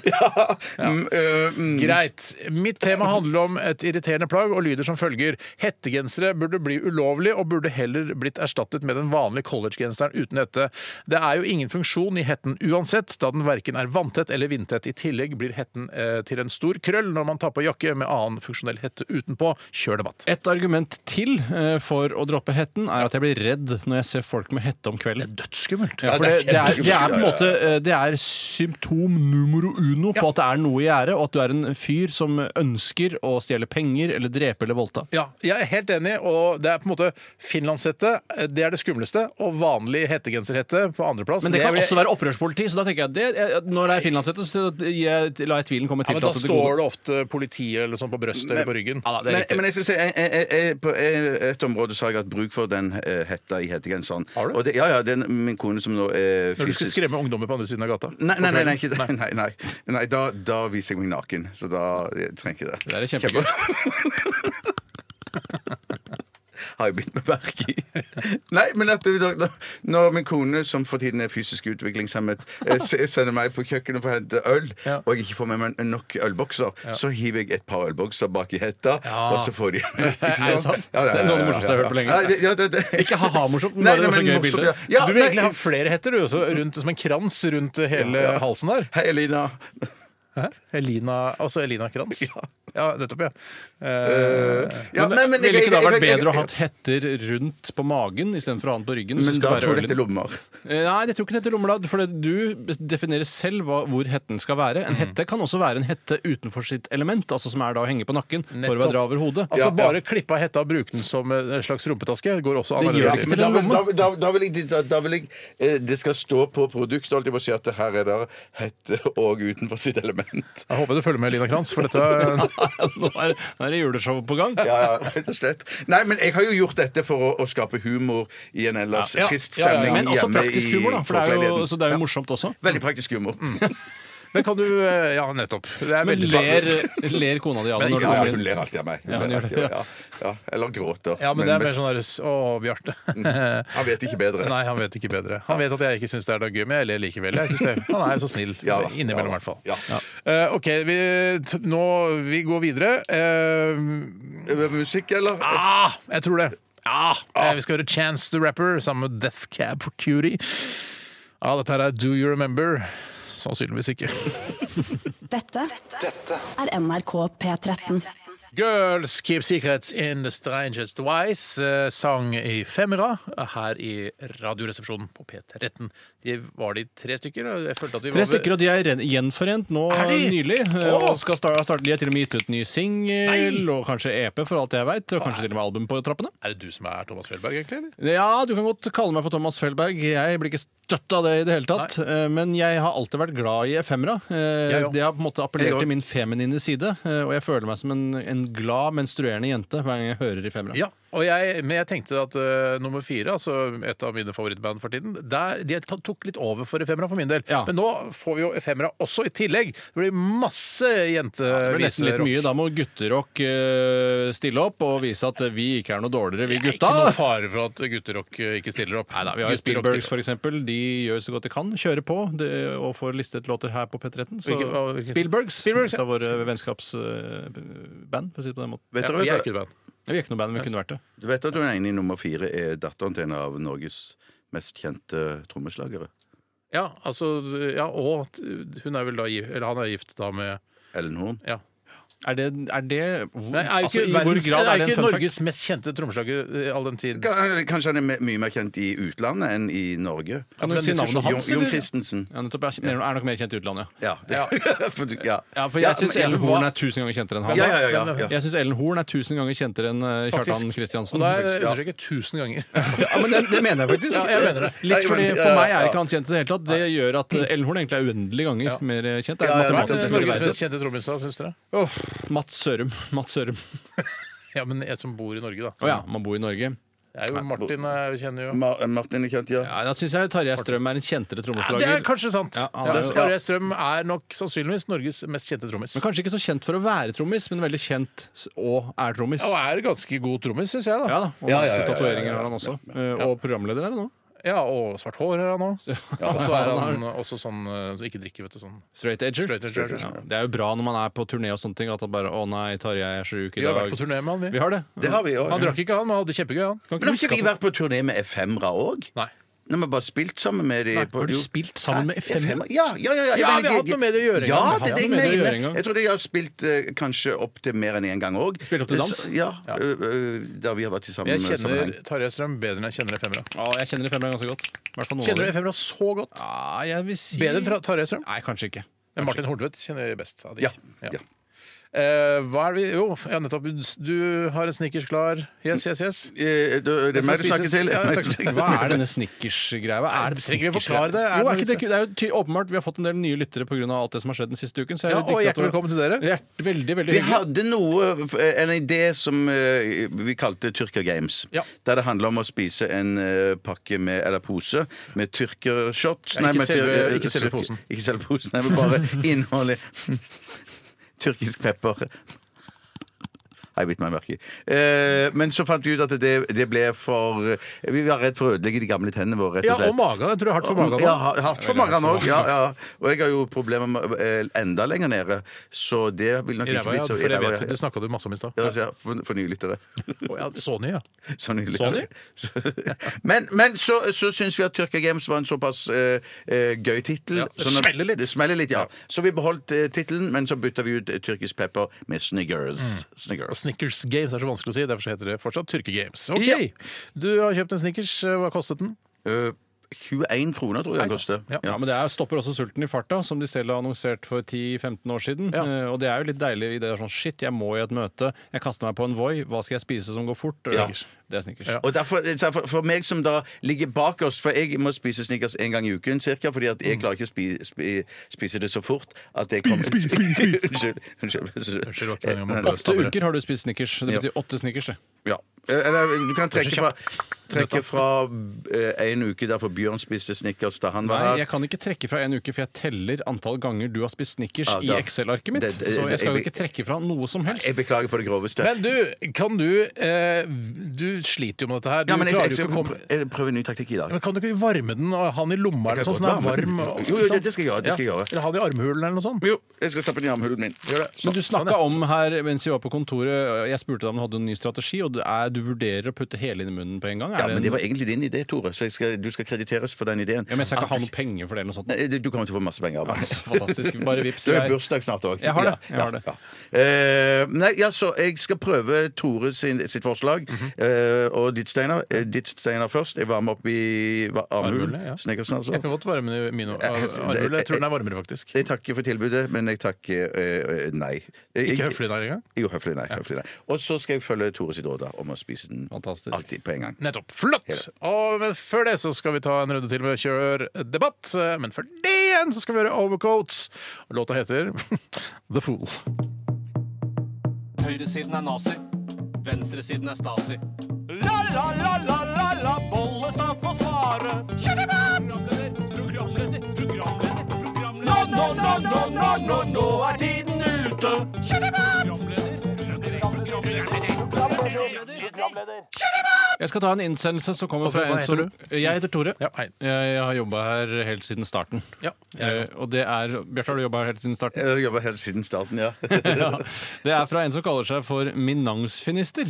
Speaker 3: Mm, øh, mm.
Speaker 1: (laughs) Greit. Mitt tema handler om et irriterende plagg og lyder som følger. Hettegensere burde bli ulovlig og burde heller blitt erstattet med den vanlige collegegenseren uten hette. Det er jo ingen funksjon i hetten uansett, da den verken er vanntett eller vindtett. I tillegg blir hetten eh, til en stor krøll når man tar på jakke med annen funksjonell hette utenpå. Kjør debatt.
Speaker 2: Et argument til eh, for å droppe hetten er at jeg blir redd når jeg ser folk med hette om kvelden.
Speaker 1: Dødsskummelt.
Speaker 2: Ja, for det, det, er, det er på en måte eh, Det er symptom numero uno på at det er noe i gjære, og at du er en fyr som ønsker å stjele penger eller drepe eller voldta.
Speaker 1: Ja, jeg er helt enig, og det er på en måte finlandshette, eh, det er det skumleste, og vanlig hettegenserhette på andreplass.
Speaker 2: Men det kan
Speaker 1: er-
Speaker 2: også være opprørspoliti, så da tenker jeg at det, eh, når det er finlandshette, så gir jeg- lar jeg tvilen komme
Speaker 1: ja,
Speaker 2: til.
Speaker 1: men
Speaker 2: for
Speaker 1: Da
Speaker 2: at det
Speaker 1: står
Speaker 2: går-
Speaker 1: det ofte politiet eller sånn på brøstet eller på ryggen.
Speaker 2: ja, da, det er
Speaker 3: Men,
Speaker 2: riktig.
Speaker 3: men jeg skal si, jeg, jeg, jeg, på eh, et område så har jeg hatt bruk for den eh, hetta i hettegenseren.
Speaker 1: Har du?
Speaker 3: Og det- Ja, ja, den, min kone som nå er
Speaker 1: Når du skal
Speaker 3: fysisk
Speaker 1: skremme ungdommer på andre siden av gata.
Speaker 3: Nei, nei, nei, nei, ikke, det. (laughs) nei, nei, nei da, da viser jeg meg naken. Så da jeg trenger jeg ikke det.
Speaker 2: Det er kjempegøy.
Speaker 3: Har jeg begynt med verk i. (laughs) Nei, men at da, da, når min kone, som for tiden er fysisk utviklingshemmet, eh, se- sender meg på kjøkkenet for å hente øl,
Speaker 1: Ja.
Speaker 3: og jeg ikke får med meg nok ølbokser, så hiver jeg et par ølbokser bak i hetta, og så får de
Speaker 2: (laughs)
Speaker 1: Er det sant?
Speaker 3: Ja, ja, ja,
Speaker 2: Det er noe av det
Speaker 3: ja,
Speaker 2: morsomste jeg har hørt på lenge.
Speaker 3: Ja, det- ja, det- det-
Speaker 2: (laughs) Ikke ha-ha-morsomt, men
Speaker 3: Nei,
Speaker 2: bare det var
Speaker 3: nei,
Speaker 2: så gøy
Speaker 3: men morsomt,
Speaker 2: bilde.
Speaker 3: Ja,
Speaker 1: du vil
Speaker 3: nei,
Speaker 1: egentlig ha flere hetter, du, også, rundt, som en krans rundt hele halsen der.
Speaker 3: Hei, Elina.
Speaker 1: Elina, altså Elina Krans. Ja, nettopp, ja. Eh,
Speaker 3: Ja, nei, men jeg-
Speaker 2: Ville ikke da
Speaker 3: jeg-
Speaker 2: vært
Speaker 3: jeg- jeg-
Speaker 2: bedre å ha hatt hetter rundt på magen istedenfor å ha den på ryggen? så
Speaker 3: Men
Speaker 2: skal
Speaker 3: da
Speaker 2: det
Speaker 3: tror
Speaker 2: være
Speaker 3: jeg
Speaker 2: ølen?
Speaker 3: det er lommer.
Speaker 2: Eh, Nei, jeg tror ikke det heter lommelad, for det- du definerer selv hva, hvor hetten skal være. En hette kan også være en hette utenfor sitt element, altså som er da å henge på nakken for å
Speaker 1: Nettopp.
Speaker 2: være dra over hodet.
Speaker 1: Altså Bare klippe av hetta og bruke den som en slags rumpetaske går også an.
Speaker 2: Det
Speaker 1: eller?
Speaker 2: gjør det ikke.
Speaker 3: Men
Speaker 2: til
Speaker 3: da,
Speaker 2: en
Speaker 3: vil- da,
Speaker 2: lomme.
Speaker 3: da, da vil jeg, da, da vil jeg eh, Det skal stå på produktet holdt jeg på å si at det her er det hette og utenfor sitt element.
Speaker 1: Jeg håper du følger med, Elina Krans, for dette eh, er
Speaker 2: Altså, (laughs) Nå er, nå er det juleshow på gang.
Speaker 3: Ja, ja, rett og slett. Nei, men jeg har jo gjort dette for å, å skape humor i en ellers
Speaker 2: Ja,
Speaker 3: trist
Speaker 2: ja, ja, ja.
Speaker 3: stemning
Speaker 2: Men også
Speaker 3: hjemme
Speaker 2: praktisk
Speaker 3: i
Speaker 2: humor, da. For det er jo,
Speaker 3: forkleiligheten.
Speaker 2: så Mm, det er jo morsomt også.
Speaker 3: Veldig praktisk humor.
Speaker 1: Men kan du eh, Ja, nettopp. Det er
Speaker 2: Men
Speaker 1: veldig
Speaker 2: ler, ler kona di av det?
Speaker 1: Men
Speaker 2: når
Speaker 3: Ja,
Speaker 2: du
Speaker 3: hun
Speaker 2: blir-
Speaker 3: ler alltid av meg. Hun
Speaker 2: Ja, hun
Speaker 3: ler
Speaker 2: gjør
Speaker 3: alltid,
Speaker 2: det,
Speaker 3: ja. Ja, eller gråter.
Speaker 1: Ja, men, det er mer
Speaker 3: mest-
Speaker 1: sånn der, Å, Bjarte.
Speaker 3: Han vet ikke bedre.
Speaker 1: (laughs) Nei, han vet ikke bedre. Han vet at jeg ikke syns det er noe gøy, men jeg ler likevel. Jeg synes det, han er jo så snill.
Speaker 3: Ja da,
Speaker 1: Innimellom, i
Speaker 3: ja
Speaker 1: hvert fall.
Speaker 3: da, ja.
Speaker 1: Eh, OK, vi, t nå, vi går videre. Eh,
Speaker 3: Eh, Musikk, eller?
Speaker 1: ah, jeg tror det. Ah, eh, vi skal høre Chance the Rapper sammen med Death Cab for Cutie. Ja, dette her er Do You Remember?
Speaker 2: (laughs)
Speaker 1: Sannsynligvis ikke.
Speaker 6: Dette er NRK P13.
Speaker 1: Girls Keep Secrets in the Strangest Wise eh, sang i femmera her i Radioresepsjonen på P13. De var de tre stykker. og Jeg følte at vi
Speaker 2: Tre
Speaker 1: var
Speaker 2: stykker, og de er ren- gjenforent nå
Speaker 1: Er de?
Speaker 2: nylig. Eh,
Speaker 1: Åh!
Speaker 2: Og skal starte, starte, de har til og med gitt ut
Speaker 1: Nei!
Speaker 2: ny singel, og kanskje EP, for alt jeg veit. Og kanskje til og med album på trappene.
Speaker 1: Er det du som er Thomas Fjellberg, egentlig? eller?
Speaker 2: Ja, du kan godt kalle meg for Thomas Felberg. Jeg blir ikke støtt av det i det hele tatt. Eh, Men jeg har alltid vært glad i efemera. Eh,
Speaker 1: Jeg òg.
Speaker 2: Det har på en måte appellert
Speaker 3: Jeg òg.
Speaker 2: til min feminine side, eh, og jeg føler meg som en, en glad menstruerende jente hver gang jeg hører efemera.
Speaker 1: Ja, og jeg, men jeg tenkte at eh, nummer fire, altså et av mine favorittband for tiden, der, de ta- tok litt over for Efemera for min del.
Speaker 2: Ja.
Speaker 1: Men nå får vi jo Efemera også i tillegg. Det blir masse
Speaker 2: Det blir nesten litt
Speaker 1: jenteviserock.
Speaker 2: mye. Da må gutterock eh, stille opp og vise at vi ikke er noe dårligere, vi
Speaker 1: Ikke noe
Speaker 2: gutta.
Speaker 1: fare for at gutterock eh, ikke stiller opp.
Speaker 2: Neida, vi har jo
Speaker 1: Gutterock
Speaker 2: Spielbergs,
Speaker 1: stiller-
Speaker 2: for eksempel. De gjør så godt de kan. Kjører på det, og får listet låter her på P13. Så
Speaker 1: Hvilke- hva- hvilke-
Speaker 2: Spielbergs,
Speaker 1: Spielbergs,
Speaker 2: et
Speaker 1: ja.
Speaker 2: av våre vennskapsband, for å si det på den måten.
Speaker 3: Vet
Speaker 1: Ja,
Speaker 3: dere,
Speaker 1: vi er
Speaker 3: vet
Speaker 1: ikke et band.
Speaker 2: Vi er ikke noe band, men vi kunne vært det.
Speaker 3: du vet at hun er inne i nummer fire er datteren til en av Norges mest kjente trommeslagere?
Speaker 1: Ja, altså, ja, og t- hun er vel da, gi- eller han er gift da med
Speaker 3: Ellen Horn.
Speaker 1: ja.
Speaker 2: Er det, er det
Speaker 1: Men er jo
Speaker 2: altså,
Speaker 1: ikke,
Speaker 2: I hvor
Speaker 1: verdens,
Speaker 2: grad er
Speaker 1: er
Speaker 2: det en
Speaker 1: ikke
Speaker 2: fun fact?
Speaker 1: Norges mest kjente trommeslager eh, all den tid?
Speaker 3: Ka- Kanskje han er me- mye mer kjent i utlandet enn i Norge?
Speaker 2: Kan du si navnet
Speaker 3: Jon,
Speaker 2: hans,
Speaker 3: Jon
Speaker 2: eller?
Speaker 3: Christensen.
Speaker 2: Ja, nettopp, jeg er nok mer kjent i utlandet, ja.
Speaker 3: Ja. (laughs) for du, ja.
Speaker 2: Ja, for jeg syns
Speaker 3: men-
Speaker 2: Ellen
Speaker 3: ja,
Speaker 2: Horn er tusen ganger kjentere enn han.
Speaker 3: Ja, ja, ja, ja, ja.
Speaker 2: Jeg syns Ellen Horn er tusen ganger kjentere enn eh, Kjartan
Speaker 1: Faktisk.
Speaker 2: Kristiansen.
Speaker 1: Og da er jeg understreket tusen ganger.
Speaker 2: (laughs) Ja, men det, det mener jeg faktisk.
Speaker 1: Ja, jeg mener det.
Speaker 2: Litt
Speaker 3: Nei,
Speaker 2: fordi,
Speaker 3: men- ja,
Speaker 2: for meg
Speaker 3: ja,
Speaker 2: er
Speaker 3: ja.
Speaker 2: ikke han kjent i det hele tatt. Det gjør at eh, Ellen Horn egentlig er uendelig ganger
Speaker 1: Ja.
Speaker 2: mer eh, kjent. Det er
Speaker 3: Ja, ja,
Speaker 1: Hva er
Speaker 2: matematisk
Speaker 3: nettopp.
Speaker 1: Norges mest
Speaker 2: rettferdighet.
Speaker 1: kjente trommisa, syns dere?
Speaker 2: Åh, Mats Sørum. (laughs) Mats Sørum. Å
Speaker 1: Ja, men jeg som bor i Norge, da.
Speaker 2: ja, man bor i Norge.
Speaker 1: Det er jo Martin jeg kjenner jo.
Speaker 3: Ma- eh, Martin er kjent, ja.
Speaker 2: Ja, da syns jeg Tarjei Strøm er en kjentere
Speaker 1: Ja, det er
Speaker 2: trommeslager.
Speaker 1: kanskje sant.
Speaker 2: Ja, han
Speaker 1: Ja,
Speaker 2: er
Speaker 3: jo-
Speaker 1: Tarjei Strøm er nok sannsynligvis Norges mest kjente trommis.
Speaker 2: Men kanskje ikke så kjent for å være trommis, men veldig kjent s- og er trommis.
Speaker 1: Og er ganske god trommis, syns jeg.
Speaker 2: Ja
Speaker 1: da
Speaker 2: da. Og
Speaker 3: Ja, ja,
Speaker 2: masse
Speaker 3: ja, ja, ja,
Speaker 2: tatoveringer har han også. Eh, Og programleder er det nå.
Speaker 1: Ja, Og svart hår har han òg. (laughs) Og så er
Speaker 2: han
Speaker 1: han også sånn eh, som ikke drikker, vet du. sånn
Speaker 2: Straight edger.
Speaker 1: Straight edger, ja.
Speaker 2: Ja, det er jo bra når man er på turné og sånne ting, at det bare 'Å nei, Tarjei er sjuk
Speaker 1: Vi
Speaker 2: i
Speaker 1: har
Speaker 2: dag'.
Speaker 1: vært på turné med han,
Speaker 2: Vi
Speaker 1: vi.
Speaker 2: har det.
Speaker 3: Det har vi òg.
Speaker 1: Han drakk ikke, han, men hadde det kjempegøy, han.
Speaker 2: Kan
Speaker 3: Men har
Speaker 2: huske
Speaker 3: ikke vi
Speaker 2: at-
Speaker 3: vært på turné med Efemra òg?
Speaker 1: Nei.
Speaker 3: Nei, men bare spilt sammen med de på-
Speaker 2: Har du
Speaker 3: jo.
Speaker 2: spilt sammen med
Speaker 3: Ja,
Speaker 2: FM?
Speaker 3: Ja, ja, ja,
Speaker 1: Ja,
Speaker 3: ja, men
Speaker 1: vi har
Speaker 3: jeg-
Speaker 1: hatt noe med det å gjøre en
Speaker 3: Ja,
Speaker 1: gang.
Speaker 3: det, er det
Speaker 2: Vi har hatt
Speaker 3: jeg
Speaker 2: noe med det å gjøre en
Speaker 3: mener.
Speaker 2: gang.
Speaker 3: Jeg tror de har spilt eh, kanskje opp til mer enn én en gang òg.
Speaker 2: Spilt opp til dans?
Speaker 3: Ja, ø, ø, da vi har vært i samme
Speaker 1: Jeg kjenner
Speaker 3: sammenheng.
Speaker 1: Tarjei Strøm bedre enn jeg kjenner Efemera.
Speaker 2: Ja, jeg kjenner FM ganske godt. I hvert fall noen
Speaker 1: Kjenner du
Speaker 2: av dem.
Speaker 1: Efemera så godt?
Speaker 2: Ja, jeg vil si
Speaker 1: Bedre enn Tra- Tarjei Strøm?
Speaker 2: Nei, kanskje ikke.
Speaker 1: Men Martin Horntvedt kjenner jeg best av de.
Speaker 3: Ja, ja.
Speaker 1: Eh, hva er det vi Jo, ja, nettopp. Du har en snickers klar. Yes, yes, yes.
Speaker 3: Eh, da- Det er
Speaker 1: skal
Speaker 3: meg du snakker
Speaker 1: spises.
Speaker 3: til.
Speaker 1: Ja, jeg
Speaker 3: (laughs)
Speaker 1: snakker-
Speaker 2: Hva er denne snickers-greia? Hva Er det
Speaker 1: Trenger vi
Speaker 2: snickers-
Speaker 1: forklare det? Er
Speaker 2: Jo,
Speaker 1: det
Speaker 2: er ikke det,
Speaker 1: noe
Speaker 2: ku- det er jo ty åpenbart. Vi har fått en del nye lyttere pga. alt det som har skjedd den siste uken. Så jeg
Speaker 1: Ja,
Speaker 2: er litt
Speaker 1: og
Speaker 2: dyktig
Speaker 1: hjertelig
Speaker 2: at du-
Speaker 1: velkommen til dere.
Speaker 2: Hjert, veldig, veldig
Speaker 3: Vi
Speaker 2: hyggelig.
Speaker 3: hadde noe, en idé som eh, vi kalte Tyrker Games.
Speaker 1: Ja.
Speaker 3: Der det handla om å spise en eh, pakke med, eller pose med tyrkershot.
Speaker 1: Ja, ikke
Speaker 3: med tyr-
Speaker 1: selve-
Speaker 3: eh,
Speaker 1: ikke selve
Speaker 3: tyrk-
Speaker 1: posen.
Speaker 3: Ikke selve posen, nei, men
Speaker 1: (laughs)
Speaker 3: bare innholdet. Tyrkisk pepper. Har Jeg bitt meg merke i. Eh, men så fant vi ut at det, det ble for eh, Vi var redd for å ødelegge de gamle tennene våre, rett
Speaker 1: Ja,
Speaker 3: og slett.
Speaker 1: og magen. Jeg tror det er hardt for magen.
Speaker 3: Ja,
Speaker 1: nå.
Speaker 3: har- hardt for magen òg. Ja, ja. Og jeg har jo problemer med eh, enda lenger nede, så det vil nok
Speaker 1: I
Speaker 3: ikke
Speaker 1: ræva,
Speaker 3: bli
Speaker 1: ja.
Speaker 3: så
Speaker 1: For det
Speaker 3: ræva,
Speaker 1: vet du,
Speaker 3: ja.
Speaker 1: det snakka du masse om i stad.
Speaker 3: Ja, så ja, for, for nye lyttere.
Speaker 1: Å, ja, Så ny, ja.
Speaker 3: (laughs) Så nye
Speaker 1: Så
Speaker 3: lyttere. Så- (laughs) Men, men så, så syns vi at Tyrkia Games var en såpass eh, eh, gøy tittel.
Speaker 1: Ja, det
Speaker 3: sånn at-
Speaker 1: smeller litt.
Speaker 3: Det smeller litt, ja. Så vi beholdt eh, tittelen, men så bytta vi ut eh, tyrkisk pepper med Sniggers.
Speaker 1: Og
Speaker 3: Sniggers.
Speaker 1: Snickers Games er så vanskelig å si, derfor så heter det fortsatt Tyrke Games. OK!
Speaker 3: Ja.
Speaker 1: Du har kjøpt en Snickers. Hva kostet den?
Speaker 3: Eh, 21 kroner, tror jeg den koster.
Speaker 1: Ja.
Speaker 2: Ja, men Det er, stopper også sulten i farta, som de selv har annonsert for 10-15 år siden.
Speaker 1: Ja.
Speaker 2: Eh, og det er jo litt deilig i det er sånn Shit, jeg må i et møte. Jeg kaster meg på en Voi. Hva skal jeg spise som går fort?
Speaker 3: Ja.
Speaker 2: Det er snickers.
Speaker 1: Ja.
Speaker 3: Og derfor, så for, for meg som da ligger bakerst For jeg må spise Snickers en gang i uken cirka, Fordi at jeg klarer ikke å spi, spi, spise det så fort At jeg kommer Spis, spis, spis (laughs) Unnskyld
Speaker 1: Unnskyld,
Speaker 3: Unnskyld
Speaker 1: det var ikke meningen å
Speaker 2: Åtte uker har du spist snickers. Det
Speaker 3: Ja.
Speaker 2: betyr åtte snickers, det.
Speaker 3: ja. Eller du kan trekke fra Trekke fra eh, en uke Derfor Bjørn spiste Snickers da han var
Speaker 2: Nei,
Speaker 3: her
Speaker 2: jeg kan ikke trekke fra en uke, for jeg teller antall ganger du har spist snickers
Speaker 3: Ja,
Speaker 2: i
Speaker 3: da-
Speaker 2: Excel-arket mitt.
Speaker 3: det- det-
Speaker 2: så
Speaker 3: det-
Speaker 2: jeg skal jo
Speaker 3: jeg-
Speaker 2: ikke trekke fra noe som helst.
Speaker 3: Jeg beklager på det groveste
Speaker 1: Men du, kan du eh, Du sliter jo med dette her. Du
Speaker 3: ja, men jeg,
Speaker 1: klarer
Speaker 3: jeg,
Speaker 1: jo
Speaker 3: skal
Speaker 1: ikke å komme
Speaker 3: prø- jeg prøver en ny taktikk i dag
Speaker 1: men Kan du ikke varme den og ha den i lomma eller
Speaker 3: Jeg kan
Speaker 1: noe sånt? så Den er
Speaker 3: godt varme den.
Speaker 1: varm. og-
Speaker 3: Jo, jo,
Speaker 1: ikke sant?
Speaker 3: det skal jeg gjøre, det skal jeg
Speaker 1: Ja.
Speaker 3: gjøre.
Speaker 1: Eller ha den i armhulen eller noe sånt.
Speaker 3: Jo, jeg skal stappe den i armhulen min Gjør det
Speaker 2: Men du snakka om eh, her mens vi var på kontoret, jeg spurte deg om du hadde en ny strategi, og det er, du vurderer å putte hele inn i munnen på en gang? er
Speaker 3: Ja,
Speaker 2: det
Speaker 3: men
Speaker 2: en-
Speaker 3: det var egentlig din idé, Tore, så jeg skal, du skal krediteres for den ideen.
Speaker 2: Ja, men jeg skal ikke ha noe penger for det eller noe sånt.
Speaker 3: Nei, du kommer til å få masse penger av meg.
Speaker 2: Fantastisk. Bare vips.
Speaker 3: Du har
Speaker 2: jeg-
Speaker 3: bursdag snart òg.
Speaker 2: Jeg har det, jeg har det.
Speaker 3: nei, ja, så jeg skal prøve Tore sin, sitt forslag.
Speaker 2: Mhm.
Speaker 3: Eh, og ditt, Steinar. Eh, ditt, Steinar, først. Jeg var med opp i va- armhulen.
Speaker 1: Armhulen, ja.
Speaker 3: Snekkersen, altså.
Speaker 1: Jeg kan godt varme min- min
Speaker 3: Jeg- jeg-
Speaker 1: armhule. Jeg tror den er varmere, faktisk.
Speaker 3: Jeg takker for tilbudet, men jeg takker eh, eh, nei. Jeg-
Speaker 1: Ikke høflig der engang.
Speaker 3: Jo, høflig nei. Høflig nei. Og så skal jeg følge Tore sitt råd da, om å spise den
Speaker 2: Fantastisk.
Speaker 3: alltid på en gang.
Speaker 1: Nettopp. Flott! Og, men før det så skal vi ta en runde til med Kjør debatt. Men før det igjen så skal vi høre Overcoats. Og Låta heter (laughs) The Fool.
Speaker 4: Høyresiden er nazi, venstresiden er stasi. La, la, la, la, la, la, Bollestad får svare. Kjør debatt! Programleder, programleder, programleder. Nå, nå, nå, nå, nå, nå, nå er tiden ute. Kjør debatt!
Speaker 2: Jeg skal ta en innsendelse som kommer fra
Speaker 1: Hva
Speaker 2: en som
Speaker 1: heter
Speaker 2: Jeg heter Tore. Eh,
Speaker 1: Ja, hei.
Speaker 2: Jeg, jeg har jobba her helt siden starten.
Speaker 1: Ja,
Speaker 2: Eh, og det er Bjarte, har du jobba her helt siden starten?
Speaker 3: Jeg jobber helt siden starten,
Speaker 2: (laughs)
Speaker 3: ja.
Speaker 2: ja. Det er fra en som kaller seg for Minangsfinister.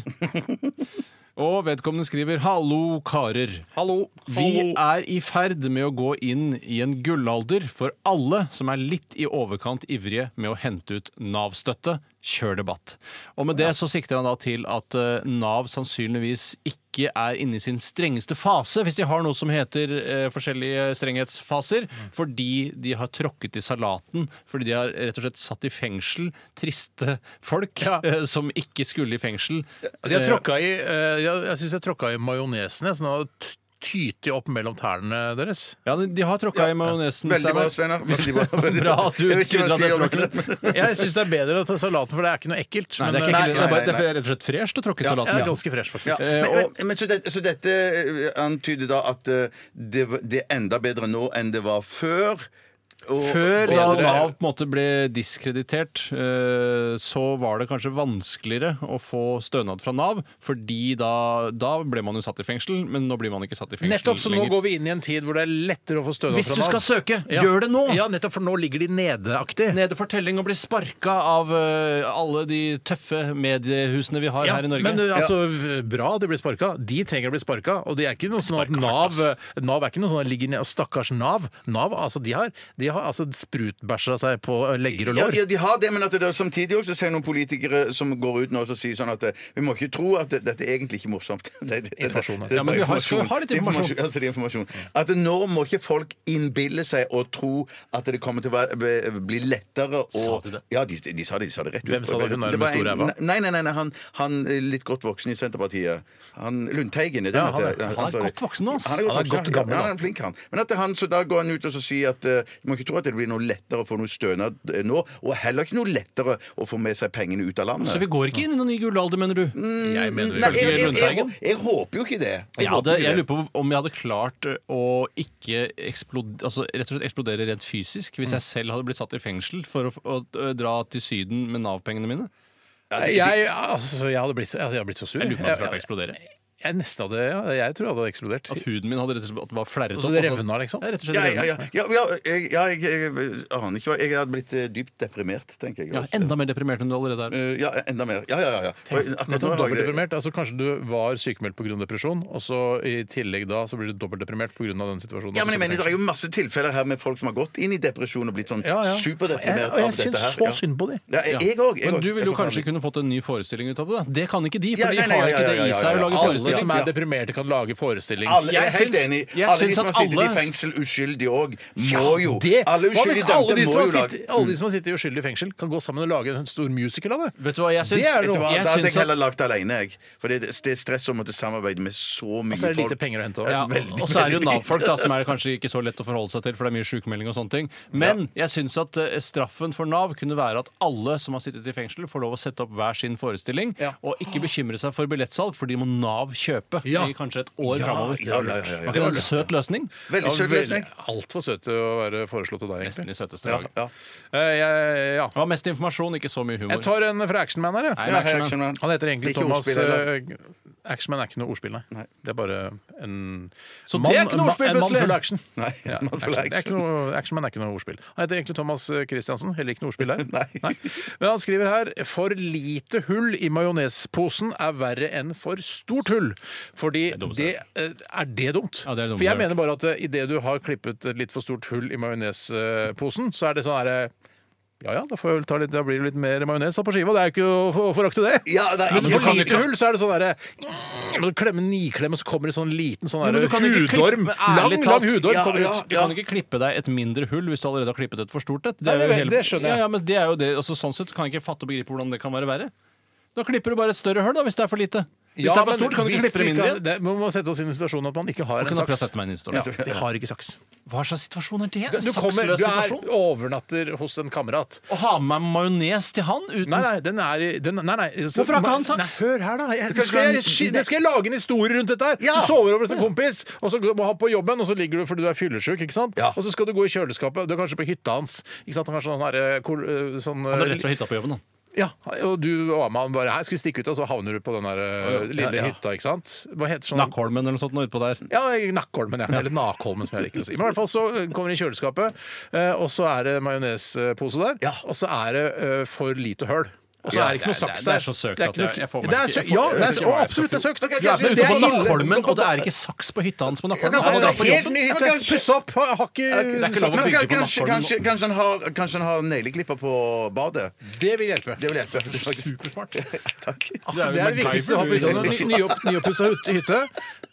Speaker 2: Og vedkommende skriver 'Hallo, karer'.
Speaker 1: Hallo.
Speaker 2: Vi er i ferd med å gå inn i en gullalder for alle som er litt i overkant ivrige med å hente ut Nav-støtte. Kjør debatt. Og med det så sikter han da til at eh, Nav sannsynligvis ikke er inne i sin strengeste fase, hvis de har noe som heter eh, forskjellige
Speaker 1: Mm.
Speaker 2: strenghetsfaser, fordi de har tråkket i salaten, fordi de har rett og slett satt i fengsel triste folk
Speaker 1: Ja.
Speaker 2: eh, som ikke skulle i fengsel.
Speaker 1: De har
Speaker 2: Eh,
Speaker 1: tråkka i eh, Jeg, jeg syns jeg tråkka i majonesen, jeg, så nå t- tyter jeg opp mellom tærne deres.
Speaker 2: Ja, de- de har tråkka i majonesen.
Speaker 3: Veldig bra,
Speaker 2: Steinar.
Speaker 3: Steinar. Veldig bra.
Speaker 2: (laughs)
Speaker 3: Veldig
Speaker 2: Bra at du
Speaker 3: Jeg vet ikke hva
Speaker 2: tyder at det er
Speaker 3: jeg skal gjøre med
Speaker 2: språkene.
Speaker 3: det, men-
Speaker 1: Jeg syns det er bedre å ta salaten, for det er ikke noe ekkelt.
Speaker 2: Nei, det er,
Speaker 1: men, eh,
Speaker 2: ikke, ekkelt.
Speaker 3: Nei,
Speaker 2: det er, bare,
Speaker 3: nei,
Speaker 2: det er
Speaker 3: nei.
Speaker 2: rett og slett fresht å tråkke i
Speaker 1: Ja,
Speaker 2: salaten.
Speaker 1: det er ganske fresh, faktisk.
Speaker 3: Ja,
Speaker 2: Eh,
Speaker 3: men,
Speaker 2: og-
Speaker 3: men, men så, dette, så dette eh, antyder da at eh, det, var- det er enda bedre nå enn det var før. Og,
Speaker 2: Før da
Speaker 3: og-
Speaker 2: Nav på en måte ble diskreditert, eh, så var det kanskje vanskeligere å få stønad fra Nav, fordi da, da ble man jo satt i fengsel, men nå blir man ikke satt i fengsel
Speaker 1: Nettopp, så nå
Speaker 2: lenger.
Speaker 1: går vi inn i en tid hvor det er lettere å få stønad
Speaker 2: Hvis
Speaker 1: fra
Speaker 2: du
Speaker 1: Nav.
Speaker 2: skal søke,
Speaker 1: Ja.
Speaker 2: gjør det nå!
Speaker 1: Ja, nettopp, for nå ligger de nedeaktig.
Speaker 2: Nede for telling og bli sparka av eh, alle de tøffe mediehusene vi har
Speaker 1: Ja,
Speaker 2: her i Norge.
Speaker 1: men eh, altså, v- bra at de blir sparka. De trenger å bli sparka. Og det er ikke noe sånn at Nav eh, Nav er ikke noe sånn at ligger ned og Stakkars Nav. Nav, altså, de har, de har altså sprutbæsja seg på eh, legger og
Speaker 3: ja,
Speaker 1: lår.
Speaker 3: ja, de har det, men at det er samtidig også ser jeg noen politikere som går ut nå og så sier sånn at eh, vi må ikke tro at det, dette er egentlig ikke morsomt. (laughs) Det, det, det,
Speaker 1: Informasjon, altså. ja.
Speaker 3: det- det-
Speaker 2: Ja, men vi har- skal vi ha litt
Speaker 3: Det er
Speaker 2: informasjon?
Speaker 3: informasjon. Altså, det er informasjon. At nå må ikke folk innbille seg og tro at det kommer til å være, be- bli lettere å
Speaker 1: Sa de det?
Speaker 3: Ja, de, de sa det. De sa det rett ut.
Speaker 1: Hvem sa det? Hun er med
Speaker 3: Det var en-
Speaker 1: stor ræva.
Speaker 3: Nei, nei, nei, nei han, han eh, litt godt voksen i Senterpartiet. Han Lundteigen, er det
Speaker 1: Ja,
Speaker 3: han
Speaker 1: han er-
Speaker 3: heter?
Speaker 2: han er
Speaker 3: sa det.
Speaker 2: godt voksen nå, ass.
Speaker 3: Han er godt
Speaker 1: Han er
Speaker 3: voksen,
Speaker 1: godt
Speaker 3: ja.
Speaker 1: gammel,
Speaker 3: Ja,
Speaker 1: da.
Speaker 3: han er flink, han. Men at han, så da går han ut og så sier at eh, man kan ikke tro at det blir noe lettere å få noe stønad eh, nå, og heller ikke noe lettere å få med seg pengene ut av landet.
Speaker 2: Så vi går ikke inn i noen ny gullalder, mener du?
Speaker 1: Jeg mener
Speaker 3: Nei,
Speaker 1: jo
Speaker 3: jeg, jeg, jeg,
Speaker 2: Lundteigen?
Speaker 3: jeg, håper jo ikke det.
Speaker 2: Jeg,
Speaker 3: håper
Speaker 2: hadde,
Speaker 3: ikke
Speaker 2: jeg
Speaker 3: det.
Speaker 2: lurer på om jeg hadde klart å ikke eksplod, altså rett og slett eksplodere rent fysisk hvis jeg
Speaker 3: Mm.
Speaker 2: selv hadde blitt satt i fengsel for å, f- å, å dra til Syden med Nav-pengene mine.
Speaker 1: Jeg, altså, jeg, hadde blitt, jeg hadde blitt så sur.
Speaker 2: Jeg lurer på om jeg hadde klart å
Speaker 1: jeg,
Speaker 2: eksplodere.
Speaker 1: jeg nesten hadde ja, Jeg tror jeg hadde eksplodert.
Speaker 2: At huden min hadde rett og slett bare flerret opp. altså.
Speaker 1: Så det revna, liksom?
Speaker 2: Ja, rett og slett
Speaker 3: Ja, ja,
Speaker 2: revna.
Speaker 3: ja, ja, ja, jeg, ja jeg, jeg, aner ikke hva Jeg hadde blitt eh, dypt deprimert, tenker jeg.
Speaker 2: Ja,
Speaker 3: også.
Speaker 2: enda mer deprimert enn du allerede er.
Speaker 3: Eh, ja, enda mer. Ja, ja, ja. ja. Og akkurat
Speaker 1: Nettopp
Speaker 3: nå har jeg det-
Speaker 1: dobbeltdeprimert. Altså, kanskje du var sykemeldt pga. depresjon, og så i tillegg da så blir du dobbeltdeprimert pga. den situasjonen.
Speaker 3: Ja, men jeg mener, Det er jo masse tilfeller her med folk som har gått inn i depresjon og blitt sånn
Speaker 1: Ja, ja.
Speaker 3: superdeprimert
Speaker 1: Jeg- og jeg
Speaker 3: av dette
Speaker 1: syns
Speaker 3: her.
Speaker 1: så synd på de.
Speaker 3: Ja, jeg- jeg òg.
Speaker 2: Men du ville jo kanskje kunne fått en ny forestilling ut av det. da. Det kan ikke de,
Speaker 3: Ja,
Speaker 2: for de
Speaker 3: nei, nei,
Speaker 2: har
Speaker 3: ja,
Speaker 2: ikke
Speaker 3: ja,
Speaker 2: det i
Speaker 3: ja, ja,
Speaker 2: seg å
Speaker 3: ja.
Speaker 1: Alle
Speaker 2: lage forestilling.
Speaker 3: Alle
Speaker 1: som er
Speaker 3: Ja.
Speaker 1: deprimerte, kan lage forestilling.
Speaker 3: Alle, jeg
Speaker 2: Jeg
Speaker 3: er helt
Speaker 2: syns-
Speaker 3: enig.
Speaker 2: jeg
Speaker 3: Alle de
Speaker 2: syns
Speaker 3: som
Speaker 2: at
Speaker 3: har sittet
Speaker 2: alle-
Speaker 3: i fengsel uskyldig òg, må jo
Speaker 1: det!
Speaker 3: Alle
Speaker 1: Hva hvis
Speaker 3: uskyldig
Speaker 1: alle
Speaker 3: dømte
Speaker 1: de, som
Speaker 3: må
Speaker 1: har
Speaker 3: jo lage Mm.
Speaker 1: sittet, alle de som har sittet uskyldig i fengsel, kan gå sammen og lage en stor musical av det?
Speaker 2: Vet du hva jeg
Speaker 1: Det er
Speaker 2: syns?
Speaker 3: Vet du hva,
Speaker 2: Jeg
Speaker 3: Da
Speaker 2: syns
Speaker 3: hadde jeg heller
Speaker 2: at-
Speaker 3: lagd det alene. Jeg. For det, det er stress å måtte samarbeide med så mye
Speaker 1: Og så er det
Speaker 3: folk.
Speaker 1: lite penger å hente (laughs)
Speaker 2: Ja,
Speaker 1: òg.
Speaker 2: og så er det jo Nav-folk da, som er kanskje ikke så lett å forholde seg til, for det er mye sykemelding og sånne ting. Men jeg syns at eh, straffen for Nav kunne være at alle som har sittet i fengsel, får lov å sette opp hver sin forestilling,
Speaker 1: Ja.
Speaker 2: og ikke bekymre seg for billettsalg, for de må Nav kjøpe
Speaker 1: Ja.
Speaker 2: i kanskje et år framover.
Speaker 3: ja, ja, ja, ja.
Speaker 2: Det var en søt løsning.
Speaker 3: (laughs) Veldig søt løsning.
Speaker 1: Altfor søt til å være foreslått til deg,
Speaker 2: Nesten
Speaker 1: egentlig.
Speaker 2: i søteste laget.
Speaker 3: Ja.
Speaker 1: Eh, jeg- ja.
Speaker 2: Det var mest informasjon, ikke så mye humor.
Speaker 1: Jeg tar en fra Actionman her, jeg.
Speaker 2: Nei,
Speaker 3: Ja,
Speaker 2: Action Man.
Speaker 3: Action Man.
Speaker 1: Han heter egentlig
Speaker 3: Det er ikke
Speaker 1: Thomas
Speaker 3: ordspill, heller.
Speaker 1: eh, Actionman er ikke noe ordspill, nei. Det er bare en
Speaker 2: Så det er ikke noe ordspill,
Speaker 1: en mann
Speaker 2: plutselig?
Speaker 1: full av action.
Speaker 3: Nei,
Speaker 1: Ja,
Speaker 3: man får
Speaker 1: action. Det er ikke
Speaker 3: action.
Speaker 1: noe, Actionman er ikke noe ordspill. Han heter egentlig Thomas eh, Christiansen, heller ikke noe ordspill der.
Speaker 3: Nei.
Speaker 1: Men han skriver her For lite hull i majonesposen er verre enn for stort hull.
Speaker 2: tull.
Speaker 1: Fordi
Speaker 2: er dumt,
Speaker 1: det, eh, er det dumt?
Speaker 2: Ja, det er dumt,
Speaker 1: For jeg
Speaker 2: det er
Speaker 1: mener bare at eh, i idet du har klippet et litt for stort hull i majonesposen, så er det sånn herre ja ja, da, får jeg vel ta litt, da blir det litt mer majones da på skiva. Det er jo ikke å for- å forakte det.
Speaker 3: Ja, altså, det er
Speaker 1: men
Speaker 3: ikke-
Speaker 1: for
Speaker 2: du
Speaker 1: lite
Speaker 2: kan ikke-
Speaker 1: hull, så er det sånn derre Når du klemmer niklem, og så kommer det sånn liten sånn
Speaker 2: Ja, men
Speaker 1: derre
Speaker 2: du kan ikke klippe-
Speaker 1: hudorm.
Speaker 2: men
Speaker 1: Lang,
Speaker 2: ærlig talt-
Speaker 1: lang hudorm
Speaker 3: Ja,
Speaker 1: kommer
Speaker 3: ja.
Speaker 1: ut.
Speaker 2: Du kan ikke klippe deg et mindre hull hvis du allerede har klippet et for stort et.
Speaker 1: Nei,
Speaker 2: er
Speaker 1: det
Speaker 2: jo
Speaker 1: vet- det skjønner jeg.
Speaker 2: Ja, ja, men det er jo det. Altså, sånn sett kan jeg ikke fatte og begripe hvordan det kan være verre. Da klipper du bare et større hull, da, hvis det er for lite. Hvis det er for
Speaker 1: men
Speaker 2: stort, kan du ikke
Speaker 1: hvis
Speaker 2: klippe det
Speaker 1: vi
Speaker 2: mindre
Speaker 1: kan-
Speaker 2: igjen.
Speaker 1: det- Man må sette oss i en situasjon at man ikke har
Speaker 2: Jeg
Speaker 1: en
Speaker 2: kan
Speaker 1: saks.
Speaker 2: akkurat sette meg inn
Speaker 1: Ja,
Speaker 2: i historien.
Speaker 1: Liksom. vi har ikke saks.
Speaker 2: Hva slags situasjon er det?
Speaker 1: Du, kommer, du er overnatter hos en kamerat.
Speaker 2: Å ha med meg majones til han uten
Speaker 1: Nei, nei, den er i- den, nei, nei altså-
Speaker 2: Hvorfor har ikke han saks?
Speaker 1: Nei, hør her, da. Jeg,
Speaker 3: kan
Speaker 1: skal,
Speaker 3: ikke
Speaker 1: jeg,
Speaker 3: ha
Speaker 1: sk-
Speaker 3: en-
Speaker 1: det skal jeg lage en historie rundt dette her.
Speaker 3: Ja.
Speaker 1: Du sover over hos en kompis, og så må han på jobben, og så ligger du fordi du er fyllesyk, ikke sant?
Speaker 3: Ja.
Speaker 1: Og så skal du gå i kjøleskapet, du er kanskje på hytta hans, ikke sant? Han er sånn, her, eh, kol- eh, sånn
Speaker 2: Han er
Speaker 1: eh,
Speaker 2: rett fra hytta på jobben, da.
Speaker 1: Ja, og du var med han bare her, skal vi stikke ut, og så havner du på den der eh, lille
Speaker 3: ja.
Speaker 1: hytta, ikke sant? Hva heter sånn?
Speaker 2: Nakholmen eller noe sånt nå utpå der.
Speaker 1: Ja, Nakkholmen, ja. Eller Nakholmen, som jeg liker å si. Men i hvert fall så kommer det i kjøleskapet, eh, og så er det majonespose der,
Speaker 3: Ja.
Speaker 1: og så er det eh, for lite høl. Og så
Speaker 2: Ja,
Speaker 1: er det ikke noe
Speaker 2: det er-
Speaker 1: saks
Speaker 2: det
Speaker 1: der.
Speaker 2: er så søkt
Speaker 1: ikke
Speaker 2: at jeg-
Speaker 1: noe-
Speaker 2: jeg får meg
Speaker 1: Det er
Speaker 2: ikke-
Speaker 1: sø-
Speaker 2: jeg får-
Speaker 1: Ja,
Speaker 2: jeg
Speaker 1: det er,
Speaker 2: får ikke
Speaker 1: å,
Speaker 2: meg
Speaker 1: absolutt, det er søkt.
Speaker 3: Ok, ok,
Speaker 1: Ja, men
Speaker 3: så
Speaker 2: Ute
Speaker 1: det
Speaker 2: på
Speaker 1: er ille.
Speaker 2: Nakholmen, og det er ikke saks på hytta hans på Nakholmen.
Speaker 3: Nei,
Speaker 2: Han
Speaker 1: det
Speaker 2: er
Speaker 1: er
Speaker 2: på
Speaker 1: helt
Speaker 2: jobb.
Speaker 1: ny hytte. Puss opp! Jeg har
Speaker 2: det er
Speaker 1: ikke
Speaker 2: ikke lov å
Speaker 1: sagt
Speaker 2: bygge
Speaker 1: det.
Speaker 2: på
Speaker 3: Kanskje,
Speaker 2: Nattholmen.
Speaker 3: kanskje, kanskje han har, kanskje han har negleklipper på badet.
Speaker 1: Det vil hjelpe.
Speaker 3: Det vil hjelpe. faktisk.
Speaker 2: Supersmart.
Speaker 3: Takk.
Speaker 1: Det er det viktigste du har på hytta.
Speaker 2: MacGyver,
Speaker 1: Ny- nyopp- Nyoppussa hytte- hytte.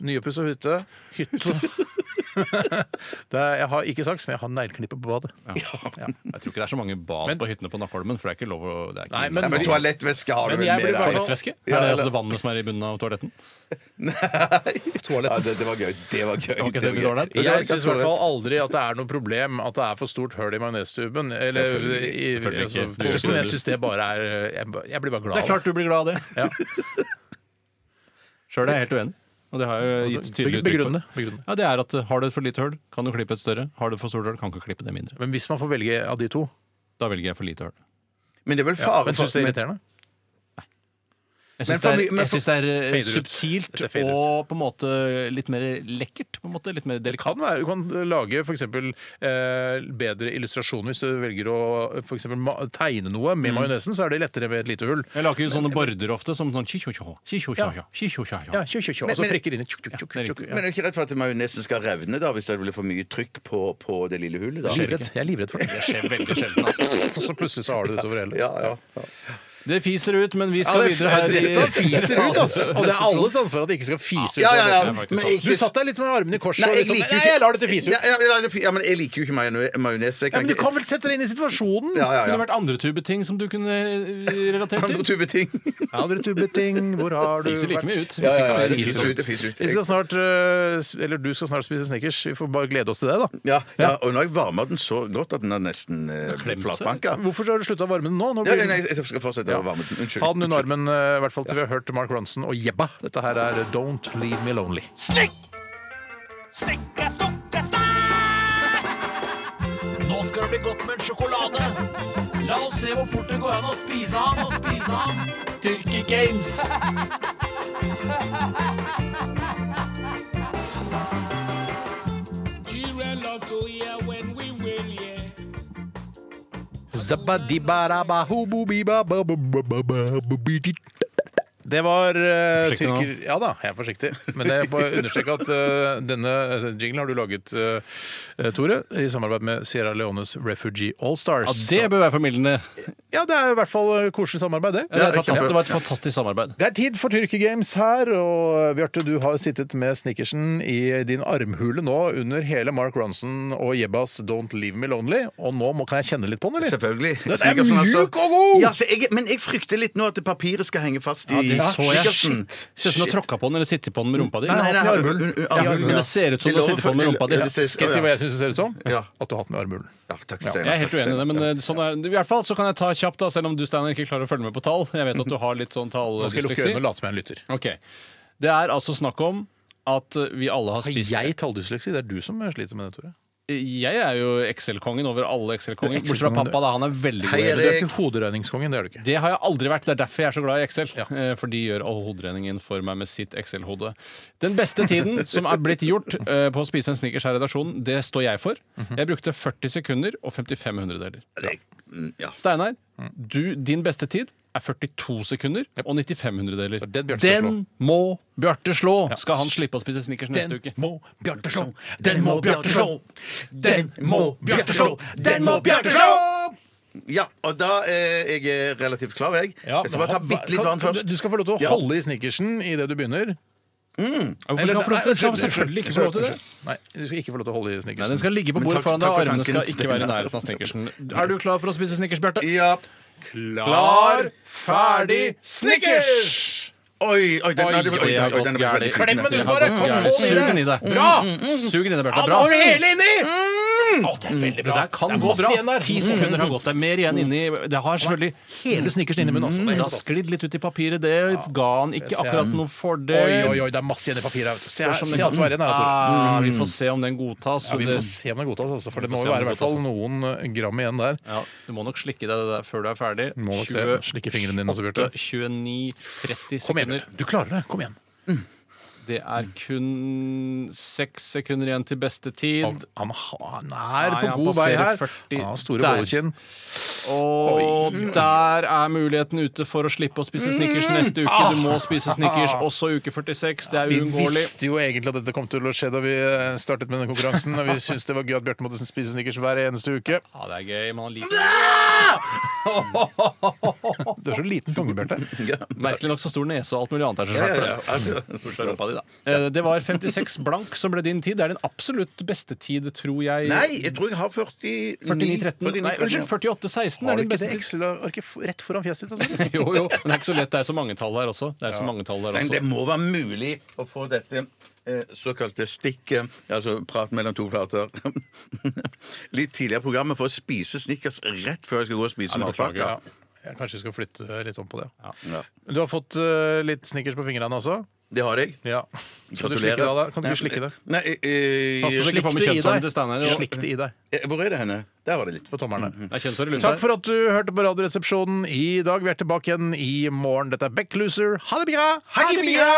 Speaker 1: Nyoppussa hytte. Hytte. (laughs) Det er, jeg har ikke saks, men jeg har negleknippe på badet.
Speaker 2: Jeg tror ikke det er så mange bad på hyttene på Nakholmen, for det er ikke lov å det er ikke
Speaker 1: Nei, men-
Speaker 3: Nei, men toalettveske har du
Speaker 1: Men
Speaker 3: vel
Speaker 1: jeg
Speaker 3: med
Speaker 1: blir bare-
Speaker 3: deg?
Speaker 2: Toalettvæske?
Speaker 3: Ja,
Speaker 2: er det altså
Speaker 3: eller-
Speaker 2: det vannet som er i bunnen av toaletten?
Speaker 1: Toalett.
Speaker 3: Ja, det, det var gøy. Det var gøy.
Speaker 2: var ikke det vi var der.
Speaker 3: Det var
Speaker 1: Jeg syns i hvert
Speaker 3: ganske
Speaker 1: fall aldri at det er noe problem at det er for stort høl i majonestuben. Eller
Speaker 3: Selvfølgelig.
Speaker 1: i- i- altså,
Speaker 2: Selvfølgelig ikke. Du gjør ikke
Speaker 1: men Jeg
Speaker 2: det.
Speaker 1: syns det bare er Jeg, ba- jeg blir bare glad.
Speaker 2: Det er klart du blir glad av det. Sjøl er jeg helt uenig. Og det har jeg jo gitt tydelig uttrykk
Speaker 1: Begrunne.
Speaker 2: for.
Speaker 1: Begrunne.
Speaker 2: Ja, det er at eh, Har du et for lite hull, kan du klippe et større. Har du et for stort hull, kan du ikke klippe det mindre.
Speaker 1: Men hvis man får velge av de to
Speaker 2: Da velger jeg for lite hull.
Speaker 3: Men det er vel fare
Speaker 1: Men
Speaker 3: for
Speaker 1: syns det er irriterende?
Speaker 2: Jeg
Speaker 3: Men
Speaker 2: syns
Speaker 3: for
Speaker 2: det er,
Speaker 3: mye- men
Speaker 2: jeg
Speaker 3: for-
Speaker 2: synes det er eh,
Speaker 1: Fader ut.
Speaker 2: subtilt
Speaker 1: Dette fader ut.
Speaker 2: og på en måte litt mer lekkert. På en måte litt mer
Speaker 1: Kan
Speaker 2: delikat.
Speaker 1: være, du kan lage f.eks. Eh, bedre illustrasjoner hvis du velger å for eksempel, ma tegne noe med majonesen. Så er det lettere ved et lite hull.
Speaker 2: Jeg lager jo sånne border ofte som sånn chi-cho-cho, chi-cho-cho,
Speaker 1: Ja,
Speaker 2: chi-cho-cho.
Speaker 1: tjo, tjo, tjo, og så
Speaker 3: men-
Speaker 1: prikker inn i tjo, tjo, tjo,
Speaker 2: Ja, det er
Speaker 1: tjo,
Speaker 2: riktig.
Speaker 1: tjo.
Speaker 3: Men er det ikke redd for at majonesen skal revne da, hvis det blir for mye trykk på, på det lille hullet? da?
Speaker 1: Livredd. Jeg er livredd for det. Det skjer veldig sjelden. (laughs) Og så plutselig så har du det utover hele.
Speaker 3: Ja, ja.
Speaker 2: Det fiser ut, men vi
Speaker 1: Ja,
Speaker 2: skal
Speaker 1: det
Speaker 2: videre her i
Speaker 1: dette fiser ut, altså. Og det er alles ansvar at det ikke skal fise ut.
Speaker 3: Ja, ja, ja.
Speaker 1: av dette.
Speaker 3: Men
Speaker 1: Du
Speaker 3: ikke-
Speaker 1: satt deg litt med armene i kors
Speaker 3: Nei,
Speaker 1: og
Speaker 3: jeg
Speaker 1: liksom,
Speaker 3: liker jo
Speaker 1: Nei, jeg lar dette fise ut.
Speaker 3: Ja, ja, ja, det- ja, men jeg liker jo ikke majone- majones. jeg
Speaker 1: Ja, men
Speaker 3: kan
Speaker 1: du
Speaker 3: ikke-
Speaker 1: kan vel sette deg inn i situasjonen? (laughs)
Speaker 3: Ja, ja,
Speaker 2: Det
Speaker 3: ja.
Speaker 2: kunne vært andre tubeting som du kunne eh, relatert
Speaker 3: Andre
Speaker 2: til.
Speaker 3: typer ting.
Speaker 1: Andre tubbeting, hvor har du
Speaker 2: Fiser like mye ut.
Speaker 3: Ja, ja, ja, det
Speaker 2: Fiser
Speaker 3: fiser
Speaker 2: ikke
Speaker 3: ut, det fiser ut.
Speaker 1: Vi skal snart, øh, s- eller du skal snart spise Snickers. Vi får bare glede oss til det, da.
Speaker 3: Ja, ja, og nå har jeg varma den så godt at den er nesten eh,
Speaker 2: klemt seg.
Speaker 3: flatbanka.
Speaker 1: Hvorfor har du slutta å varme den nå? nå
Speaker 3: Ja,
Speaker 1: blir
Speaker 3: ja,
Speaker 1: den-
Speaker 3: nei, jeg skal fortsette å varme den. Unnskyld.
Speaker 1: Ha den under armen, øh, i hvert fall til vi har hørt Mark Ronson og Jebba. Dette her er Don't Leave Me Lonely.
Speaker 4: Snikk! Snikka, sukka, Nå skal det bli godt med en sjokolade. La oss se hvor fort det går an å spise han og spise han. Tyrki Games.
Speaker 1: Zabadibarabahububibababubitit. Det var eh,
Speaker 2: Forsiktig nå.
Speaker 1: tyrker... Ja da, jeg er forsiktig. Men jeg må understreke at eh, denne jinglen har du laget, eh, Tore, i samarbeid med Sierra Leones Refugee Allstars.
Speaker 2: Ja, det bør være formildende.
Speaker 1: ja, det er i hvert fall eh, koselig samarbeid, det.
Speaker 2: Det, er fantastisk- det var et fantastisk samarbeid.
Speaker 1: Det er tid for Tyrki Games her, og eh, Bjarte, du har sittet med snickersen i din armhule nå under hele Mark Ronson og Jebbas Don't Leave Me Lonely, og nå må, kan jeg kjenne litt på den, eller?
Speaker 3: Selvfølgelig.
Speaker 1: Den er
Speaker 3: Snickers, altså.
Speaker 1: mjuk og god!
Speaker 3: Ja, så jeg, men jeg frykter litt nå at papiret skal henge fast i
Speaker 2: det så jeg.
Speaker 3: snickersen.
Speaker 2: Ser ut som du har tråkka på den eller sittet på den med rumpa di.
Speaker 3: Nei, nei,
Speaker 1: i
Speaker 3: nei, un-
Speaker 1: armhulen.
Speaker 3: un- un-
Speaker 2: Ja,
Speaker 3: armhulen,
Speaker 2: men
Speaker 3: ja.
Speaker 2: det ser ut som
Speaker 3: Jeg
Speaker 2: du har
Speaker 3: lover
Speaker 2: sittet på den med
Speaker 3: for-
Speaker 2: rumpa di.
Speaker 3: Ja, det ser-
Speaker 1: Skal jeg si hva jeg syns det ser ut som?
Speaker 3: Ja.
Speaker 1: At du har hatt den i armhulen.
Speaker 3: Ja, takk, Steinar.
Speaker 2: Jeg er helt
Speaker 3: Takk,
Speaker 2: uenig i det, men
Speaker 3: Steinar.
Speaker 2: eh, sånn er, i hvert fall så kan jeg ta kjapt, da, selv om du Steiner, ikke klarer å følge med på tall. Jeg vet at du har litt
Speaker 1: Nå
Speaker 2: sånn
Speaker 1: skal jeg lukke
Speaker 2: talldyslexi.
Speaker 1: øynene og late som jeg er en lytter.
Speaker 2: Ok. Det er altså snakk om at eh, vi alle har
Speaker 1: Har
Speaker 2: spist
Speaker 1: jeg talldyslexi? Det er du som sliter med det, Tore.
Speaker 2: Jeg er jo Excel-kongen over alle Excel-konger.
Speaker 1: Excel-kongen,
Speaker 2: Bortsett fra pappa, da. Han er veldig god i
Speaker 3: Hei,
Speaker 1: Du er
Speaker 2: Excel.
Speaker 3: Erik.
Speaker 1: ikke hoderegningskongen, det er du ikke.
Speaker 2: Det har jeg aldri vært. Det er derfor jeg er så glad i Excel.
Speaker 1: Ja.
Speaker 2: Eh, For de gjør all hoderegningen for meg med sitt Excel-hode. Den beste tiden som er blitt gjort eh, på å spise en snickers her i redaksjonen, det står jeg for. Jeg brukte 40 sekunder og 55 hundredeler.
Speaker 3: Det- mm, Ja.
Speaker 2: Steinar, du, din beste tid er 42 sekunder og 95 hundredeler.
Speaker 1: Så den Bjarte skal
Speaker 2: Den må Bjarte slå! Skal han slippe å spise snickers neste uke?
Speaker 1: må Bjarte slå! Den må Bjarte slå! Den må Bjarte slå! Den må Bjarte slå!
Speaker 3: Ja, og da er jeg er relativt klar, jeg. jeg skal bare ta bitte litt vann først.
Speaker 1: Du skal få lov til å
Speaker 3: Ja.
Speaker 1: holde i snickersen idet du begynner.
Speaker 2: Hvorfor skal han få lov til det? Skal han selvfølgelig ikke få lov til det?
Speaker 1: Nei, du skal ikke få lov til å holde i
Speaker 2: Nei,
Speaker 1: snickersen.
Speaker 2: Den skal ligge på
Speaker 3: Men
Speaker 2: bordet
Speaker 3: takk-
Speaker 2: foran deg, og
Speaker 3: takk for
Speaker 2: armene
Speaker 3: tanken,
Speaker 2: skal ikke være i nærheten av snickersen. Er du klar for å spise snickers, Bjarte?
Speaker 3: Ja.
Speaker 2: Klar, ferdig, snickers!
Speaker 3: Oi, oi, den,
Speaker 2: Oi,
Speaker 3: oi, oi, oi, oi, den er veldig
Speaker 2: Klem
Speaker 3: flytende.
Speaker 2: den ut, bare!
Speaker 1: Mm,
Speaker 2: Kom,
Speaker 1: mm,
Speaker 2: få
Speaker 1: mm,
Speaker 2: Sug
Speaker 1: mm,
Speaker 2: den i deg. Bra! Sug den mm. i deg, Bjarte. Bra! Mm.
Speaker 1: inni! Å, det er veldig
Speaker 2: Det
Speaker 1: bra.
Speaker 2: der kan
Speaker 1: Det er
Speaker 2: gå
Speaker 1: masse
Speaker 2: bra.
Speaker 1: igjen der.
Speaker 2: Ti sekunder har gått. Det er mer igjen inni Det har selvfølgelig hele snickersen inni munnen. Altså. Det har sklidd litt ut i papiret. Det ga han ikke
Speaker 1: ser jeg.
Speaker 2: akkurat noe
Speaker 1: Oi,
Speaker 2: fordel.
Speaker 1: oi, oi, det er masse igjen i papiret. her, vet du. Se,
Speaker 2: Spørs
Speaker 1: her,
Speaker 2: om
Speaker 1: se
Speaker 2: den-
Speaker 1: alt som er igjen her, Tore.
Speaker 2: Ah, vi får se om den godtas.
Speaker 1: Ja, vi
Speaker 2: men
Speaker 1: får
Speaker 2: det-
Speaker 1: se om det godtas, altså, for det
Speaker 2: Vi
Speaker 1: må
Speaker 2: får se
Speaker 1: jo
Speaker 2: om
Speaker 1: være i
Speaker 2: det altså.
Speaker 1: hvert fall noen eh, gram igjen der.
Speaker 2: ja, du må nok slikke deg det der før du er ferdig.
Speaker 1: Må nok det. Slikke fingrene dine også, Bjarte.
Speaker 2: 29, 30
Speaker 1: Kom igjen,
Speaker 2: sekunder.
Speaker 1: Bjarte. Du klarer det. Kom igjen.
Speaker 2: Det er kun seks sekunder igjen til beste tid.
Speaker 1: Han, han, han er
Speaker 2: Nei,
Speaker 1: på
Speaker 2: han
Speaker 1: god vei her.
Speaker 2: passerer 40.
Speaker 1: Han har store
Speaker 2: Der.
Speaker 1: bollekinn.
Speaker 2: Og der er muligheten ute for å slippe å spise snickers
Speaker 1: Mm.
Speaker 2: neste uke. Du må spise snickers også uke 46. Det er
Speaker 1: Ah. Vi
Speaker 2: uunngåelig.
Speaker 1: visste jo egentlig at dette kom til å skje da vi eh, startet med denne konkurransen, (laughs) og vi syntes det var gøy at Bjarte måtte spise snickers hver eneste uke.
Speaker 2: Ja, det er gøy, men han liker
Speaker 1: Du har så liten tunge, (laughs) Bjarte.
Speaker 2: merkelig nok så stor nese og alt mulig annet er så
Speaker 3: Ja,
Speaker 2: svært.
Speaker 3: ja, ja.
Speaker 2: for
Speaker 3: Altså,
Speaker 2: den rumpa di, da. Eh, Det var 56 blank som ble din tid. Det er den absolutt beste tid, tror jeg.
Speaker 3: Nei, jeg tror jeg har 49
Speaker 2: 49-13. Nei, unnskyld, 48-16 er
Speaker 1: Har du ikke
Speaker 2: din
Speaker 1: det
Speaker 2: beste tid.
Speaker 1: Excel-arket rett foran fjeset ditt? altså?
Speaker 2: Jo, jo, men det er ikke så lett. Det er så mange tall her også. Det er så mange tall her
Speaker 3: (laughs) Men
Speaker 2: også.
Speaker 3: det må være mulig å få dette eh, såkalte stikket, altså prat mellom to plater, (laughs) litt tidligere i programmet for å spise snickers rett før jeg skal gå og spise matpakke.
Speaker 1: Jeg kanskje skal flytte litt om på det.
Speaker 3: Ja.
Speaker 1: Du har fått eh, litt snickers på fingrene også?
Speaker 3: Det har jeg.
Speaker 1: Ja. Kan du slikke det av
Speaker 3: Gratulerer.
Speaker 1: deg? Kan du ikke slikke det?
Speaker 3: Nei, eh,
Speaker 2: Pass på så
Speaker 3: eh,
Speaker 2: ikke får
Speaker 1: Slikk
Speaker 2: med
Speaker 1: det i
Speaker 2: kjønnshåret
Speaker 1: deg.
Speaker 2: til Steinar. og-
Speaker 1: Slikk det i deg
Speaker 3: eh, Hvor er det henne? Der var det litt.
Speaker 1: på tommelen.
Speaker 2: Nei, kjønnshåret i
Speaker 1: Takk
Speaker 2: lunta.
Speaker 1: for at du hørte på Radioresepsjonen i dag. Vi er tilbake igjen i morgen. Dette er Beckloser. Ha det bra!
Speaker 3: Hei, Bia!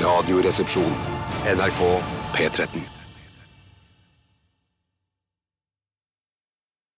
Speaker 7: Radioresepsjon. NRK P13.